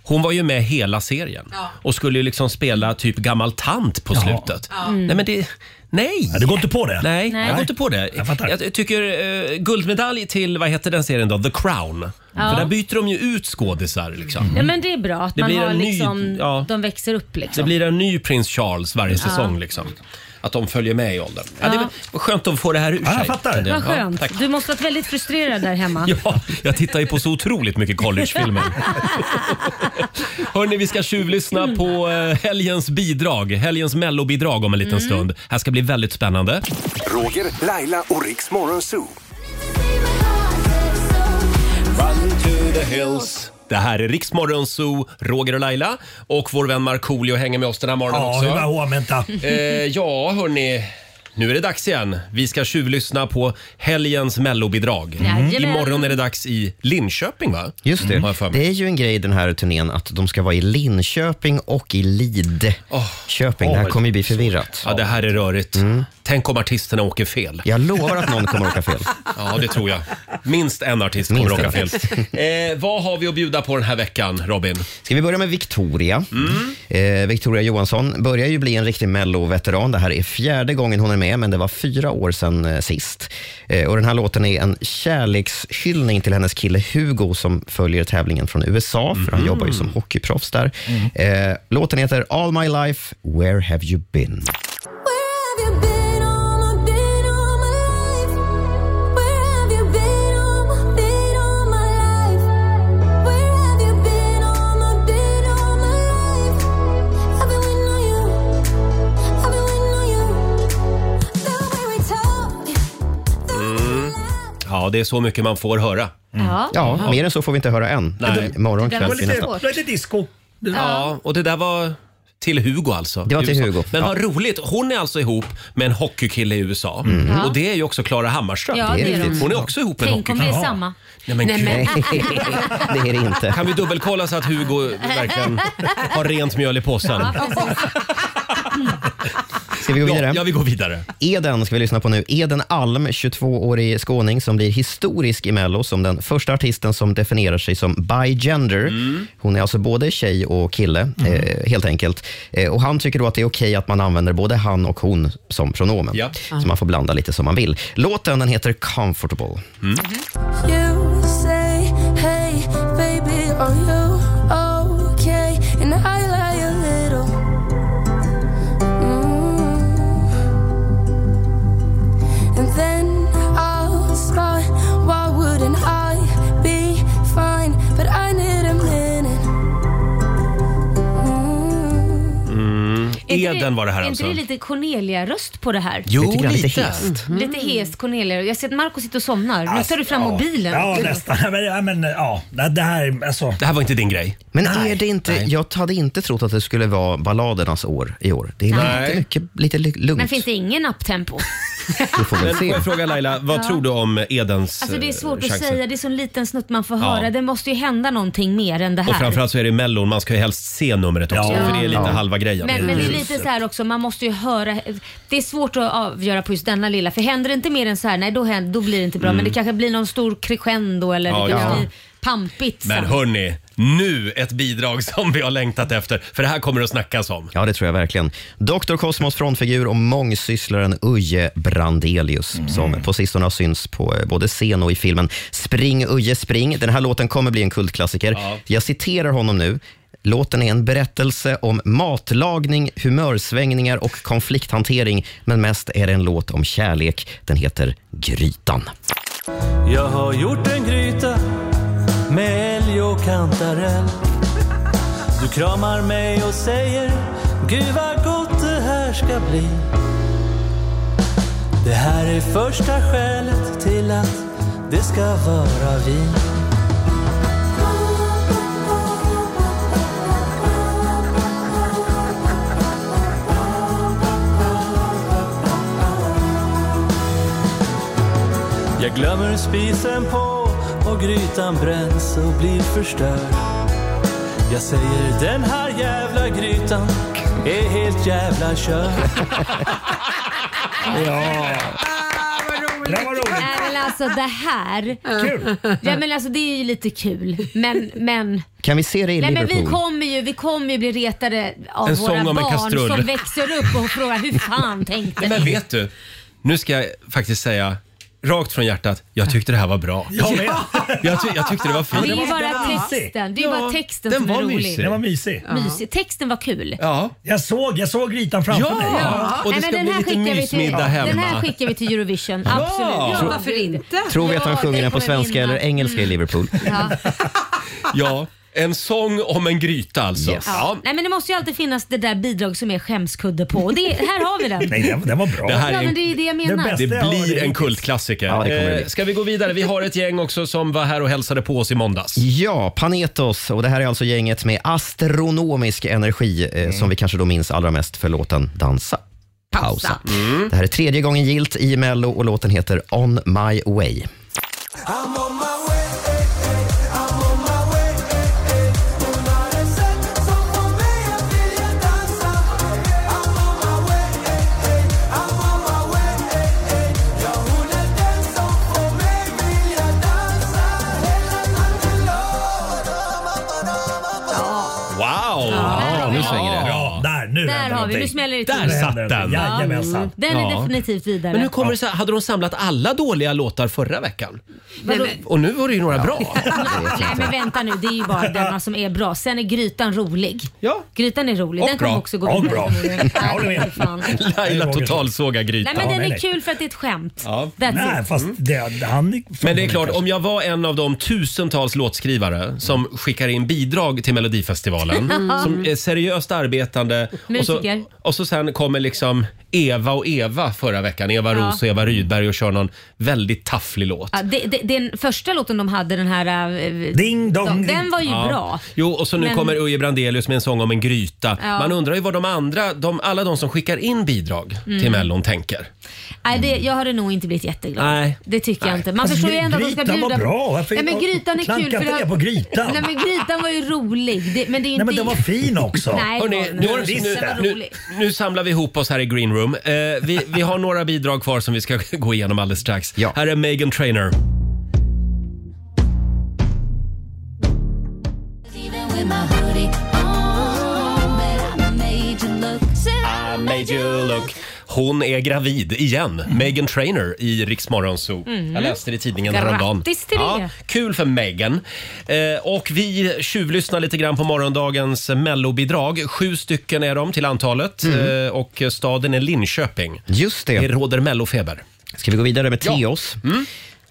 Speaker 1: Hon var ju med hela serien och skulle ju liksom spela typ gammal tant på slutet.
Speaker 6: Mm.
Speaker 1: Nej men det... Nej!
Speaker 6: Ja, du går inte på det?
Speaker 1: Nej,
Speaker 6: Nej.
Speaker 1: jag går inte på det. Jag, tycker eh, guldmedalj till, vad heter den serien då? The Crown.
Speaker 2: Ja. Mm.
Speaker 1: För där byter de ju ut skådisar liksom.
Speaker 2: Ja men det är bra att
Speaker 1: Det
Speaker 2: man
Speaker 1: blir
Speaker 2: har
Speaker 1: en ny-
Speaker 2: liksom,
Speaker 1: ja.
Speaker 2: de växer upp liksom.
Speaker 1: Det blir en ny prins Charles varje
Speaker 2: Ja.
Speaker 1: säsong liksom. att de följer med i åldern. Ja. det var skönt att få det här ur sig. kände
Speaker 2: Vad
Speaker 1: Ja,
Speaker 2: skönt.
Speaker 1: tack.
Speaker 2: Du måste ha varit väldigt frustrerad där hemma.
Speaker 1: Ja, jag tittar ju på så otroligt mycket collegefilmer. Hörni, vi ska tjuvlyssna på eh, helgens bidrag, helgens mellobidrag om en liten
Speaker 3: Mm.
Speaker 1: stund. Här ska bli väldigt spännande.
Speaker 3: Roger, Laila och Riks Morgonzoo.
Speaker 1: Det här är Riksmorgon Zoo, Roger och Laila och vår vän Markoolio hänger med oss den här morgonen
Speaker 6: Ja,
Speaker 1: också.
Speaker 6: hur var hovmenta?
Speaker 1: Eh, ja, hörni. Nu är det dags igen. Vi ska tjuvlyssna på helgens mellobidrag.
Speaker 10: Jajamän.
Speaker 1: Imorgon är det dags i Linköping, va? Mm,
Speaker 10: Just det. Det är ju en grej i den här turnén att de ska vara i Linköping och i Lidköping. det här
Speaker 1: Åh.
Speaker 10: kommer ju bli förvirrat.
Speaker 1: Ja, det här är rörigt. Tänk om artisterna åker fel.
Speaker 10: Jag lovar Mm. att någon kommer åka fel.
Speaker 1: Ja, det tror jag. Minst en artist kommer
Speaker 10: Minst
Speaker 1: åka
Speaker 10: en.
Speaker 1: fel. Eh, vad har vi att bjuda på den här veckan, Robin?
Speaker 10: Ska vi börja med Victoria? Eh, Victoria Johansson börjar ju bli en riktig melloveteran. Det här är fjärde gången hon är med, men det var fyra år sedan eh, sist. Eh, och den här låten är en kärlekshyllning till hennes kille Hugo som följer tävlingen från USA, för han jobbar ju som hockeyproffs där. Eh, låten heter All My Life, Where Have You Been?
Speaker 1: Mm. Ja, det är så mycket man får höra.
Speaker 2: Ja.
Speaker 10: Ja, mer än så får vi inte höra än.
Speaker 1: Nej.
Speaker 10: Imorgon
Speaker 1: Det där var
Speaker 10: kväll till
Speaker 1: lite
Speaker 10: nästa.
Speaker 1: svårt.
Speaker 6: Lite disco.
Speaker 1: Ja, och det där var till Hugo alltså.
Speaker 10: Det var till
Speaker 1: USA.
Speaker 10: Hugo,
Speaker 1: Men
Speaker 10: ja.
Speaker 1: vad roligt, hon är alltså ihop med en hockeykille i USA.
Speaker 10: Mm. Ja.
Speaker 1: Och det är ju också Klara Hammarström.
Speaker 2: Ja, det är de.
Speaker 1: Hon är också ihop med en
Speaker 2: Tänk om det
Speaker 1: hockeykille.
Speaker 2: är samma.
Speaker 1: Nej men,
Speaker 2: Nej,
Speaker 1: gud.
Speaker 2: men-
Speaker 10: Det är det inte.
Speaker 1: Kan vi dubbelkolla så att Hugo verkligen har rent mjöl i påsen?
Speaker 2: Ja, precis.
Speaker 10: Ska vi gå vidare?
Speaker 1: Ja, vi går vidare.
Speaker 10: Eden ska vi lyssna på nu. Eden Alm, 22-årig skåning som blir historisk i Mello som den första artisten som definierar sig som bi-gender.
Speaker 1: Mm.
Speaker 10: Hon är alltså både tjej och kille, eh, helt enkelt. Eh, och Han tycker då att det är okej att man använder både han och hon som pronomen.
Speaker 1: Ja.
Speaker 10: Så man får blanda lite som man vill. Låten den heter Comfortable.
Speaker 11: You say, hey, baby, are you okay? And I lie a little. Mm. And then I'll spy, why wouldn't I be fine? But I need a minute.
Speaker 1: Mm.
Speaker 2: Är inte
Speaker 1: Eden var det här
Speaker 2: är
Speaker 1: alltså.
Speaker 2: Inte det lite Cornelia-röst på det här?
Speaker 1: Jo, Lite grann, lite lite. hest. Alltså,
Speaker 2: Mm. Lite hest Cornelia. Jag ser att Marco sitter och somnar. Nu tar du fram
Speaker 6: ja.
Speaker 2: mobilen.
Speaker 6: Ja, nästan. Ja, Men, ja, men, ja. Det det här, alltså.
Speaker 1: Det här var inte din grej.
Speaker 10: Men är det inte, jag hade inte trott att det skulle vara balladernas år i år. Det är
Speaker 1: Nej.
Speaker 10: lite, mycket, lite lu- lugnt.
Speaker 2: Men finns det ingen upptempo?
Speaker 10: Vi får
Speaker 1: Men
Speaker 10: väl
Speaker 1: får
Speaker 10: se.
Speaker 1: jag fråga Laila, vad
Speaker 2: Ja.
Speaker 1: tror du om Edens
Speaker 2: Alltså det är
Speaker 1: eh,
Speaker 2: svårt att
Speaker 1: chanser?
Speaker 2: säga. Det är så en liten snutt man får
Speaker 1: Ja.
Speaker 2: höra. Det måste ju hända någonting mer än det här.
Speaker 1: Och framförallt så är det Mellon, man ska ju helst se numret också.
Speaker 2: Ja.
Speaker 1: För det är lite
Speaker 2: Ja.
Speaker 1: halva grejen.
Speaker 2: Men, men det är lite så här också, man måste ju höra. Det är svårt att avgöra på just denna lilla. För händer det inte mer än så här, nej då, händer, då blir det inte bra.
Speaker 1: Mm.
Speaker 2: Men det kanske blir någon stor crescendo eller
Speaker 1: Ja,
Speaker 2: det
Speaker 1: ja.
Speaker 2: kanske blir pampigt.
Speaker 1: Men
Speaker 2: sen.
Speaker 1: hörni, nu ett bidrag som vi har längtat efter. För det här kommer det att snackas om.
Speaker 10: Ja, det tror jag verkligen. Dr. Cosmos frontfigur och mångsysslaren Uje Brandelius som på sistone har synts på eh, både scen och i filmen Spring Uje spring. Den här låten kommer bli en kultklassiker.
Speaker 1: Ja.
Speaker 10: Jag citerar honom nu. Låten är en berättelse om matlagning, humörsvängningar och konflikthantering, men mest är det en låt om kärlek. Den heter Grytan.
Speaker 6: Jag har gjort en gryta med älg och kantarell. Du kramar mig och säger Gud vad gott det här ska bli. Det här är första skälet till att det ska vara vi. Jag glömmer spisen på och grytan bränns och blir förstörd. Jag säger den här jävla grytan är helt jävla körd. ja. Det var roligt.
Speaker 2: Nej men alltså det här.
Speaker 6: Kul.
Speaker 2: Ja, men alltså, det är ju lite kul. Men, men,
Speaker 10: Kan vi se det i
Speaker 2: nej, men
Speaker 10: Liverpool?
Speaker 2: vi, kommer ju, vi kommer ju bli retade av
Speaker 1: En
Speaker 2: våra
Speaker 1: sång om en kastrull.
Speaker 2: barn som växer upp och frågar hur fan tänkte
Speaker 1: Men
Speaker 2: ni?
Speaker 1: vet du, nu ska jag faktiskt säga rakt från hjärtat, jag tyckte det här var bra.
Speaker 6: Jag med.
Speaker 1: jag, ty jag tyckte det var
Speaker 2: Det
Speaker 1: fint.
Speaker 2: är ju bara texten, det är ju bara texten
Speaker 1: den
Speaker 2: som är
Speaker 1: var
Speaker 2: rolig.
Speaker 1: mysig. Den var mysig. Ja.
Speaker 2: Mysig. Texten var kul.
Speaker 1: Ja.
Speaker 6: Jag såg, jag såg ritan framför
Speaker 2: Ja.
Speaker 6: mig.
Speaker 2: Ja. Nej, men den här skickar vi till- Den här skickar vi till Eurovision. Absolut.
Speaker 10: Ja,
Speaker 2: Tror-
Speaker 10: varför
Speaker 2: inte?
Speaker 10: Tror vi att han sjunger den på
Speaker 2: kommer
Speaker 10: svenska
Speaker 2: vinna. Mm.
Speaker 10: eller engelska i Liverpool?
Speaker 1: Ja, en sång om en gryta alltså.
Speaker 2: Ja. Nej, men det måste ju alltid finnas det där bidrag som är skämskudde på. Och det, här har vi den.
Speaker 1: var bra. Det,
Speaker 2: Ja,
Speaker 1: här är
Speaker 2: men
Speaker 1: en,
Speaker 2: det är det jag menar.
Speaker 1: det blir en kultklassiker.
Speaker 10: Ja, det kommer det
Speaker 1: Eh,
Speaker 10: bli.
Speaker 1: Ska vi gå vidare? Vi har ett gäng också som var här och hälsade på oss i måndags.
Speaker 10: Ja, Panetos. Och det här är alltså gänget med astronomisk energi eh, som vi kanske då minns allra mest för låten Dansa. Pausa. Det här är tredje gången gilt i Mello och låten heter On My Way.
Speaker 1: Wow!
Speaker 6: Ja,
Speaker 1: nu svänger det.
Speaker 6: Bra, där, nu
Speaker 2: Där
Speaker 6: händer
Speaker 2: har vi,
Speaker 6: någonting.
Speaker 2: nu smäller det till.
Speaker 1: Där satt den.
Speaker 2: Ja,
Speaker 1: Jajamensan.
Speaker 2: Den är
Speaker 1: Ja.
Speaker 2: definitivt vidare.
Speaker 1: Men hur kommer det sig? Hade de samlat alla dåliga låtar förra veckan?
Speaker 2: Vadå?
Speaker 1: Och nu var det ju några bra.
Speaker 2: Nej men vänta nu, det är ju bara denna som är bra. Sen är grytan rolig.
Speaker 1: Ja.
Speaker 2: Grytan är rolig,
Speaker 1: Och
Speaker 2: den kommer
Speaker 1: bra.
Speaker 2: också gå
Speaker 1: Och
Speaker 2: vidare.
Speaker 1: bra. Jag håller med.
Speaker 2: Fan.
Speaker 1: Laila totalsågar
Speaker 2: Nej
Speaker 1: grytan.
Speaker 2: men den är kul för att det är ett skämt.
Speaker 1: Ja.
Speaker 2: That's it.
Speaker 1: Mm. det, han men det är klart, om jag var en av de tusentals låtskrivare som skickar in bidrag till Melodifestivalen,
Speaker 2: Mm.
Speaker 1: som är seriöst arbetande och så,
Speaker 2: Musiker.
Speaker 1: och så sen kommer liksom Eva och Eva förra veckan, Eva
Speaker 2: Ja.
Speaker 1: Roos och Eva Rydberg och kör någon väldigt tafflig låt.
Speaker 2: Ja, det, det, den första låten de hade, den här... eh,
Speaker 1: Ding dong.
Speaker 2: Den var ju
Speaker 1: Ja.
Speaker 2: bra.
Speaker 1: Jo, och så nu
Speaker 2: Men-
Speaker 1: kommer Uje Brandelius med en sång om en gryta.
Speaker 2: Ja.
Speaker 1: Man undrar ju vad de andra, de, alla de som skickar in bidrag till
Speaker 2: Mm.
Speaker 1: Mellon tänker.
Speaker 2: Nej, det, jag hade nog inte blivit jätteglad.
Speaker 1: Nej.
Speaker 2: Det tycker jag
Speaker 1: Nej.
Speaker 2: inte. Man
Speaker 1: Alltså,
Speaker 2: förstår ju ändå att de ska
Speaker 1: grytan
Speaker 2: bjuda...
Speaker 1: var bra. Varför-
Speaker 2: Nej, men grytan är
Speaker 1: klanka
Speaker 2: kul. För
Speaker 1: inte
Speaker 2: det
Speaker 1: ner på grytan.
Speaker 2: Nej, men grytan var ju rolig. Det, men det är ju
Speaker 6: Nej, men
Speaker 2: inte...
Speaker 6: den var fin också.
Speaker 2: Nej,
Speaker 1: Hörrni,
Speaker 2: den
Speaker 1: nu,
Speaker 2: var-
Speaker 1: nu,
Speaker 2: den var
Speaker 1: nu,
Speaker 2: rolig.
Speaker 1: nu samlar vi ihop oss här i Green Room. Eh, vi, vi har några bidrag kvar som vi ska gå igenom alldeles strax. Här är Megan Trainer.
Speaker 8: Even with my hoodie on, but I made you look.
Speaker 1: Hon är gravid igen. Megan Trainer i Rix Morgon Zoo.
Speaker 8: Mm.
Speaker 1: Jag läste det i tidningen
Speaker 8: Grattis
Speaker 1: häromdagen.
Speaker 8: till det.
Speaker 1: kul för Megan. Eh, och vi tjuvlyssnar lite grann på morgondagens mellobidrag. Sju stycken är de till antalet eh, och staden är Linköping.
Speaker 10: Just det.
Speaker 1: Det råder mellofeber. Mm.
Speaker 10: Ska vi gå vidare med Teos?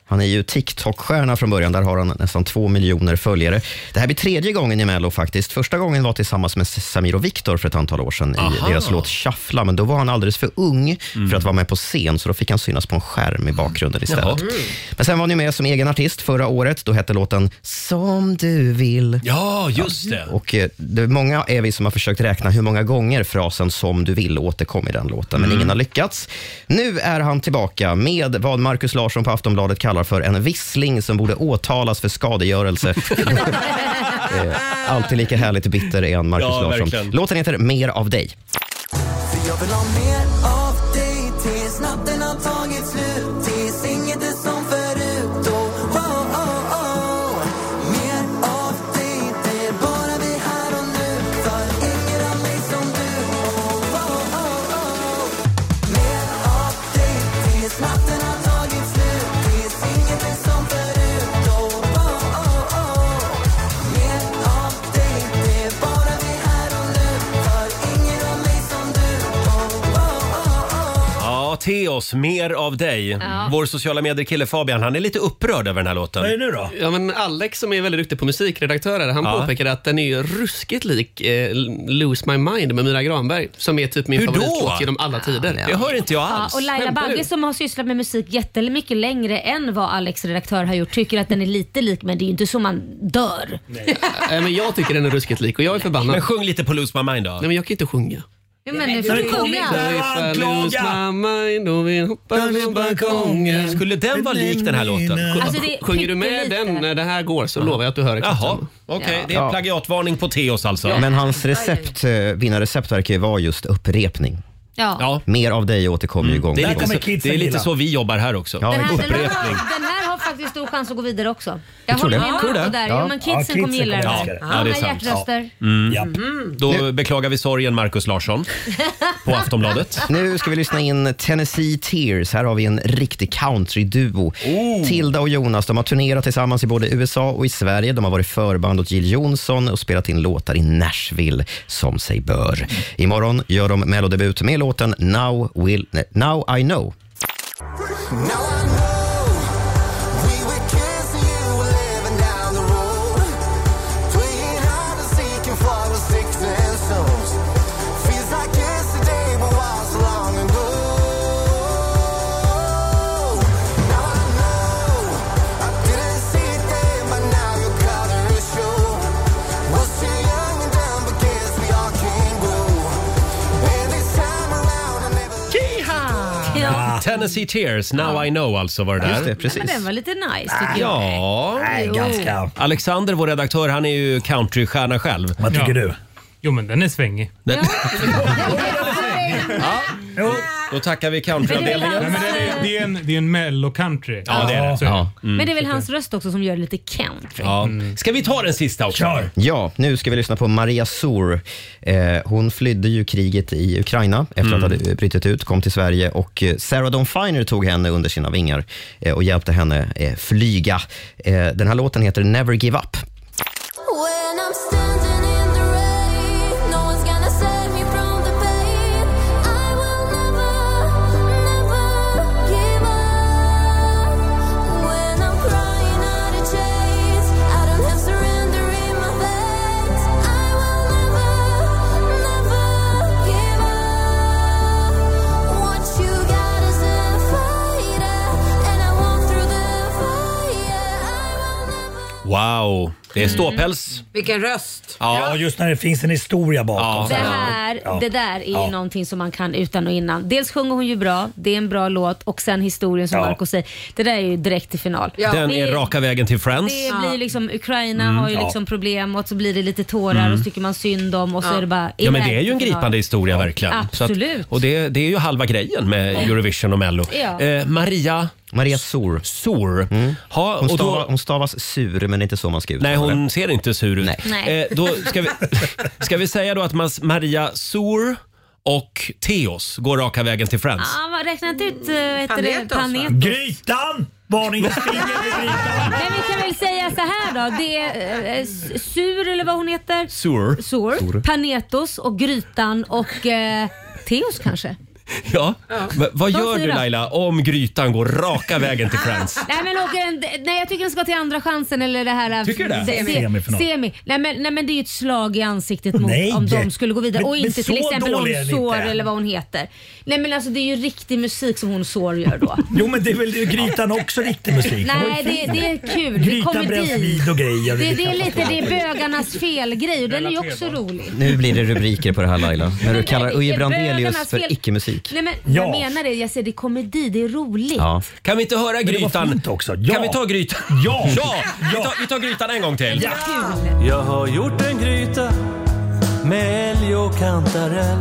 Speaker 10: Han är ju TikTok-stjärna från början. Där har han nästan två miljoner följare. Det här blir tredje gången i Mello faktiskt. Första gången var tillsammans med Samir och Viktor för ett antal år sedan
Speaker 1: Aha. Mm.
Speaker 10: i deras låt Shuffla, men då var han alldeles för ung för att vara med på scen, så då fick han synas på en skärm i bakgrunden istället.
Speaker 11: Jaha.
Speaker 1: Mm.
Speaker 10: Men sen var han ju med som egen artist förra året. Då hette låten Som du vill.
Speaker 1: Ja, just det.
Speaker 10: Och eh, det är många är vi som har försökt räkna hur många gånger frasen som du vill återkom i den låten, men
Speaker 1: Mm.
Speaker 10: ingen har lyckats. Nu är han tillbaka med vad Markus Larsson på Aftonbladet kallar för en vissling som borde åtalas för skadegörelse. Eh, Alltid lika härligt bitter är han, Markus
Speaker 12: Ja,
Speaker 10: Larsson.
Speaker 12: verkligen.
Speaker 10: Låten heter Mer av dig.
Speaker 12: För jag vill ha mer av dig tills natten har tagit slut Tills inget är som förut och oh, oh, oh. Mer av dig, det är bara vi här och nu För ingen av mig som du oh, oh, oh, oh. Mer av dig tills natten har tagit slut Tills inget är som förut oh, oh, oh, oh. Mer av dig, det är bara vi här och nu För ingen av mig som du
Speaker 1: Ja, Teos, mer av dig.
Speaker 9: Ja.
Speaker 1: Vår sociala medier-kille Fabian, han är lite upprörd över den här låten.
Speaker 6: då?
Speaker 9: Ja, men Alex som är väldigt duktig på musikredaktörer, han
Speaker 1: Ja.
Speaker 9: påpekade att den är ju ruskigt lik eh, Lose My Mind med Myra Granberg, som är typ min
Speaker 1: Hur då?
Speaker 9: favoritlåt genom alla tider.
Speaker 1: Det hör inte jag
Speaker 2: Ja, och Laila
Speaker 9: Skämtar du?
Speaker 2: Bagge som har sysslat med musik jättemycket längre än vad Alex redaktör har gjort tycker att den är lite lik men det är ju inte så man dör.
Speaker 9: Nej, Eh, men jag tycker den är ruskigt lik och jag är förbannad. Men
Speaker 1: sjung lite på Lose My Mind då. Nej,
Speaker 9: men jag kan inte sjunga.
Speaker 2: Ja, men nu
Speaker 9: Så
Speaker 2: får
Speaker 9: det
Speaker 2: du
Speaker 9: kommer
Speaker 2: sjunga.
Speaker 9: inte att lose my mind och vi hoppar på balkongen.
Speaker 1: Skulle den vara lik den här låten?
Speaker 2: Alltså, det är
Speaker 9: Sjunger du med
Speaker 2: pyttelite.
Speaker 9: den när det här går så lovar jag att du hör exakt
Speaker 1: Jaha,
Speaker 9: samma.
Speaker 1: okej. Det är
Speaker 10: Ja.
Speaker 1: plagiatvarning på Teos alltså.
Speaker 10: Men hans recept, eh, vinnarrecept verkar ju vara just upprepning.
Speaker 2: Ja.
Speaker 10: Mer av dig återkommer ju gång
Speaker 1: Mm. Det är,
Speaker 10: på gång.
Speaker 1: lite så, det är lite så vi jobbar här också.
Speaker 10: Ja,
Speaker 2: Den här, den,
Speaker 1: Upprepning.
Speaker 2: här, den här har faktiskt stor chans att gå vidare också. Jag
Speaker 1: tror
Speaker 2: håller
Speaker 1: det.
Speaker 2: med
Speaker 1: Tror det?
Speaker 2: Marco där. Ja.
Speaker 1: Ja.
Speaker 2: men
Speaker 1: Ja,
Speaker 2: kidsen
Speaker 1: kidsen
Speaker 2: kommer gilla det
Speaker 1: kommer
Speaker 2: här.
Speaker 1: älska det. Ja,
Speaker 2: Alla
Speaker 1: det är sant.
Speaker 2: hjärtröster.
Speaker 1: Mm.
Speaker 2: Mhm.
Speaker 1: Då beklagar vi sorgen, Markus Larsson, på Aftonbladet.
Speaker 10: Nu ska vi lyssna in Tennessee Tears. Här har vi en riktig countryduo.
Speaker 1: Oh.
Speaker 10: Tilda och Jonas de har turnerat tillsammans i både USA och i Sverige. De har varit förband åt Jill Johnson och spelat in låtar i Nashville, som sig bör. Imorgon gör de mellodebut med låten Now, Will, nej, Now I know.
Speaker 1: Tennessee Tears, Now I know alltså var det där.
Speaker 10: Just det,
Speaker 2: Men den var lite nice tycker jag.
Speaker 1: Ja.
Speaker 2: Nej, ganska.
Speaker 1: Alexander, vår redaktör, han är ju countrystjärna själv. Vad
Speaker 13: tycker
Speaker 1: du? Jo, men den är svängig.
Speaker 13: Ja.
Speaker 1: Då tackar vi
Speaker 2: Men
Speaker 1: countryavdelningen.
Speaker 2: det är väl hans-
Speaker 13: Det är- det är en, det är en mello-country.
Speaker 1: Ja, det är det.
Speaker 13: Så är
Speaker 1: Ja. Mm.
Speaker 2: Men det är väl hans röst också som gör det lite country.
Speaker 1: Ja. Ska vi ta den sista också? Kör!
Speaker 10: Ja, nu ska vi lyssna på Maria Sor. Eh, hon flydde ju kriget i Ukraina efter
Speaker 1: Mm.
Speaker 10: att det hade brutit ut, kom till Sverige och eh, Sarah Dawn Finer tog henne under sina vingar eh, och hjälpte henne eh, flyga. Eh, den här låten heter Never Give Up.
Speaker 11: When I'm standing in the rain, no one's gonna save me from the pain. I will never, never give up. When I'm crying out of chains, I don't have surrender in my veins. I will never, never give up. What you got is a fighter, and I walk through the
Speaker 1: Wow, det är
Speaker 2: Mm.
Speaker 1: ståpäls.
Speaker 7: Vilken röst!
Speaker 1: Ja,
Speaker 6: just när det finns en historia bakom.
Speaker 2: Det, här, det där är ju
Speaker 6: Ja.
Speaker 2: någonting som man kan utan och innan. Dels sjunger hon ju bra, det är en bra låt och sen historien som
Speaker 1: Ja.
Speaker 2: Marco säger. Det där är ju direkt till final.
Speaker 1: Den
Speaker 2: Det-
Speaker 1: är raka vägen till Friends.
Speaker 2: Det blir liksom, Ukraina
Speaker 1: Mm.
Speaker 2: har ju
Speaker 1: Ja.
Speaker 2: liksom problem och så blir det lite tårar
Speaker 1: Mm.
Speaker 2: och så tycker man synd om och så är det bara
Speaker 1: Ja, men det
Speaker 2: iväg
Speaker 1: är ju en
Speaker 2: till final.
Speaker 1: gripande historia verkligen.
Speaker 2: Absolut.
Speaker 1: och det, det är ju halva grejen med Eurovision och Mello.
Speaker 2: Ja.
Speaker 1: Eh, Maria...
Speaker 10: Maria Sor.
Speaker 1: Sor. Ha,
Speaker 10: Hon,
Speaker 1: och då-
Speaker 10: stava, hon stavas sur, men det är inte så man ska uttala
Speaker 1: Nej,
Speaker 10: det.
Speaker 1: hon ser inte sur ut.
Speaker 10: Nej.
Speaker 1: Eh, då ska, vi, ska vi säga då att Mas- Maria Sor och Theos går raka vägen till Friends?
Speaker 2: Ja, vad- räkna inte ut äh, heter det,
Speaker 13: Panetos, va?
Speaker 2: Panetos.
Speaker 1: Grytan!
Speaker 6: Varningens finger i grytan.
Speaker 2: Men vi kan väl säga så här då. Det är eh, S- Sur eller vad hon heter.
Speaker 1: Sur.
Speaker 2: Sur.
Speaker 1: Sur.
Speaker 2: Panetos och Grytan och eh, Teos kanske.
Speaker 1: Ja. Va, vad
Speaker 2: De
Speaker 1: gör du
Speaker 2: fyra.
Speaker 1: Laila om Grytan går raka vägen till Friends?
Speaker 2: Nej men åker en, nej jag tycker den ska till andra chansen eller det här. äh,
Speaker 1: Tycker du det?
Speaker 2: Se,
Speaker 1: Semi
Speaker 2: semi.
Speaker 1: final.
Speaker 2: semi. Nej, men, nej men det är ju ett slag i ansiktet mot
Speaker 1: Nej.
Speaker 2: om de skulle gå vidare.
Speaker 1: Men-
Speaker 2: Och
Speaker 1: men
Speaker 2: inte till
Speaker 1: så
Speaker 2: exempel
Speaker 1: dålig är
Speaker 2: hon
Speaker 1: den
Speaker 2: Sår
Speaker 1: inte.
Speaker 2: eller vad hon heter. Nej men alltså det är ju riktig musik som hon Sår gör då.
Speaker 6: Jo men det är väl Grytan också riktig musik?
Speaker 2: Nej det, det är kul. Det
Speaker 6: Grytan
Speaker 2: kommer
Speaker 6: bränns
Speaker 2: dit.
Speaker 6: vid och grejer.
Speaker 2: Det, det är lite det är bögarnas felgrej och den är ju också rolig.
Speaker 10: Nu blir det rubriker på det här Laila, när du kallar Uje
Speaker 2: vilken
Speaker 10: Brandelius
Speaker 2: bögarnas fel.
Speaker 10: för icke-musik.
Speaker 2: Nej men
Speaker 10: Ja.
Speaker 2: jag menar det, jag säger det är komedi, det är roligt.
Speaker 10: Ja.
Speaker 1: Kan vi inte höra
Speaker 6: det var
Speaker 1: Grytan?
Speaker 6: fint också. Ja.
Speaker 1: Kan vi ta Grytan?
Speaker 6: Ja!
Speaker 1: ja. Vi, tar, vi tar Grytan en gång till.
Speaker 12: Jag har gjort en gryta med älg och kantarell.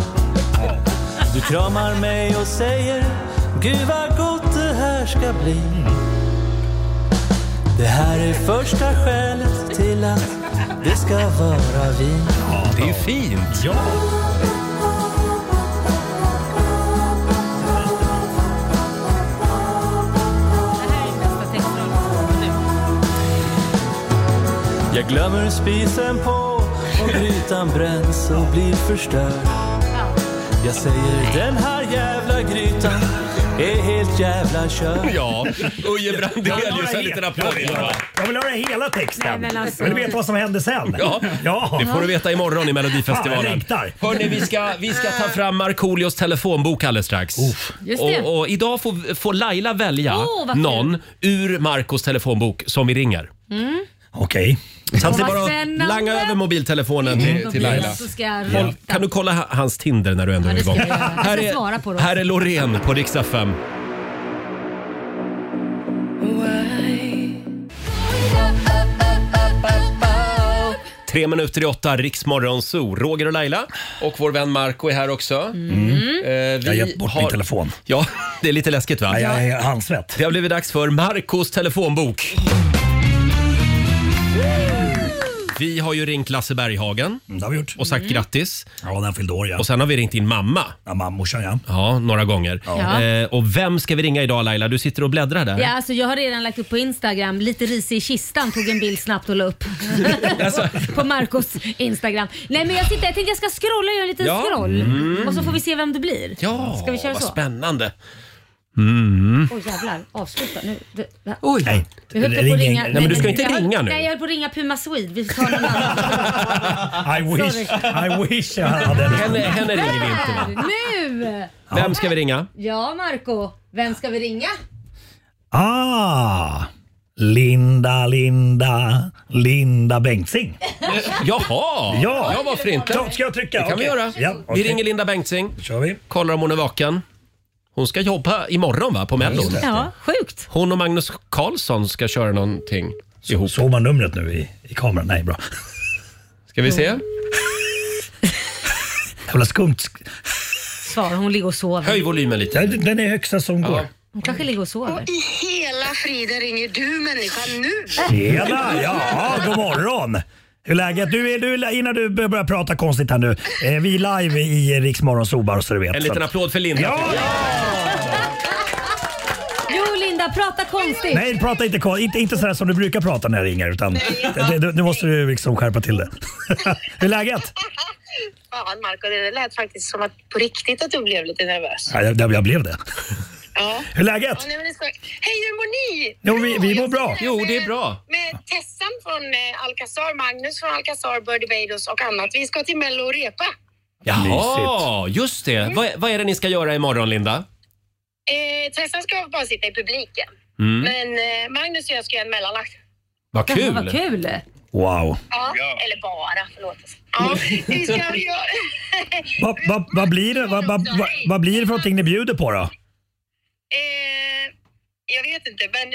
Speaker 12: Du kramar mig och säger Gud vad gott det här ska bli. Det här är första skälet till att det ska vara vi.
Speaker 1: Det är ju fint.
Speaker 6: Ja.
Speaker 12: Jag glömmer spisen på och grytan bränns och blir förstörd. Jag säger den här jävla grytan är helt jävla körd.
Speaker 1: Ja, Uje
Speaker 6: Jag vill
Speaker 1: Brandelius,
Speaker 6: höra
Speaker 1: en liten
Speaker 6: hela-
Speaker 1: applåd.
Speaker 6: jag vill höra- Jag vill höra hela texten.
Speaker 1: Nej, men alltså-
Speaker 6: Vill du veta vad som hände sen?
Speaker 1: Ja, det får du veta imorgon i
Speaker 6: Fan, jag
Speaker 1: Melodifestivalen.
Speaker 6: längtar.
Speaker 1: Hörni, vi ska, vi ska ta fram Markoolios telefonbok alldeles strax.
Speaker 2: Just det.
Speaker 1: och, och idag får, får Laila välja
Speaker 2: Åh, vad kul.
Speaker 1: någon ur Marcos telefonbok som vi ringer.
Speaker 2: Mm.
Speaker 1: Okej. Så att det är
Speaker 2: Vad
Speaker 1: bara
Speaker 2: spännande.
Speaker 1: att langa över mobiltelefonen till,
Speaker 2: Då
Speaker 1: till
Speaker 2: blir det
Speaker 1: Laila.
Speaker 2: Så ska jag
Speaker 1: Håll,
Speaker 2: röra.
Speaker 1: kan du kolla ha- hans Tinder när du ändå
Speaker 2: Ja,
Speaker 1: är
Speaker 2: det ska
Speaker 1: igång?
Speaker 2: jag göra. Jag
Speaker 1: Här
Speaker 2: ska svara på
Speaker 1: är,
Speaker 2: det
Speaker 1: här är Loreen på riksdag 5. Tre minuter i åtta, Riksmorgon Zoo. Roger och Laila och vår vän Marco är här också.
Speaker 2: Mm.
Speaker 1: Eh, vi
Speaker 6: Jag har gett bort min telefon.
Speaker 1: Ja, det är lite läskigt va?
Speaker 6: Nej, jag är
Speaker 1: handsvett. Det har blivit dags för Marcos telefonbok. Vi har ju ringt Lasse Berghagen
Speaker 6: Mm, det har vi gjort.
Speaker 1: och sagt
Speaker 2: Mm.
Speaker 1: grattis.
Speaker 6: Ja, när han fyllde år ja.
Speaker 1: Och sen har vi ringt din mamma.
Speaker 6: Ja, mammorsan ja.
Speaker 1: Ja, några gånger.
Speaker 2: Ja.
Speaker 1: Eh, och vem ska vi ringa idag Laila? Du sitter och bläddrar där.
Speaker 2: Ja, alltså jag har redan lagt upp på Instagram, lite ris i kistan, tog en bild snabbt och la upp. Alltså. på Marcos Instagram. Nej men jag sitter, jag tänkte jag ska scrolla, göra en liten
Speaker 1: Ja.
Speaker 2: scroll.
Speaker 1: Mm.
Speaker 2: Och så får vi se vem det blir.
Speaker 1: Ja,
Speaker 2: ska vi köra
Speaker 1: vad
Speaker 2: så?
Speaker 1: spännande. Mm.
Speaker 2: Oj jävlar, avsluta nu. Det, det,
Speaker 1: Oj. Nej,
Speaker 2: jag höll på att
Speaker 1: ring-
Speaker 2: ringa.
Speaker 1: nej, men du ska inte
Speaker 2: jag höll-
Speaker 1: ringa nu.
Speaker 2: Nej, jag höll på att ringa Puma Swede. Vi tar någon annan.
Speaker 6: I wish, I wish jag hade
Speaker 1: Henne, henne ringer vi inte.
Speaker 2: Där, nu!
Speaker 1: Vem ska vi ringa?
Speaker 2: Ja Marco, vem ska vi ringa?
Speaker 6: Ah! Linda, Linda, Linda Bengtzing.
Speaker 1: Jaha!
Speaker 6: Ja.
Speaker 1: ja varför inte?
Speaker 6: Klart ska jag trycka.
Speaker 1: Det kan vi
Speaker 6: Okej.
Speaker 1: göra.
Speaker 6: Ja,
Speaker 1: Vi
Speaker 6: okej.
Speaker 1: ringer Linda Bengtzing.
Speaker 6: Kör vi.
Speaker 1: Kollar om hon är vaken. Hon ska jobba imorgon va, på Mello?
Speaker 6: just det.
Speaker 2: Ja, sjukt.
Speaker 1: Hon och Magnus Carlsson ska köra någonting ihop.
Speaker 6: Såg man numret nu i, i kameran? Nej, bra.
Speaker 1: Ska vi se?
Speaker 6: Jävla skumt.
Speaker 2: Svar, hon ligger och sover.
Speaker 1: Höj volymen lite.
Speaker 6: Den är högsta som går.
Speaker 2: Hon kanske ligger och sover.
Speaker 14: I hela friden ringer du människan nu?
Speaker 6: Tjena! Ja, god morgon! Hur är läget? Du, är- du, innan du bör- börjar prata konstigt här nu. Eh, vi är live i Riks Morgonzoo bara så du vet.
Speaker 1: En liten
Speaker 6: Så att-
Speaker 1: applåd för Linda.
Speaker 6: Ja!
Speaker 2: Jo Linda, prata konstigt.
Speaker 6: Nej, prata inte konstigt. Inte, inte sådär som du brukar prata när jag ringer. Utan, det, det, nu måste du liksom skärpa till det. Hur är läget?
Speaker 14: Fan Marco, det lät faktiskt som att på riktigt att du blev lite nervös.
Speaker 6: Ja, jag, jag blev det.
Speaker 14: Ja.
Speaker 6: Hur är läget?
Speaker 14: Ja, nej, men det ska... Hej, hur mår ni?
Speaker 6: Jo, vi,
Speaker 14: Bra,
Speaker 6: vi
Speaker 14: jag
Speaker 6: mår bra.
Speaker 14: sitter här med- Med Tessan från eh, Alcazar, Magnus från Alcazar, Birdy Beidos och annat. Vi ska till Mello och repa.
Speaker 1: Jaha, just det. Vad, vad är det ni ska göra imorgon Linda?
Speaker 14: Eh, Tessan ska bara sitta i publiken.
Speaker 1: Mm.
Speaker 14: Men eh, Magnus och jag ska göra en mellanakt.
Speaker 1: Vad kul!
Speaker 14: Vad kul.
Speaker 6: Wow.
Speaker 14: Ja, eller bara, förlåt. Ja, vi ska göra...
Speaker 6: Vad va, va blir, det- va, va, va, vad blir det för någonting ni bjuder på då?
Speaker 14: Eh, jag vet inte, men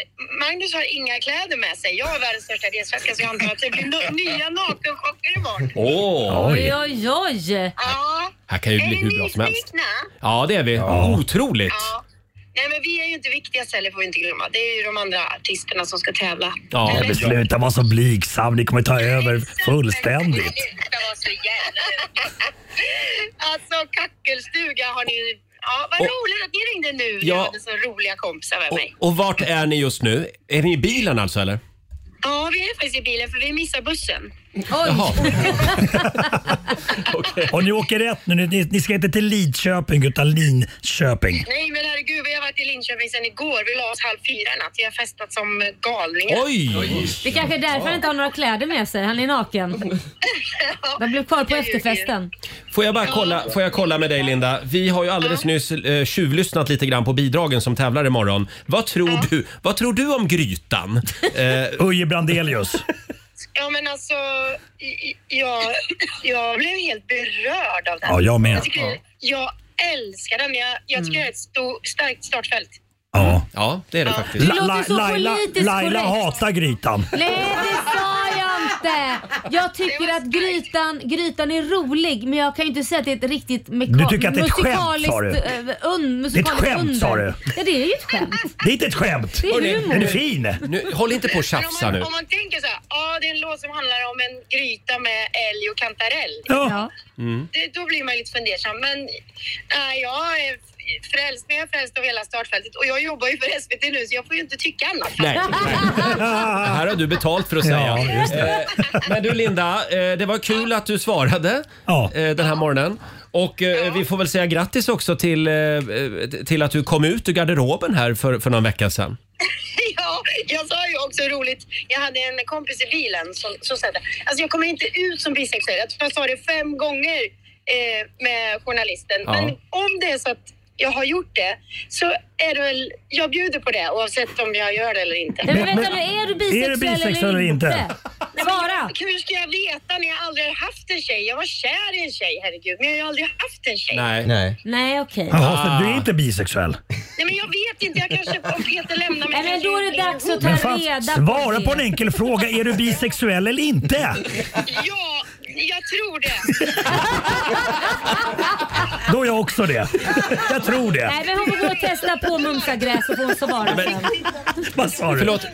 Speaker 14: Magnus har inga kläder med sig. Jag är världens största idésvenska så jag antar att det blir no- nya nakenchocker imorgon.
Speaker 1: Åh!
Speaker 2: Oj, oj, oj.
Speaker 14: Ja,
Speaker 1: Här kan ju bli hur bra som helst.
Speaker 14: nyfikna?
Speaker 1: Ja, det är vi. Otroligt!
Speaker 14: Nej, men vi är ju inte viktiga celler får vi inte glömma. Det är ju de andra artisterna som ska tävla.
Speaker 6: Ja, men sluta vara så blygsam. Ni kommer ta över fullständigt.
Speaker 14: Det var så jävla Alltså kackelstuga har ni... Ja, vad
Speaker 1: Och-
Speaker 14: roligt att ni ringde nu.
Speaker 1: Ja.
Speaker 14: Jag hade så roliga kompisar med mig.
Speaker 1: Och vart är ni just nu? Är ni i bilen alltså eller?
Speaker 14: Ja, vi är faktiskt i bilen för vi missar bussen.
Speaker 1: Jaha.
Speaker 6: Och ni åker rätt nu. Ni- Ni, ni ska inte till Lidköping utan Linköping.
Speaker 14: Nej men herregud, vi har varit i Linköping sedan igår. Vi la oss halv fyra i natt. Vi har festat som galningar.
Speaker 2: Det kanske är därför han inte har några kläder med sig. Han är naken. De blev kvar på efterfesten.
Speaker 1: Får jag bara kolla, får jag kolla med dig Linda? Vi har ju alldeles nyss eh, tjuvlyssnat lite grann på bidragen som tävlar imorgon. Vad tror du, vad tror du om grytan? Eh,
Speaker 6: Uje Brandelius.
Speaker 14: Ja men alltså, i- i- jag, jag blev helt berörd av den.
Speaker 6: Ja, jag med.
Speaker 14: tycker,
Speaker 6: Ja. Mm.
Speaker 14: jag älskar den. Jag, jag tycker det är ett stor, starkt startfält.
Speaker 6: Ja.
Speaker 1: Ja, det är det faktiskt.
Speaker 6: La, la, Laila,
Speaker 2: politiskt
Speaker 6: Laila
Speaker 2: korrekt.
Speaker 6: hatar grytan.
Speaker 2: Nej, det sa jag inte! Jag tycker att grytan, grytan är rolig, men jag kan ju inte säga att det är ett riktigt meka-
Speaker 6: Du tycker att det är ett skämt, sa du?
Speaker 2: musikaliskt, eh, un,
Speaker 6: Det är ett
Speaker 2: musikaliskt
Speaker 6: skämt, sa
Speaker 2: under.
Speaker 6: du.
Speaker 2: Ja, det är ju ett skämt.
Speaker 14: alltså,
Speaker 6: Det är inte ett skämt.
Speaker 2: Det är Hörrni, humor.
Speaker 6: är du fin?
Speaker 1: Nu, håll inte på och tjafsa nu.
Speaker 14: Om man tänker så här, ja det är en låt som handlar om en gryta med älg och kantarell.
Speaker 6: Ja.
Speaker 1: Mm.
Speaker 14: Det, då blir man lite fundersam. Men nej, jag är frälst, men jag är frälst av hela startfältet. Och jag jobbar ju för SVT nu så jag får ju inte tycka annat.
Speaker 1: Nej, nej. Det här har du betalt för att säga.
Speaker 6: Ja, just det.
Speaker 1: Eh, Men du Linda, eh, det var kul att du svarade eh, den här morgonen. Och eh, vi får väl säga grattis också till, eh, till att du kom ut ur garderoben här för, för någon vecka sedan.
Speaker 14: Ja, jag sa ju också roligt, jag hade en kompis i bilen som, som sa det. Alltså jag kommer inte ut som bisexuell. Jag tror jag sa det fem gånger eh, med journalisten.
Speaker 15: Ja.
Speaker 14: Men om det är så att jag har gjort det så är det väl, jag bjuder på det oavsett om jag gör det eller inte.
Speaker 2: Men, men vänta nu, är du bisexuell, eller inte? Svara!
Speaker 14: Hur ska jag veta när jag aldrig har haft en tjej? Jag var kär i en tjej, herregud. Men jag har ju aldrig haft en tjej.
Speaker 1: Nej.
Speaker 6: Nej.
Speaker 2: Nej, okej.
Speaker 6: Jaha, så du är inte bisexuell?
Speaker 14: Nej men jag vet inte, jag kanske, om Peter lämnar mig...
Speaker 2: Nej, men då är det dags att
Speaker 6: Men
Speaker 2: ta
Speaker 6: fan,
Speaker 2: reda på
Speaker 6: svara på en enkel fråga. Är du bisexuell eller inte?
Speaker 14: Ja, jag tror det.
Speaker 6: Då är jag också det. Jag tror det.
Speaker 2: Nej, men hon får gå och testa på mumsagräs och får hon svara
Speaker 1: Men-
Speaker 2: sen.
Speaker 6: Vad sa du?
Speaker 1: Förlåt.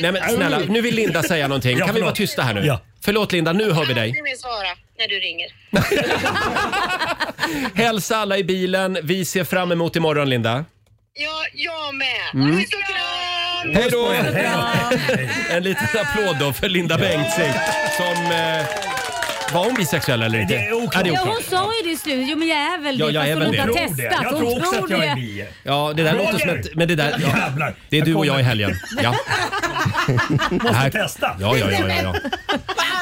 Speaker 1: Nej men snälla, nu vill Linda säga någonting.
Speaker 6: Ja,
Speaker 1: Kan vi
Speaker 6: förlåt.
Speaker 1: vara tysta här nu? Förlåt Linda, nu hör vi dig.
Speaker 14: Du vill svara när du ringer.
Speaker 1: Hälsa alla i bilen. Vi ser fram emot imorgon Linda.
Speaker 14: Ja, jag med.
Speaker 1: Mm.
Speaker 14: Puss och kram!
Speaker 1: Hej då! En liten applåd då för Linda Bengtzing som... Eh, var hon bisexuell eller inte? Ja, det är
Speaker 2: Ja,
Speaker 1: oklart.
Speaker 2: hon sa ju det i slutet. Jo men jag är väl
Speaker 1: Ja,
Speaker 2: det
Speaker 1: jag
Speaker 2: fast
Speaker 1: är
Speaker 2: hon
Speaker 1: väl
Speaker 2: inte
Speaker 1: det.
Speaker 2: har
Speaker 1: Jag
Speaker 2: testat.
Speaker 1: tror det.
Speaker 6: Jag
Speaker 2: Hon
Speaker 6: tror också
Speaker 2: tror
Speaker 6: att jag är
Speaker 2: det.
Speaker 6: bi.
Speaker 1: Ja, det där
Speaker 6: Roger!
Speaker 1: låter som ett... Men det där...
Speaker 6: Jävlar.
Speaker 1: Det är du och
Speaker 6: kommer.
Speaker 1: jag i helgen. Ja.
Speaker 6: Måste
Speaker 1: Här-
Speaker 6: testa.
Speaker 1: Ja, ja, ja, ja, ja.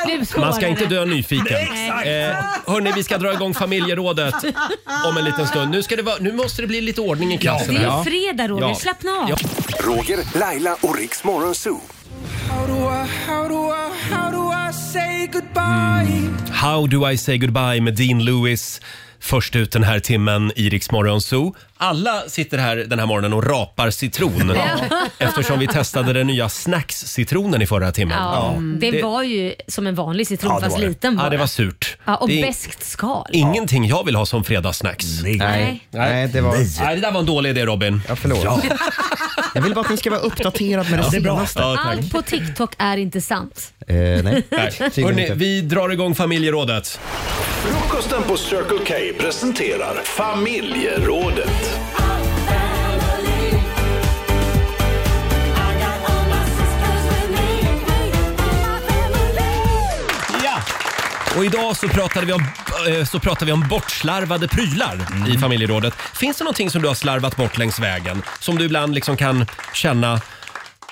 Speaker 2: Blev
Speaker 1: Man ska
Speaker 2: svårare.
Speaker 1: inte dö nyfiken.
Speaker 2: Exakt.
Speaker 1: Eh, hörni, vi ska dra igång familjerådet om en liten stund. Nu, ska det vara, nu måste det bli lite ordning i klassen.
Speaker 2: Det är ju
Speaker 1: här.
Speaker 2: fredag, Roger. Slappna av.
Speaker 3: Roger, Laila och Riks Morgonzoo.
Speaker 12: How do I, how do I, how do I say goodbye?
Speaker 1: Mm. How do I say goodbye med Dean Lewis. Först ut den här timmen i Rix Morgon Zoo. Alla sitter här den här morgonen och rapar citron.
Speaker 2: Ja.
Speaker 1: Eftersom vi testade den nya snackscitronen i förra timmen.
Speaker 2: Ja, Mm. det, var ju som en vanlig citron fast liten bara.
Speaker 1: Ja, det var surt.
Speaker 2: Ja, och
Speaker 1: Det är
Speaker 2: beskt skal.
Speaker 1: Ingenting jag vill ha som fredagssnacks. Nej.
Speaker 2: Nej.
Speaker 10: Nej, det var...
Speaker 1: Nej, det där var en dålig idé Robin.
Speaker 10: Ja, förlåt. Jag vill bara att ni ska vara uppdaterad med det
Speaker 1: Ja, det är bra.
Speaker 10: senaste.
Speaker 1: Ja, tack.
Speaker 2: Allt på TikTok är inte sant.
Speaker 10: Eh, nej. Tydligen
Speaker 1: Hörrni,
Speaker 10: inte.
Speaker 1: vi drar igång familjerådet.
Speaker 15: Frukosten på Circle K presenterar familjerådet.
Speaker 1: Ja! Och idag så pratade vi om, eh, så pratade vi om bortslarvade prylar i familjerådet. Finns det någonting som du har slarvat bort längs vägen? Som du ibland liksom kan känna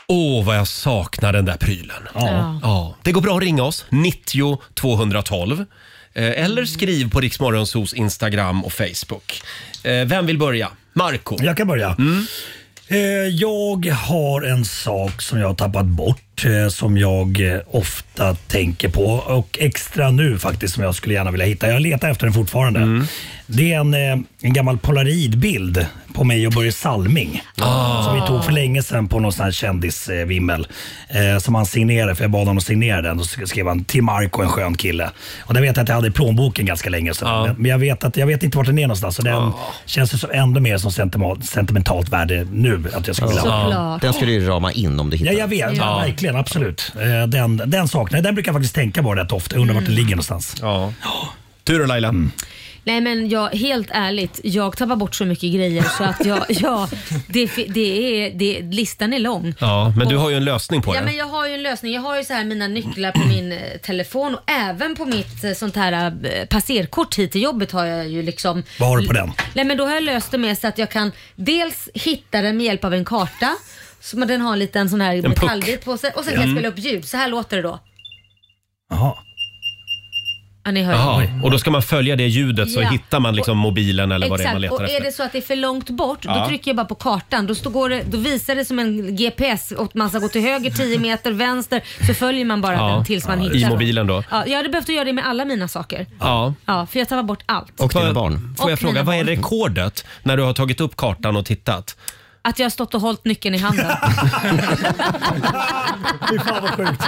Speaker 1: Åh, vad jag saknar den där prylen.
Speaker 11: Ja.
Speaker 1: Ja. Det går bra att ringa oss, 90 212. Eh, Eller skriv på Riksmorgonsos Instagram och Facebook. Eh, Vem vill börja? Marco.
Speaker 6: Jag kan börja. Eh, Jag har en sak som jag har tappat bort eh, som jag eh, ofta tänker på och extra nu faktiskt som jag skulle gärna vilja hitta. Jag letar efter den fortfarande. Det är en, eh, en gammal polaroidbild på mig och Börje Salming
Speaker 11: Ah.
Speaker 6: som vi tog för länge sedan på någon sån här kändisvimmel eh, som han signerade för jag bad honom att signera den och så skrev han till Marco en skön kille. Och den vet jag att jag hade i plånboken ganska länge sedan. Men- Men jag vet, att, jag vet inte vart den är någonstans så den känns ju så ändå mer som sentimentalt, sentimentalt värde nu att jag skulle vilja ha.
Speaker 10: Den ska du ju rama in om du
Speaker 6: Ja,
Speaker 10: hittar.
Speaker 6: jag vet.
Speaker 10: Ja.
Speaker 6: Verkligen. Absolut. Eh, Den, den saknar jag. Den brukar jag faktiskt tänka på rätt ofta. Jag undrar vart
Speaker 2: Mm.
Speaker 6: den ligger någonstans. Mm.
Speaker 1: Ja. Du då Laila?
Speaker 2: Nej men jag, helt ärligt, jag tappar bort så mycket grejer så att jag, ja, det, fi- det är, det, listan är lång.
Speaker 1: Ja, men du har ju en lösning på
Speaker 2: Ja, men
Speaker 1: det.
Speaker 2: jag har ju en lösning. Jag har ju så här mina nycklar på min eh, telefon och även på mitt eh, sånt här eh, passerkort hit till jobbet har jag ju liksom...
Speaker 6: Vad har du på den?
Speaker 2: Nej men då har jag löst det med så att jag kan dels hitta den med hjälp av en karta, så man- den har en liten sån här
Speaker 6: puck.
Speaker 2: metallbit på sig och sen kan jag
Speaker 1: Ja.
Speaker 2: spela upp ljud. Så här låter det då.
Speaker 6: Jaha.
Speaker 2: Ja, ni hör
Speaker 1: Jaha, och då ska man följa det ljudet så
Speaker 2: Ja.
Speaker 1: hittar man liksom mobilen eller vad det är man
Speaker 2: Exakt,
Speaker 1: letar
Speaker 2: och är
Speaker 1: efter.
Speaker 2: det så att det är för långt bort,
Speaker 1: Ja.
Speaker 2: då trycker jag bara på kartan. Då, står, går det, då visar det som en GPS och man ska gå till höger 10 meter, vänster, så följer man bara
Speaker 1: Ja.
Speaker 2: den tills man
Speaker 1: Ja,
Speaker 2: hittar.
Speaker 1: i mobilen då.
Speaker 2: Ja, jag hade behövt att göra det med alla mina saker.
Speaker 1: Ja.
Speaker 2: Ja, för jag tappar bort allt.
Speaker 1: Och dina barn. Får jag
Speaker 2: Och
Speaker 1: fråga,
Speaker 2: mina
Speaker 1: vad är
Speaker 2: barn.
Speaker 1: rekordet när du har tagit upp kartan och tittat?
Speaker 2: Att jag har stått och hållit nyckeln i handen.
Speaker 6: Fy fan vad sjukt.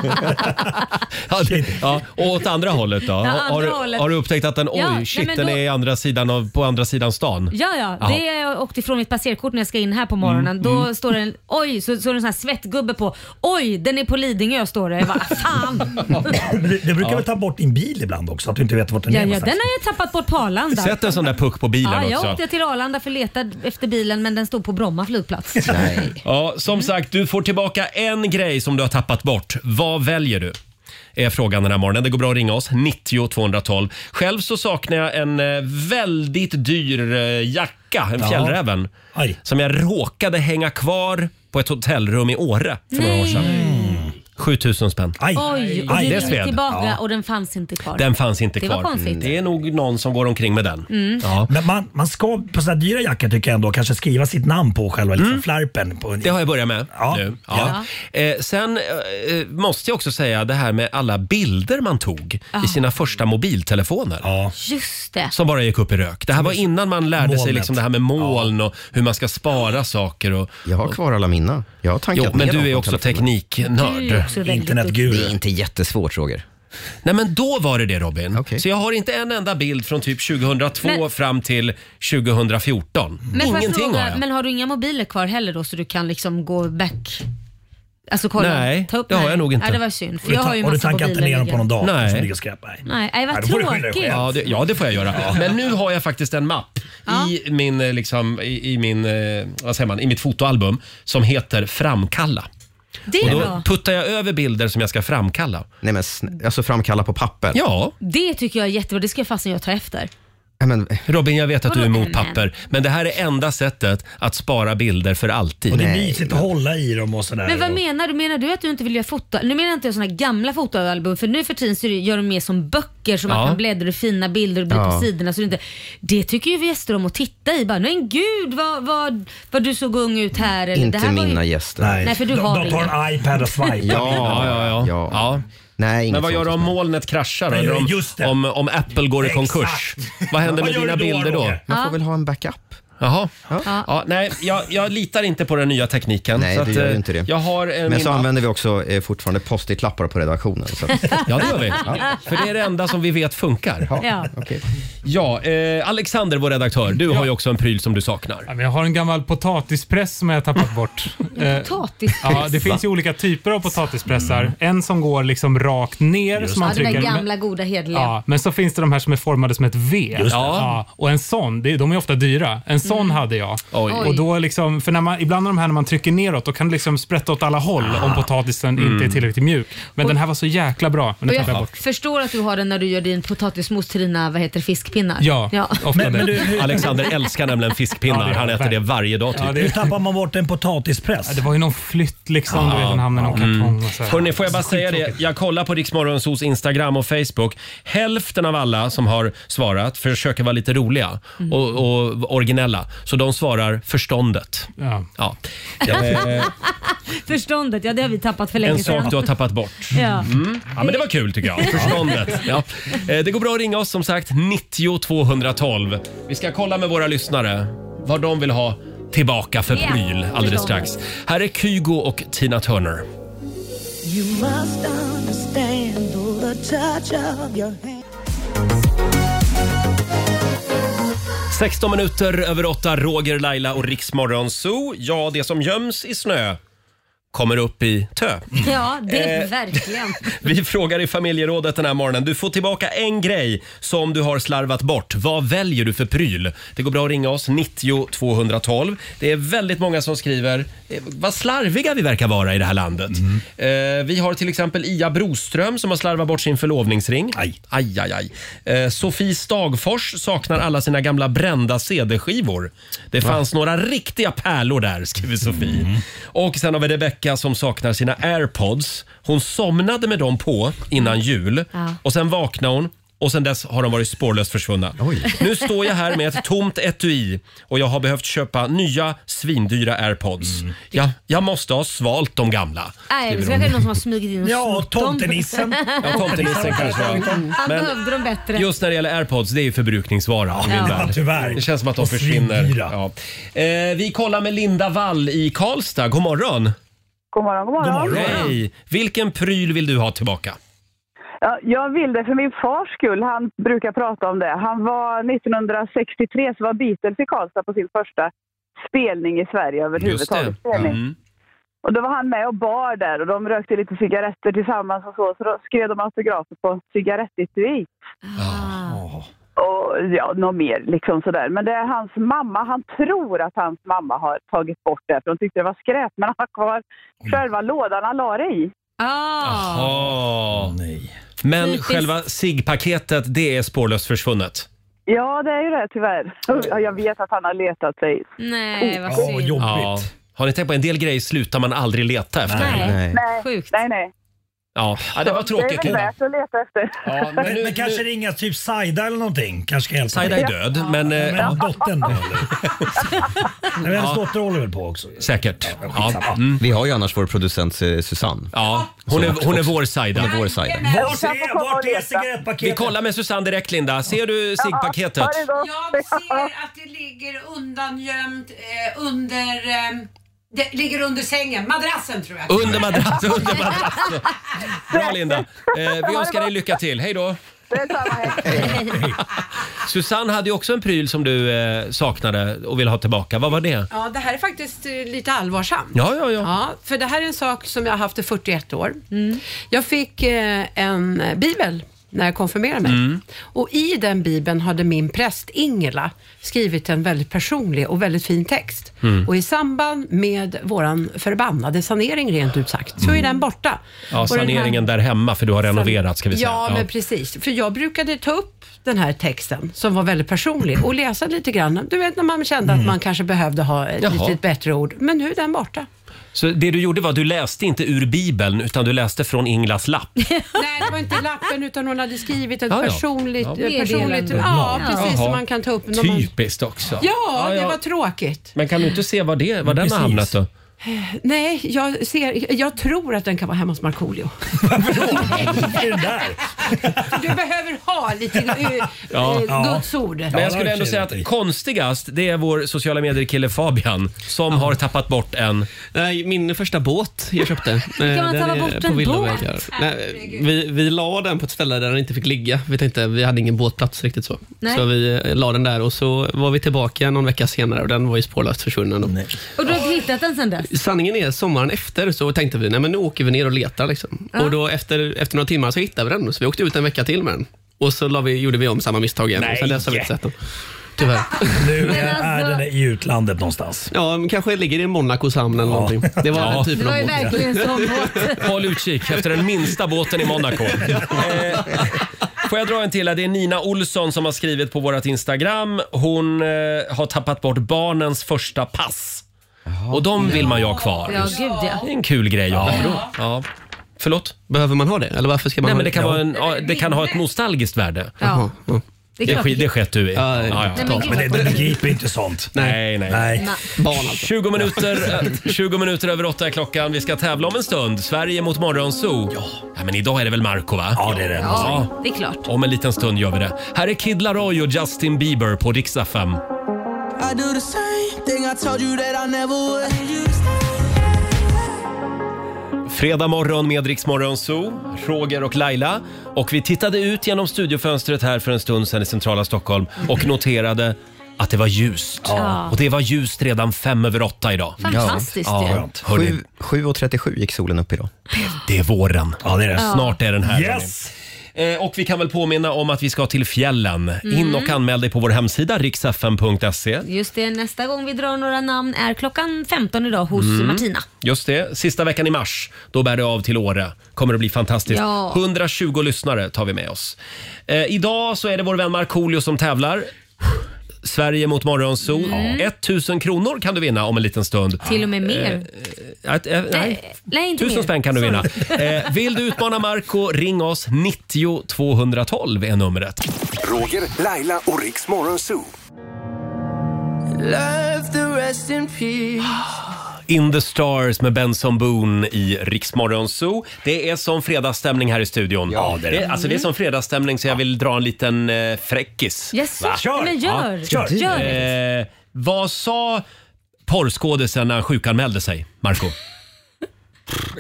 Speaker 1: Ja, det, ja. Och åt andra hållet då?
Speaker 2: Ja, andra
Speaker 1: har, du-
Speaker 2: hållet.
Speaker 1: har du upptäckt att den, oj,
Speaker 2: Ja, nej,
Speaker 1: shit,
Speaker 2: men
Speaker 1: den
Speaker 2: då-
Speaker 1: är i andra sidan av, på andra sidan stan?
Speaker 2: Ja, ja.
Speaker 1: Jaha.
Speaker 2: Det är jag åkte ifrån mitt passerkort när jag ska in här på morgonen.
Speaker 1: Mm,
Speaker 2: Då
Speaker 1: mm.
Speaker 2: står det en, oj, så, så är det en sån här svettgubbe på. Oj, den är på Lidingö står det. Jag bara, fan.
Speaker 6: Du, du brukar väl ta bort din bil ibland också? Att du inte vet vart den
Speaker 2: Ja,
Speaker 6: är
Speaker 2: ja, den
Speaker 6: någonstans.
Speaker 2: har jag tappat bort på Arlanda.
Speaker 1: Sätt en sån där puck på bilen
Speaker 2: ja, jag
Speaker 1: också.
Speaker 2: åkte till Arlanda för att leta efter bilen men den stod på Bromma flygplats.
Speaker 1: Ja, som sagt, du får tillbaka en grej som du har tappat bort. Vad väljer du? Är frågan den här morgonen. Det går bra att ringa oss, 90 212. Själv så saknar jag en eh, väldigt dyr eh, jacka, en
Speaker 6: Ja.
Speaker 1: fjällräven. Som jag råkade hänga kvar på ett hotellrum i Åre för några år sedan. 7000 spänn.
Speaker 2: Oj, och du
Speaker 1: det
Speaker 2: gick
Speaker 1: sved.
Speaker 2: tillbaka
Speaker 1: Ja.
Speaker 2: och den fanns inte kvar.
Speaker 1: Den fanns inte
Speaker 2: det
Speaker 1: kvar.
Speaker 2: Var konstigt.
Speaker 1: Det är nog någon som går omkring med den.
Speaker 2: Mm.
Speaker 1: Ja.
Speaker 6: Men man, man ska på sådana dyra jackor tycker jag ändå kanske skriva sitt namn på själva
Speaker 1: Mm.
Speaker 6: liksom, flärpen. På,
Speaker 1: Det har jag börjat med nu. Ja. Eh, sen eh, måste jag också säga det här med alla bilder man tog
Speaker 2: Ja.
Speaker 1: i sina första mobiltelefoner.
Speaker 2: Just det.
Speaker 1: Som bara gick upp i rök. Det här var innan man lärde sig
Speaker 10: Molnet.
Speaker 1: liksom det här med moln och hur man ska spara saker. Och,
Speaker 10: Jag har kvar alla mina. Jag har tankat
Speaker 1: Jo, men
Speaker 10: ner
Speaker 1: du
Speaker 10: dem
Speaker 1: är
Speaker 10: på
Speaker 1: också
Speaker 10: telefonen.
Speaker 1: tekniknörd. Du är också väldigt Internetguru.
Speaker 10: Det är inte jättesvårt, Roger.
Speaker 1: Nej, men då var det det Robin. Så jag har inte en enda bild från typ 2002
Speaker 2: Men-
Speaker 1: fram till 2014.
Speaker 2: Men, får jag
Speaker 1: Ingenting
Speaker 2: fråga,
Speaker 1: har jag.
Speaker 2: men har du inga mobiler kvar heller då så du kan liksom gå back? Alltså kolla,
Speaker 1: Nej,
Speaker 2: ta upp
Speaker 1: det har
Speaker 2: nej.
Speaker 1: jag nog inte.
Speaker 2: Ja, det var synd. För jag har ju massa mobiler liggande.
Speaker 1: Nej.
Speaker 2: Nej, nej, vad tråkigt.
Speaker 1: Ja det, ja, det får jag göra. Men nu har jag faktiskt en mapp i, min, eh, liksom, i, i, min, eh, vad säger man, i mitt fotoalbum som heter Framkalla.
Speaker 2: Det
Speaker 1: Och
Speaker 2: är
Speaker 1: då
Speaker 2: bra.
Speaker 1: puttar jag över bilder som jag ska framkalla.
Speaker 10: Nej, men sn- alltså framkalla på papper?
Speaker 1: Ja.
Speaker 2: Det tycker jag är jättebra. Det ska jag fasen jag ta efter.
Speaker 1: Robin, jag vet att du är
Speaker 2: Vadå,
Speaker 1: emot
Speaker 2: men?
Speaker 1: papper, men det här är enda sättet att spara bilder för alltid.
Speaker 6: Och det är mysigt att hålla i dem och sådär.
Speaker 2: Men vad
Speaker 6: och,
Speaker 2: menar du? Menar du att du inte vill göra foto? Nu menar inte jag såna gamla fotoalbum för nu för tiden så gör de mer som böcker som
Speaker 1: Ja.
Speaker 2: man kan bläddra i fina bilder och bli
Speaker 1: Ja.
Speaker 2: på sidorna. Så det, inte, det tycker ju gäster om att titta i. Bara, men gud vad, vad, vad du såg ung ut här. Eller, det
Speaker 10: Inte
Speaker 2: här var ju-
Speaker 10: mina gäster.
Speaker 2: Nej, för du De- har de tar inga.
Speaker 6: en iPad och
Speaker 10: ja,
Speaker 6: swipar.
Speaker 10: ja, ja. Nej,
Speaker 1: Men
Speaker 10: inget
Speaker 1: vad gör
Speaker 10: sånt.
Speaker 1: du om molnet kraschar då?
Speaker 10: Nej,
Speaker 1: Eller
Speaker 10: just
Speaker 1: om,
Speaker 10: det.
Speaker 1: om, om Apple går i
Speaker 10: Exakt.
Speaker 1: konkurs? Vad händer
Speaker 10: Vad
Speaker 1: med
Speaker 10: gör
Speaker 1: dina
Speaker 10: du då,
Speaker 1: bilder då?
Speaker 10: Roger? Man får väl ha en backup.
Speaker 1: Jaha.
Speaker 10: Ja.
Speaker 1: Ja. nej, jag, jag litar inte på den nya tekniken.
Speaker 10: Nej,
Speaker 1: så
Speaker 10: du
Speaker 1: att,
Speaker 10: gör
Speaker 1: eh,
Speaker 10: ju inte det.
Speaker 1: Jag har eh,
Speaker 10: Men
Speaker 1: min
Speaker 10: så
Speaker 1: mapp.
Speaker 10: använder vi också eh, fortfarande post-it-lappar på redaktionen. Så att...
Speaker 1: Ja, det gör vi.
Speaker 10: Ja.
Speaker 1: För det är det enda som vi vet funkar.
Speaker 2: Ja.
Speaker 1: Ja, eh, Alexander, vår redaktör, du har ju också en pryl som du saknar.
Speaker 13: Ja, men jag har en gammal potatispress som jag har tappat bort. Eh,
Speaker 2: Potatispress? Mm.
Speaker 13: Ja, det finns ju olika typer av potatispressar. En som går liksom rakt ner. som man
Speaker 2: ja, den där
Speaker 13: trycker, men-
Speaker 2: gamla goda hederliga.
Speaker 13: Ja, men så finns det de här som är formade som ett V.
Speaker 2: Just det.
Speaker 13: Ja, och en sån, det- de är ofta dyra. En sån
Speaker 2: Mm.
Speaker 13: hade jag.
Speaker 2: Oj.
Speaker 13: Och då liksom, för när man, ibland de här när man trycker neråt, då kan det liksom sprätta åt alla håll om potatisen
Speaker 1: Mm.
Speaker 13: inte är tillräckligt mjuk. Men
Speaker 2: Och-
Speaker 13: den här var så jäkla bra. Men
Speaker 2: Och
Speaker 13: den tappade jag
Speaker 2: jag
Speaker 13: bort.
Speaker 2: förstår att du har den när du gör din potatismos till dina vad heter, det, fiskpinnar.
Speaker 13: Ja,
Speaker 1: Ofta det. Alexander älskar nämligen fiskpinnar. Han äter det varje dag typ.
Speaker 6: ja, det, hur tappar man bort en potatispress?
Speaker 13: det var ju någon flytt liksom, du vet, den hamnade i någon kartong. Och så. här.
Speaker 1: Mm. Hörrni, får jag bara säga det? Jag kollar på Riksmorgonsos Instagram och Facebook. Hälften av alla som har svarat försöker vara lite roliga
Speaker 2: Mm.
Speaker 1: och, och originella. Så de svarar förståndet.
Speaker 13: Ja.
Speaker 1: Ja. Eh,
Speaker 2: Förståndet, ja det har vi tappat för länge
Speaker 1: en
Speaker 2: sedan.
Speaker 1: sak du har tappat bort.
Speaker 2: Ja.
Speaker 1: Mm. Ja, men det var kul tycker jag. Förståndet. Ja. Eh, Det går bra att ringa oss som sagt, 90 212. Vi ska kolla med våra lyssnare vad de vill ha tillbaka för
Speaker 11: Ja,
Speaker 1: pryl alldeles
Speaker 11: tillbaka.
Speaker 1: strax. Här är Kygo och Tina Turner.
Speaker 11: You must understand all the touch of your hand.
Speaker 1: 16 minuter över 8, Roger, Laila och Riksmorgon Zoo. Ja, det som göms i snö kommer upp i tö.
Speaker 2: Ja, det är
Speaker 1: Eh.
Speaker 2: verkligen.
Speaker 1: Vi frågar i familjerådet den här morgonen. Du får tillbaka en grej som du har slarvat bort. Vad väljer du för pryl? Det går bra att ringa oss, 90 212. Det är väldigt många som skriver eh, vad slarviga vi verkar vara i det här landet. Eh, vi har till exempel Ia Broström som har slarvat bort sin förlovningsring. Aj. Aj, aj, aj. Eh, Sofie Stagfors saknar alla sina gamla brända CD-skivor. Det fanns några riktiga pärlor där, skriver Sofie. Och sen har vi Rebecca som saknar sina airpods. Hon somnade med dem på innan jul
Speaker 11: Ja.
Speaker 1: och sen vaknade hon och sen dess har de varit spårlöst försvunna. Nu står jag här med ett tomt etui och jag har behövt köpa nya svindyra airpods. Jag, jag måste ha svalt de gamla.
Speaker 2: Nej, det
Speaker 1: skriver
Speaker 2: kanske är
Speaker 1: hon.
Speaker 2: någon som har smugit in och
Speaker 6: Ja,
Speaker 2: snott dem.
Speaker 6: tomtenissen.
Speaker 1: Ja, tomtenissen kanske.
Speaker 2: Han
Speaker 1: Men-
Speaker 2: behövde dem bättre.
Speaker 1: Just när det gäller airpods, det är ju förbrukningsvara. i min
Speaker 2: Ja,
Speaker 1: värld.
Speaker 6: tyvärr.
Speaker 1: Det känns som att de
Speaker 6: Och
Speaker 1: försvinner.
Speaker 6: svindyra.
Speaker 1: Ja. Eh, vi kollar med Linda Wall i Karlstad. God morgon!
Speaker 16: God morgon, god morgon.
Speaker 1: Hej! Vilken pryl vill du ha tillbaka?
Speaker 16: Ja, jag vill det för min fars skull. Han brukar prata om det. Han var 1963 så var Beatles i Karlstad på sin första spelning i Sverige överhuvudtaget. Spelning.
Speaker 1: Mm.
Speaker 16: Och då var han med och bar där och de rökte lite cigaretter tillsammans och så. Så då skrev de autografer på cigarettetui. Och ja, något mer liksom sådär. Men det är hans mamma, han tror att hans mamma har tagit bort det för hon tyckte det var skräp. Men han har kvar själva lådan han la det i.
Speaker 2: Ah.
Speaker 1: Ja. Men
Speaker 16: Typiskt.
Speaker 1: själva SIG-paketet, det är spårlöst försvunnet.
Speaker 16: Ja, det är ju det tyvärr. Och Jag vet att han har letat sig.
Speaker 2: Nej, vad
Speaker 16: Oh.
Speaker 2: synd.
Speaker 1: Ja. Har ni tänkt på en del grejer slutar man aldrig leta efter?
Speaker 2: Nej.
Speaker 16: Nej,
Speaker 2: Sjukt.
Speaker 16: nej, nej.
Speaker 1: Ja, ja det var tråkigt.
Speaker 16: Det är väl värt att leta efter.
Speaker 1: men
Speaker 6: men,
Speaker 1: nu-
Speaker 6: men kanske ringa typ Saida eller någonting. Kanske kan hjälpa
Speaker 1: Saida
Speaker 6: dig.
Speaker 1: är död, men... eh,
Speaker 6: Men dottern då eller? Nej, men Hennes
Speaker 1: Ja.
Speaker 6: dotter håller väl på också?
Speaker 1: Säkert. Mm.
Speaker 6: Ja.
Speaker 10: Vi har ju annars vår producent eh, Susanne.
Speaker 1: Ja, hon är- hon är vår Saida.
Speaker 10: Hon är vår Saida.
Speaker 6: Vart är, vart är cigarettpaketet?
Speaker 1: Vi kollar med Susanne direkt Linda. Ser du SIG-paketet?
Speaker 7: Jag ser att det ligger undangömt eh, under... Eh, det ligger under sängen, madrassen tror jag.
Speaker 1: Under madrassen, under madrassen. Bra Linda. Eh, vi önskar dig lycka till. Hej då. Susanne hade ju också en pryl som du eh, saknade och ville ha tillbaka. Vad var det?
Speaker 7: Ja, det här är faktiskt eh, lite allvarsamt.
Speaker 1: Ja, ja, ja.
Speaker 7: för det här är en sak som jag har haft i 41 år. Jag fick eh, en bibel när jag konfirmerade mig.
Speaker 1: Mm.
Speaker 7: Och i den bibeln hade min präst Ingela skrivit en väldigt personlig och väldigt fin text.
Speaker 11: Mm.
Speaker 7: Och i samband med våran förbannade sanering rent ut sagt, så är den borta.
Speaker 1: Mm. Ja,
Speaker 7: Och den här-
Speaker 1: saneringen där hemma för du har renoverat ska vi säga.
Speaker 7: Ja, men precis. För jag brukade ta upp den här texten som var väldigt personlig och läsa lite grann. Du vet när man kände att man kanske behövde ha ett
Speaker 1: Mm. Jaha.
Speaker 7: lite bättre ord. Men nu är den borta.
Speaker 1: Så det du gjorde var att du läste inte ur Bibeln utan du läste från Inglas lapp.
Speaker 7: Nej, det var inte lappen utan hon hade skrivit ett
Speaker 1: Ja, ja.
Speaker 7: personligt...
Speaker 1: Ja.
Speaker 7: personligt
Speaker 1: Meddelande.
Speaker 7: ja, precis
Speaker 1: Jaha. Typ
Speaker 7: som man kan ta upp. När man,
Speaker 1: Typiskt också.
Speaker 7: ja, det var tråkigt.
Speaker 1: Men kan du inte se var, det, var den
Speaker 7: Precis.
Speaker 1: har hamnat då?
Speaker 7: Nej, jag, ser, jag tror att den kan vara hemma hos Markoolio.
Speaker 6: Varför då? där?
Speaker 7: Du behöver ha lite eh, eh, Guds ord.
Speaker 1: Men jag skulle ändå säga att konstigast det är vår sociala medier-kille Fabian som har tappat bort en...
Speaker 9: Nej, min första båt jag köpte. eh,
Speaker 1: man
Speaker 9: den
Speaker 1: tappa
Speaker 9: är
Speaker 1: bort
Speaker 9: på
Speaker 1: en
Speaker 9: villavägar.
Speaker 1: båt?
Speaker 9: Nej, vi, vi la den på ett ställe där den inte fick ligga. Vi tänkte, vi hade ingen båtplats riktigt så.
Speaker 2: Nej.
Speaker 9: Så vi eh, la den där och så var vi tillbaka någon vecka senare och den var ju spårlöst försvunnen. då.
Speaker 2: Och du har inte hittat den sen dess?
Speaker 9: Sanningen är, sommaren efter så tänkte vi, nej men nu åker vi ner och letar. Liksom.
Speaker 2: Ja.
Speaker 9: Och då efter, efter några timmar så hittade vi den, så vi åkte ut en vecka till med den. Och så la vi, gjorde vi om samma misstag igen. Och sen dess har vi inte sett den. Tyvärr.
Speaker 6: Nu
Speaker 1: alltså-
Speaker 6: är den i utlandet någonstans.
Speaker 9: Ja, men kanske ligger i Monacos hamn eller någonting. Det var
Speaker 1: Ja.
Speaker 9: den typen
Speaker 1: Det var
Speaker 9: av
Speaker 1: ju
Speaker 9: båt.
Speaker 1: verkligen sån båt. Håll utkik efter den minsta båten i Monaco. Eh, Får jag dra en till? här? Det är Nina Olsson som har skrivit på vårt Instagram. Hon eh, har tappat bort barnens första pass. Och de vill man ju ha kvar.
Speaker 2: Ja, gud ja.
Speaker 1: Det är en kul grej att
Speaker 2: Ja.
Speaker 1: ha. Ja. Förlåt?
Speaker 9: Behöver man ha det? Eller varför ska man
Speaker 1: Nej,
Speaker 9: ha
Speaker 1: men
Speaker 9: det?
Speaker 1: det? Kan
Speaker 9: Ja.
Speaker 1: vara en, ja, det kan ha ett nostalgiskt värde.
Speaker 2: Ja. Jaha.
Speaker 1: Det, det, sk- det skett du i. Ja, ja.
Speaker 2: Nej, men gud, Men det- vad- det
Speaker 6: begriper inte sånt.
Speaker 1: Nej, nej. nej.
Speaker 6: Nej.
Speaker 9: Barn alltså.
Speaker 1: 20 minuter, eh, 20 minuter över åtta är klockan. Vi ska tävla om en stund. Sverige mot Morgonzoo. Ja. men idag är det väl Marco va? Ja, det är det.
Speaker 2: Ja, det är klart.
Speaker 1: Om en liten stund gör vi det. Här är Kid Laroi och Justin Bieber på Riksdag 5.
Speaker 12: I do the same thing I told you that I never would.
Speaker 1: Fredag morgon med Rix Morgon Zoo, Roger och Laila. Och vi tittade ut genom studiofönstret här för en stund sedan i centrala Stockholm och noterade att det var ljust.
Speaker 10: Ja.
Speaker 1: Och det var ljust redan fem över åtta idag.
Speaker 10: Fantastiskt
Speaker 1: ja.
Speaker 10: ju.
Speaker 1: Ja. Hörrni,
Speaker 10: Sju- 7.37 gick solen upp idag.
Speaker 1: Det är våren. Ja, det är
Speaker 10: det. Ja.
Speaker 1: Snart är den här.
Speaker 10: Yes!
Speaker 1: hörni. Eh, Och vi kan väl påminna om att vi ska till fjällen. In
Speaker 2: Mm.
Speaker 1: och anmäl dig på vår hemsida riksfn.se.
Speaker 2: Just det, nästa gång vi drar några namn är klockan 15 idag hos
Speaker 1: Mm.
Speaker 2: Martina.
Speaker 1: Just det. Sista veckan i mars, då bär det av till Åre. Kommer att bli fantastiskt.
Speaker 2: Ja.
Speaker 1: 120 lyssnare tar vi med oss. Eh, idag så är det vår vän Markoolio som tävlar. Sverige mot Morgonzoo.
Speaker 2: Mm.
Speaker 1: 1000 kronor kan du vinna om en liten stund.
Speaker 2: Till och med mer.
Speaker 1: Eh, eh, eh, nej.
Speaker 2: Nej, nej, inte mer.
Speaker 1: Tusen spänn kan du vinna. Eh, vill du utmana Marco, ring oss. 90 212 är numret.
Speaker 3: Roger, Laila och Riks Morgonzoo.
Speaker 12: Love the rest in peace.
Speaker 1: In the stars med Benson Boone i Riksmorgon Zoo. Det är som fredagsstämning här i studion. Ja,
Speaker 6: det är det.
Speaker 1: Alltså det är som fredagsstämning så jag vill dra en liten eh, fräckis.
Speaker 2: Jaså?
Speaker 1: Va?
Speaker 2: Kör! Men gör. Kör. Gör
Speaker 1: Eh, vad sa porrskådisen när han sjukanmälde sig, Marco?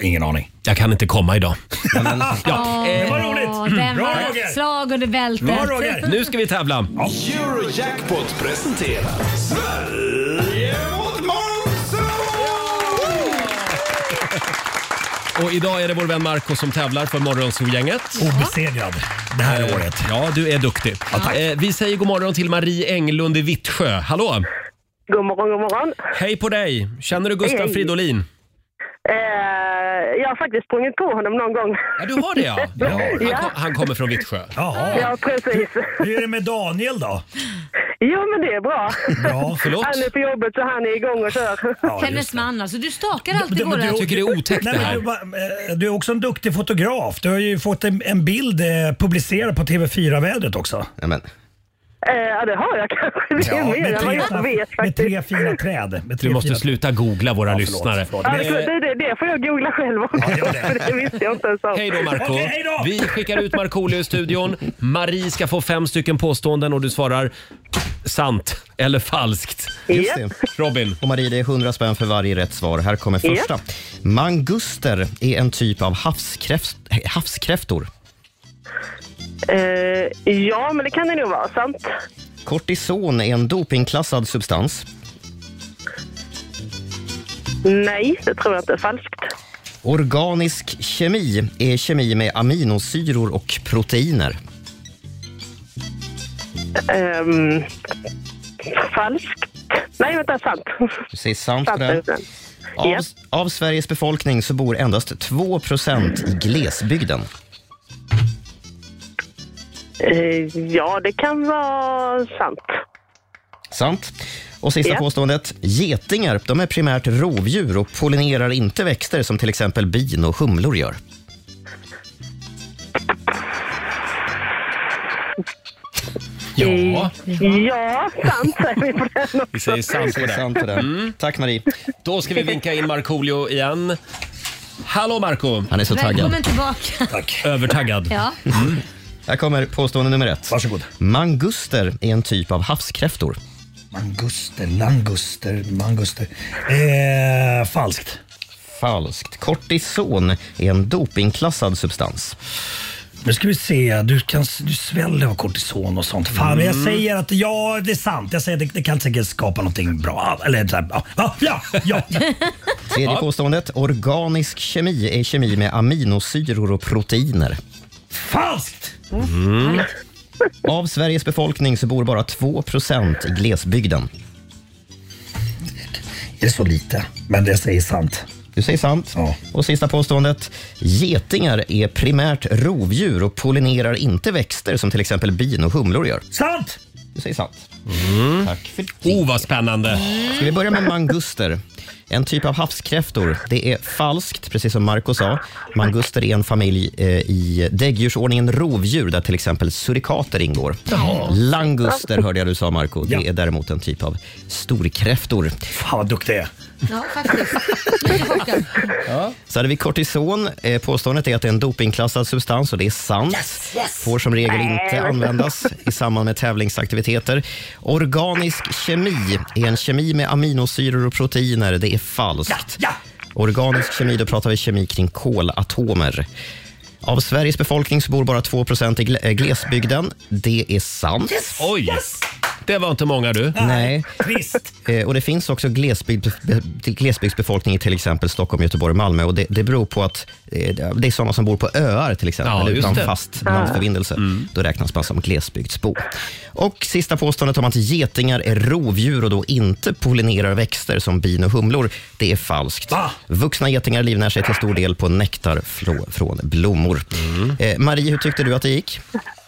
Speaker 6: Ingen aning.
Speaker 1: Jag kan inte komma idag.
Speaker 2: Åh,
Speaker 1: eh,
Speaker 2: Den
Speaker 1: Bra,
Speaker 2: var
Speaker 1: Roger.
Speaker 2: ett slag under bältet.
Speaker 1: Nu ska vi tävla.
Speaker 15: Eurojackpot presenterar Sverige mot Monzo!
Speaker 1: Och idag är det vår vän Marco som tävlar för Morgonzoo-gänget. Obesegrad det här året. Ja, du är duktig. Eh, vi säger god morgon till Marie Englund i Vittsjö. Hallå!
Speaker 17: God morgon, god morgon.
Speaker 1: Hej på dig! Känner du Gustav
Speaker 17: Hej, hej.
Speaker 1: Fridolin?
Speaker 17: Eh, jag har faktiskt sprungit på honom någon gång.
Speaker 1: Ja, du har det ja. Han,
Speaker 17: ja.
Speaker 1: kom, han kommer från Vittsjö.
Speaker 6: Jaha.
Speaker 17: Ja, precis.
Speaker 6: Hur är det med Daniel då?
Speaker 17: Jo, men det är bra.
Speaker 1: Bra, förlåt?
Speaker 17: Han är på jobbet så han är igång och kör.
Speaker 2: Hennes man alltså. Du stakar alltid
Speaker 17: men
Speaker 2: våra...
Speaker 17: du- Jag tycker det är
Speaker 1: otäckt
Speaker 6: Nej,
Speaker 1: det
Speaker 6: men
Speaker 1: här.
Speaker 6: Du, va- eh, du är också en duktig fotograf. Du har ju fått en, en bild eh, publicerad på TV4-vädret också.
Speaker 10: Amen.
Speaker 17: Eh, ja, det har jag kanske. Det är
Speaker 6: Ja,
Speaker 17: mer
Speaker 6: med
Speaker 17: än vad
Speaker 6: tre,
Speaker 17: jag vet
Speaker 6: med
Speaker 17: faktiskt.
Speaker 6: tre fina träd. Med tre
Speaker 1: Du måste
Speaker 6: fina-
Speaker 1: sluta googla våra lyssnare.
Speaker 17: Ja,
Speaker 1: Eh,
Speaker 17: det, det, det, det får jag googla själv också. för det visste jag inte ens om.
Speaker 1: Hej då Marco.
Speaker 17: Okej,
Speaker 1: Vi skickar ut Markoolio i studion. Marie ska få fem stycken påståenden och du svarar sant eller falskt.
Speaker 10: Just
Speaker 1: Japp.
Speaker 10: det.
Speaker 1: Robin.
Speaker 10: Och Marie, det är 100 spänn för varje rätt svar. Här kommer första. Manguster är en typ av havskräft, havskräftor.
Speaker 17: Eh, ja, men det kan det nog vara. Sant.
Speaker 10: Kortison är en dopingklassad substans.
Speaker 17: Nej, det tror jag inte. Falskt.
Speaker 10: Organisk kemi är kemi med aminosyror och proteiner.
Speaker 17: Ehm, falskt. Nej, vänta. Sant.
Speaker 10: Du säger sant på
Speaker 17: Sant.
Speaker 10: den.
Speaker 17: sant.
Speaker 10: Av,
Speaker 17: Ja.
Speaker 10: av Sveriges befolkning så bor endast 2 i glesbygden.
Speaker 17: Eh, ja, det kan vara sant.
Speaker 10: Sant. Och sista
Speaker 17: Ja.
Speaker 10: påståendet. Getingar de är primärt rovdjur och pollinerar inte växter som till exempel bin och humlor gör.
Speaker 1: Ja.
Speaker 17: Ja, sant säger vi på den också.
Speaker 1: Vi säger sant på den.
Speaker 10: Sant på den. Tack Marie.
Speaker 1: Då ska vi vinka in Markoolio igen. Hallå Marco.
Speaker 10: Han är så taggad.
Speaker 2: Välkommen tillbaka.
Speaker 1: Övertaggad.
Speaker 2: Ja.
Speaker 10: Mm. Här kommer påstående nummer ett. Varsågod. Manguster är en typ av havskräftor.
Speaker 6: Manguster, languster, manguster. Eh, falskt.
Speaker 10: Falskt. Kortison är en dopingklassad substans.
Speaker 6: Nu ska vi se. Du, kan, du sväller av kortison och sånt. Fan, men jag
Speaker 10: Mm.
Speaker 6: säger att ja, det är sant. Jag säger att det, det kan säkert skapa någonting bra. Eller så här, ja, va? ja, ja.
Speaker 10: Tredje
Speaker 6: Ja.
Speaker 10: påståendet. Organisk kemi är kemi med aminosyror och proteiner.
Speaker 6: Falskt!
Speaker 10: Mm. Av Sveriges befolkning så bor bara 2 i glesbygden.
Speaker 6: Det är så lite, men det säger sant.
Speaker 10: Du säger sant. Och sista påståendet. Getingar är primärt rovdjur och pollinerar inte växter som till exempel bin och humlor gör.
Speaker 6: Sant!
Speaker 10: Du säger sant. Tack för det.
Speaker 1: Oh, vad spännande.
Speaker 10: Ska vi börja med manguster? En typ av havskräftor. Det är falskt, precis som Marco sa. Manguster är en familj eh, i däggdjursordningen rovdjur där till exempel surikater ingår.
Speaker 6: Jaha.
Speaker 10: Languster hörde jag du sa, Marco. Det är däremot en typ av storkräftor.
Speaker 6: Fan vad duktig jag är.
Speaker 2: Ja, faktiskt.
Speaker 10: Så hade vi kortison. Eh, Påståendet är att det är en dopingklassad substans och det är sant. Får som regel inte
Speaker 6: Nej.
Speaker 10: användas i samband med tävlingsaktiviteter. Organisk kemi är en kemi med aminosyror och proteiner. Det är falskt. Organisk kemi, då pratar vi kemi kring kolatomer. Av Sveriges befolkning så bor bara 2 i gle- eh, glesbygden. Det är sant.
Speaker 1: Oj! Det var inte många du.
Speaker 10: Nej.
Speaker 6: Trist.
Speaker 10: Eh, Och det finns också glesbygd, be- glesbygdsbefolkning i till exempel Stockholm, Göteborg, Malmö. Och det, det beror på att eh, det är sådana som bor på öar till exempel,
Speaker 1: Ja, just
Speaker 10: utan
Speaker 1: det. Mm.
Speaker 10: fast
Speaker 1: Ja.
Speaker 10: landförbindelse. Då räknas man som glesbygdsbo. Och sista påståendet om att getingar är rovdjur och då inte pollinerar växter som bin och humlor, det är falskt. Vuxna getingar livnär sig till stor del på nektar frå- från blommor.
Speaker 1: Mm.
Speaker 10: Eh, Marie, hur tyckte du att det gick?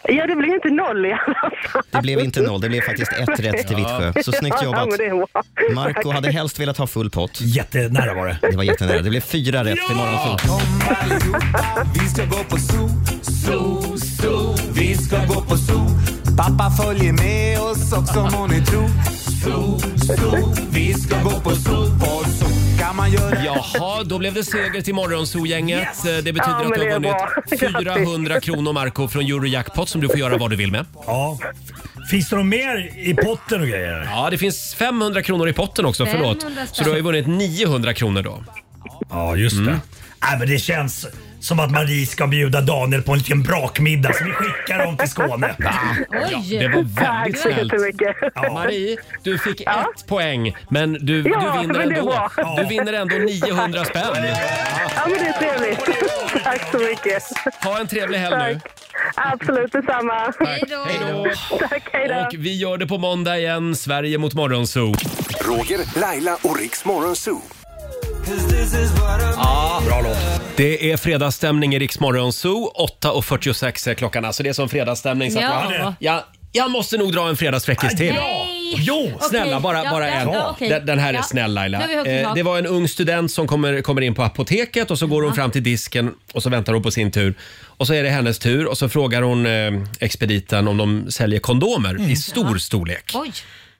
Speaker 17: Ja, det blev inte noll i alla fall.
Speaker 10: Det blev inte noll, det blev faktiskt ett rätt till Vittsjö. Så snyggt
Speaker 17: Ja,
Speaker 10: jobbat.
Speaker 17: men det var-
Speaker 10: Marco hade helst velat ha full pott.
Speaker 6: Jättenära var det.
Speaker 10: Det var jättenära. Det blev fyra rätt till morgonsolen.
Speaker 12: Vi ska gå på zoo, zoo, zoo. Vi ska gå på zoo. Pappa följer med oss också om hon är tro. Zoo, zoo. Vi ska gå på zoo. På zoo kan man göra...
Speaker 1: Jaha, då blev det seger till Morgonzoo-gänget. Eh, Det betyder
Speaker 12: Ja, men
Speaker 1: att
Speaker 12: det
Speaker 1: du har
Speaker 12: är
Speaker 1: vunnit
Speaker 12: bra.
Speaker 1: 400 kronor Marco från Eurojackpot som du får göra vad du vill med.
Speaker 6: Ja. Finns det något mer i potten och grejer?
Speaker 1: Ja, det finns 500 kronor i potten också,
Speaker 6: 500
Speaker 1: förlåt.
Speaker 6: spänn.
Speaker 1: Så du har ju vunnit 900 kronor då. Mm.
Speaker 6: Ja, just det. Nej, men det känns som att Marie ska bjuda Daniel på en liten brakmiddag så vi skickar dem till Skåne.
Speaker 1: Ja, det var väldigt snällt.
Speaker 6: Ja.
Speaker 1: Marie, du fick ett poäng, men du, du
Speaker 17: Ja,
Speaker 1: vinner
Speaker 17: men det är
Speaker 1: ändå.
Speaker 17: bra.
Speaker 1: Du vinner ändå 900 spänn.
Speaker 17: Ja, men det är trevligt. Tack så mycket.
Speaker 1: Ha en trevlig helg nu.
Speaker 17: Absolut detsamma.
Speaker 1: Hej då.
Speaker 17: Tack, hej då.
Speaker 1: Och vi gör det på måndag igen, Sverige mot Morgonzoo.
Speaker 3: Roger, Laila och Riks Morgonzoo.
Speaker 1: Ja, bra låt. Det är fredagsstämning i Rix Morgonzoo. 8.46 är klockan, alltså det är som fredagsstämning. Så att
Speaker 2: Ja.
Speaker 1: man, ja, jag måste nog dra en fredagsfräckis till.
Speaker 2: Nej, Nej!
Speaker 1: Jo,
Speaker 2: Okej,
Speaker 1: snälla, bara,
Speaker 2: ja,
Speaker 1: bara
Speaker 2: ja,
Speaker 1: en.
Speaker 2: ja, okej.
Speaker 1: Den, den här är
Speaker 2: Ja.
Speaker 1: snäll Laila.
Speaker 2: Nu har vi högt i
Speaker 1: Eh,
Speaker 2: tak.
Speaker 1: det var en ung student som kommer, kommer in på apoteket och så går hon
Speaker 2: Ja.
Speaker 1: fram till disken och så väntar hon på sin tur. Och så är det hennes tur och så frågar hon eh, expediten om de säljer kondomer i stor storlek.
Speaker 2: Mm. Oj.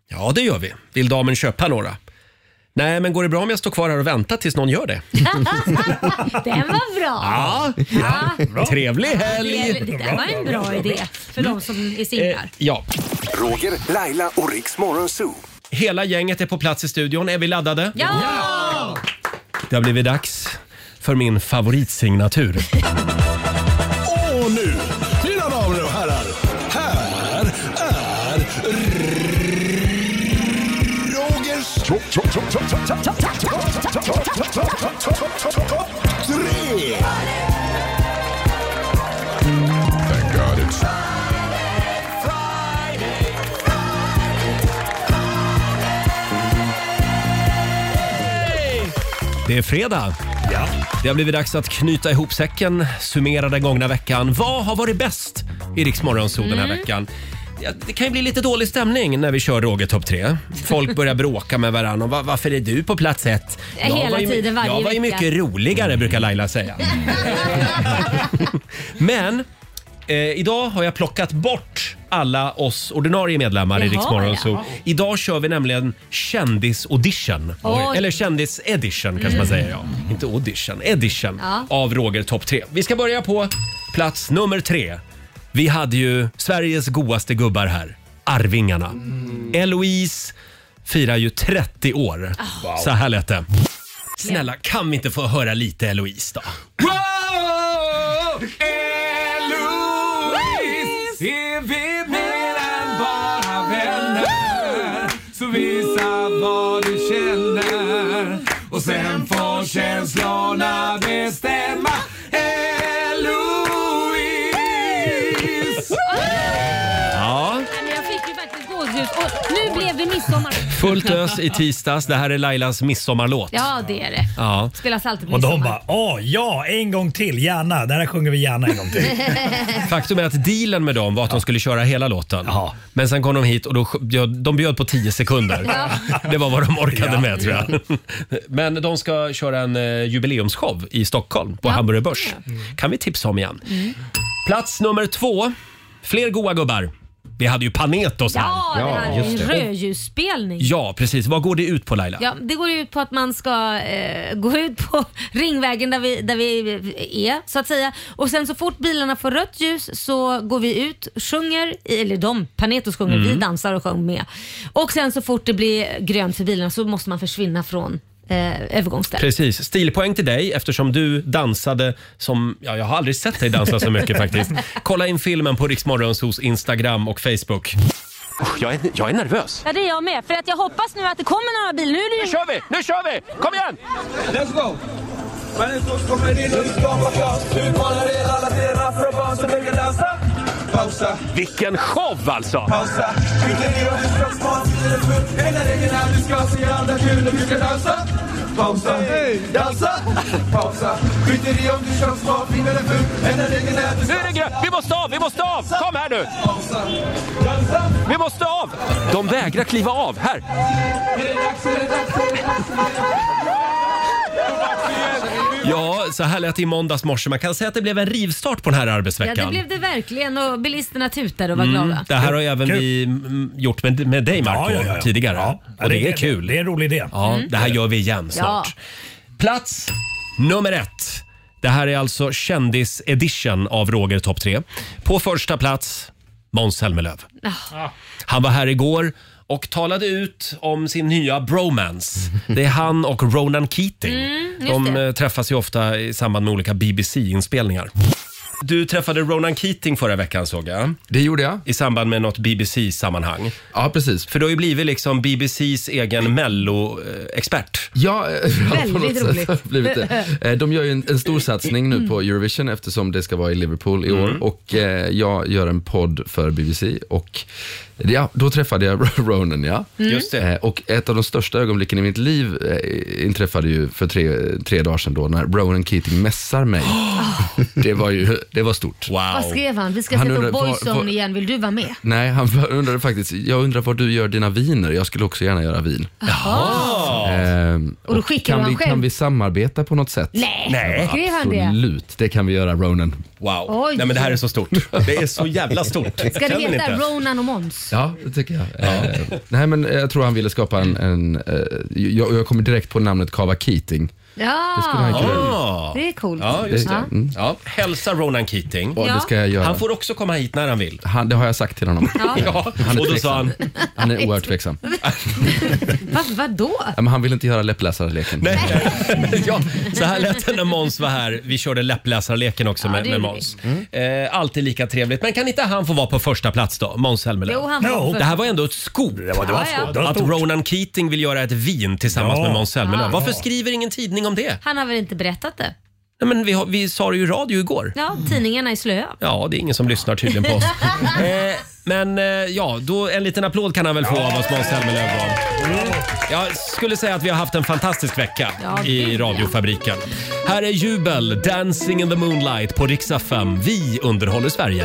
Speaker 1: Ja, det gör vi. Vill damen köpa några? Nej, men går det bra om jag står kvar här och väntar tills någon gör det?
Speaker 2: Den var bra.
Speaker 1: Ja, trevlig helg!
Speaker 2: Det, det där var en bra idé för de som är singlar.
Speaker 1: Ja.
Speaker 3: Roger, Laila och Riks Morgonzoo.
Speaker 1: Hela gänget är på plats i studion. Är vi laddade?
Speaker 2: Ja!
Speaker 1: Det har blivit dags för min favoritsignatur.
Speaker 15: Och nu, mina damer och herrar, här är Rogers... Topp tre!
Speaker 1: Det är fredag. Ja. Det har blivit dags att knyta ihop säcken, summera den gångna veckan. Vad har varit bäst i Rix Morgonzoo den här
Speaker 2: Mm.
Speaker 1: veckan? Ja, Det kan ju bli lite dålig stämning när vi kör Roger topp 3. Folk börjar bråka med varandra. Och, "Va- varför är du på plats ett?
Speaker 2: Ja, hela
Speaker 1: var ju,
Speaker 2: tiden, varje
Speaker 1: Jag var ju
Speaker 2: vecka."
Speaker 1: mycket roligare, brukar Laila säga. Men eh, idag har jag plockat bort alla oss ordinarie medlemmar i
Speaker 2: Jaha,
Speaker 1: Rix Morgonzoo.
Speaker 2: ja.
Speaker 1: Idag kör vi nämligen kändis-audition.
Speaker 2: Oj.
Speaker 1: Eller kändis-edition kanske
Speaker 2: Mm.
Speaker 1: man säger. Ja. Inte audition, edition
Speaker 2: Ja.
Speaker 1: av Roger topp 3. Vi ska börja på plats nummer tre. Vi hade ju Sveriges godaste gubbar här, Arvingarna.
Speaker 2: Mm.
Speaker 1: Eloise firar ju 30 år.
Speaker 2: Ah.
Speaker 15: Wow.
Speaker 1: Så här lät det. Snälla, kan vi inte få höra lite Eloise då?
Speaker 15: Wow! Eloise, är vi mer än bara vänner? Så visa vad du känner och sen får känslorna bestämma. Eloise!
Speaker 1: Ja,
Speaker 2: Ah! Nej, men Jag fick ju faktiskt gåshud. Och nu blev det midsommar.
Speaker 1: fullt ös i tisdags. Det här är Lailas midsommarlåt.
Speaker 2: Ja, det är det.
Speaker 1: Ja.
Speaker 2: Spelas alltid på
Speaker 6: Och de
Speaker 2: midsommar.
Speaker 6: bara, åh ja, en gång till, gärna. Det här sjunger vi gärna en gång till.
Speaker 1: Faktum är att dealen med dem var att de skulle köra hela låten. Men sen kom de hit och då, bjöd- de bjöd på 10 sekunder. Det var vad de orkade
Speaker 15: Ja.
Speaker 1: med tror jag. Men de ska köra en eh, jubileumsshow i Stockholm på Hamburger Börs. Kan vi tipsa om igen. Plats nummer två. Fler goa gubbar. Vi hade ju Panetos här.
Speaker 2: Ja, det här är en rödljusspelning.
Speaker 1: Ja, precis. Vad går det ut på Laila?
Speaker 2: Ja, det går ut på att man ska eh, gå ut på Ringvägen där vi, där vi är så att säga. Och sen så fort bilarna får rött ljus så går vi ut, sjunger, i- eller de, Panetos sjunger,
Speaker 18: Mm.
Speaker 2: vi dansar och sjunger med. Och sen så fort det blir grönt för bilarna så måste man försvinna från eh, övergångsstället.
Speaker 1: Precis. Stilpoäng till dig eftersom du dansade som... Ja, jag har aldrig sett dig dansa så mycket faktiskt. Kolla in filmen på Riksmorgonsos Instagram och Facebook. Jag är, jag är nervös.
Speaker 2: Ja, det är jag med. För att jag hoppas nu att det kommer några bilar. Nu, är det... nu
Speaker 1: kör vi! Nu kör vi! Kom igen!
Speaker 15: Let's go! Människor kommer in och skapar kaos. Utmanar er alla till en afroban som vill dansa. Pausa.
Speaker 1: Vilken show alltså!
Speaker 15: Pausa. Skjuter ner och du ska små, sitter det fullt. Hela regeln är du ska se andra kul när du kan dansa. Pausa. Dansa. Pausa. Skjuter i om du kör smart, vinner det fullt. Hela regeln är du ska...
Speaker 1: Nu är det grönt! Vi måste av! Vi måste av! Kom här nu! Vi måste av! De vägrar kliva av. Här! Ja, så här lät det i måndags morse. Man kan säga att det blev en rivstart på den här
Speaker 2: Ja,
Speaker 1: arbetsveckan.
Speaker 2: det blev det verkligen och bilisterna tutade och var glada.
Speaker 1: Mm. Det här har ju även vi mm, gjort med, med dig Marco
Speaker 6: Ja, ja, ja.
Speaker 1: tidigare. Och det,
Speaker 6: det
Speaker 1: är
Speaker 6: är-
Speaker 1: kul.
Speaker 6: det är en rolig idé.
Speaker 1: Ja,
Speaker 6: Mm.
Speaker 1: Det här gör vi igen snart. Plats nummer ett. Det här är alltså kändis-edition av Roger topp 3. På första plats, Måns Zelmerlöw.
Speaker 2: Ah.
Speaker 1: Han var här igår och talade ut om sin nya bromance. Det är han och Ronan Keating.
Speaker 2: Mm, just
Speaker 1: De
Speaker 2: det.
Speaker 1: eh, träffas ju ofta i samband med olika BBC-inspelningar. Du träffade Ronan Keating förra veckan såg jag.
Speaker 19: Det gjorde jag.
Speaker 1: I samband med något BBC-sammanhang.
Speaker 19: Ja, precis.
Speaker 1: För du har ju blivit liksom BBCs egen Mello-expert.
Speaker 19: Ja,
Speaker 1: Väldigt
Speaker 19: på något sätt
Speaker 1: roligt.
Speaker 19: har det blivit det. Eh, De gör ju en, en stor satsning nu på Eurovision
Speaker 1: Mm.
Speaker 19: eftersom det ska vara i Liverpool i år och eh, jag gör en podd för BBC och Ja, då träffade jag Ronan, ja.
Speaker 1: Mm. Just det.
Speaker 19: Eh, Och ett av de största ögonblicken i mitt liv eh, inträffade ju för tre, tre dagar sedan då, när Ronan Keating mässar mig. Det var ju, det var stort. Wow.
Speaker 2: Ah. Vad skrev han? Vi ska sätta upp Boys on igen. Vill du vara med?
Speaker 19: Nej, han undrade faktiskt, jag undrar var du gör dina viner. Jag skulle också gärna göra vin.
Speaker 2: Jaha.
Speaker 19: Ehm,
Speaker 2: Ah. Och då skickar
Speaker 19: kan,
Speaker 2: han
Speaker 19: vi,
Speaker 2: själv?
Speaker 19: kan vi samarbeta på något sätt?
Speaker 2: Nej. Nej. Skrev han det?
Speaker 19: Absolut, det kan vi göra Ronan.
Speaker 1: Wow,
Speaker 2: Oj. Nej, men det här är
Speaker 1: så stort. Det är så jävla stort.
Speaker 2: Ska det heta Ronan och Måns?
Speaker 19: Ja, det tycker jag. Eh, nej, men jag tror han ville skapa en... en eh, jag, jag kommer direkt på namnet Kava Keating.
Speaker 2: Ja,
Speaker 19: Det skulle han kunna
Speaker 1: Ah.
Speaker 2: det är coolt.
Speaker 1: Ja, just det.
Speaker 2: Ja.
Speaker 1: Mm. Ja. Hälsa Ronan Keating.
Speaker 19: Ja, det ska jag göra.
Speaker 1: Han får också komma hit när han vill.
Speaker 19: Han, det har jag sagt till honom.
Speaker 2: Ja.
Speaker 1: Ja,
Speaker 19: är
Speaker 1: och då sa han-
Speaker 19: tveksam. Han är oerhört tveksam.
Speaker 2: Va, vadå?
Speaker 19: Ja, men han vill inte göra läppläsarleken. Nej.
Speaker 1: ja, så här lät det när Måns var här. Vi körde läppläsarleken också
Speaker 2: det
Speaker 1: med, med
Speaker 2: gjorde Mm.
Speaker 1: Måns. Eh, alltid lika trevligt. Men kan inte han få vara på första plats då? Måns Zelmerlöw.
Speaker 2: Jo, han var på
Speaker 1: Det här
Speaker 2: första.
Speaker 1: var ändå ett scoop.
Speaker 2: det var Ja, ja. stort. Det var
Speaker 1: Att
Speaker 2: stort.
Speaker 1: Ronan Keating vill göra ett vin tillsammans
Speaker 2: Ja.
Speaker 1: med Måns Zelmerlöw.
Speaker 2: Ja.
Speaker 1: Varför skriver ingen tidning om det?
Speaker 2: Han har väl inte berättat det?
Speaker 1: Nej, men vi, har, vi sa det ju i radio igår.
Speaker 2: Ja, tidningarna är slöa.
Speaker 1: Ja, det är ingen som lyssnar tydligen på oss. eh, men eh, ja, då en liten applåd kan han väl få av oss, Måns Zelmerlöw. då. Jag skulle säga att vi har haft en fantastisk vecka
Speaker 15: Ja, gud,
Speaker 1: i
Speaker 15: ja.
Speaker 1: radiofabriken. Här är Jubel, Dancing in the moonlight på Riksdag 5. Vi underhåller Sverige.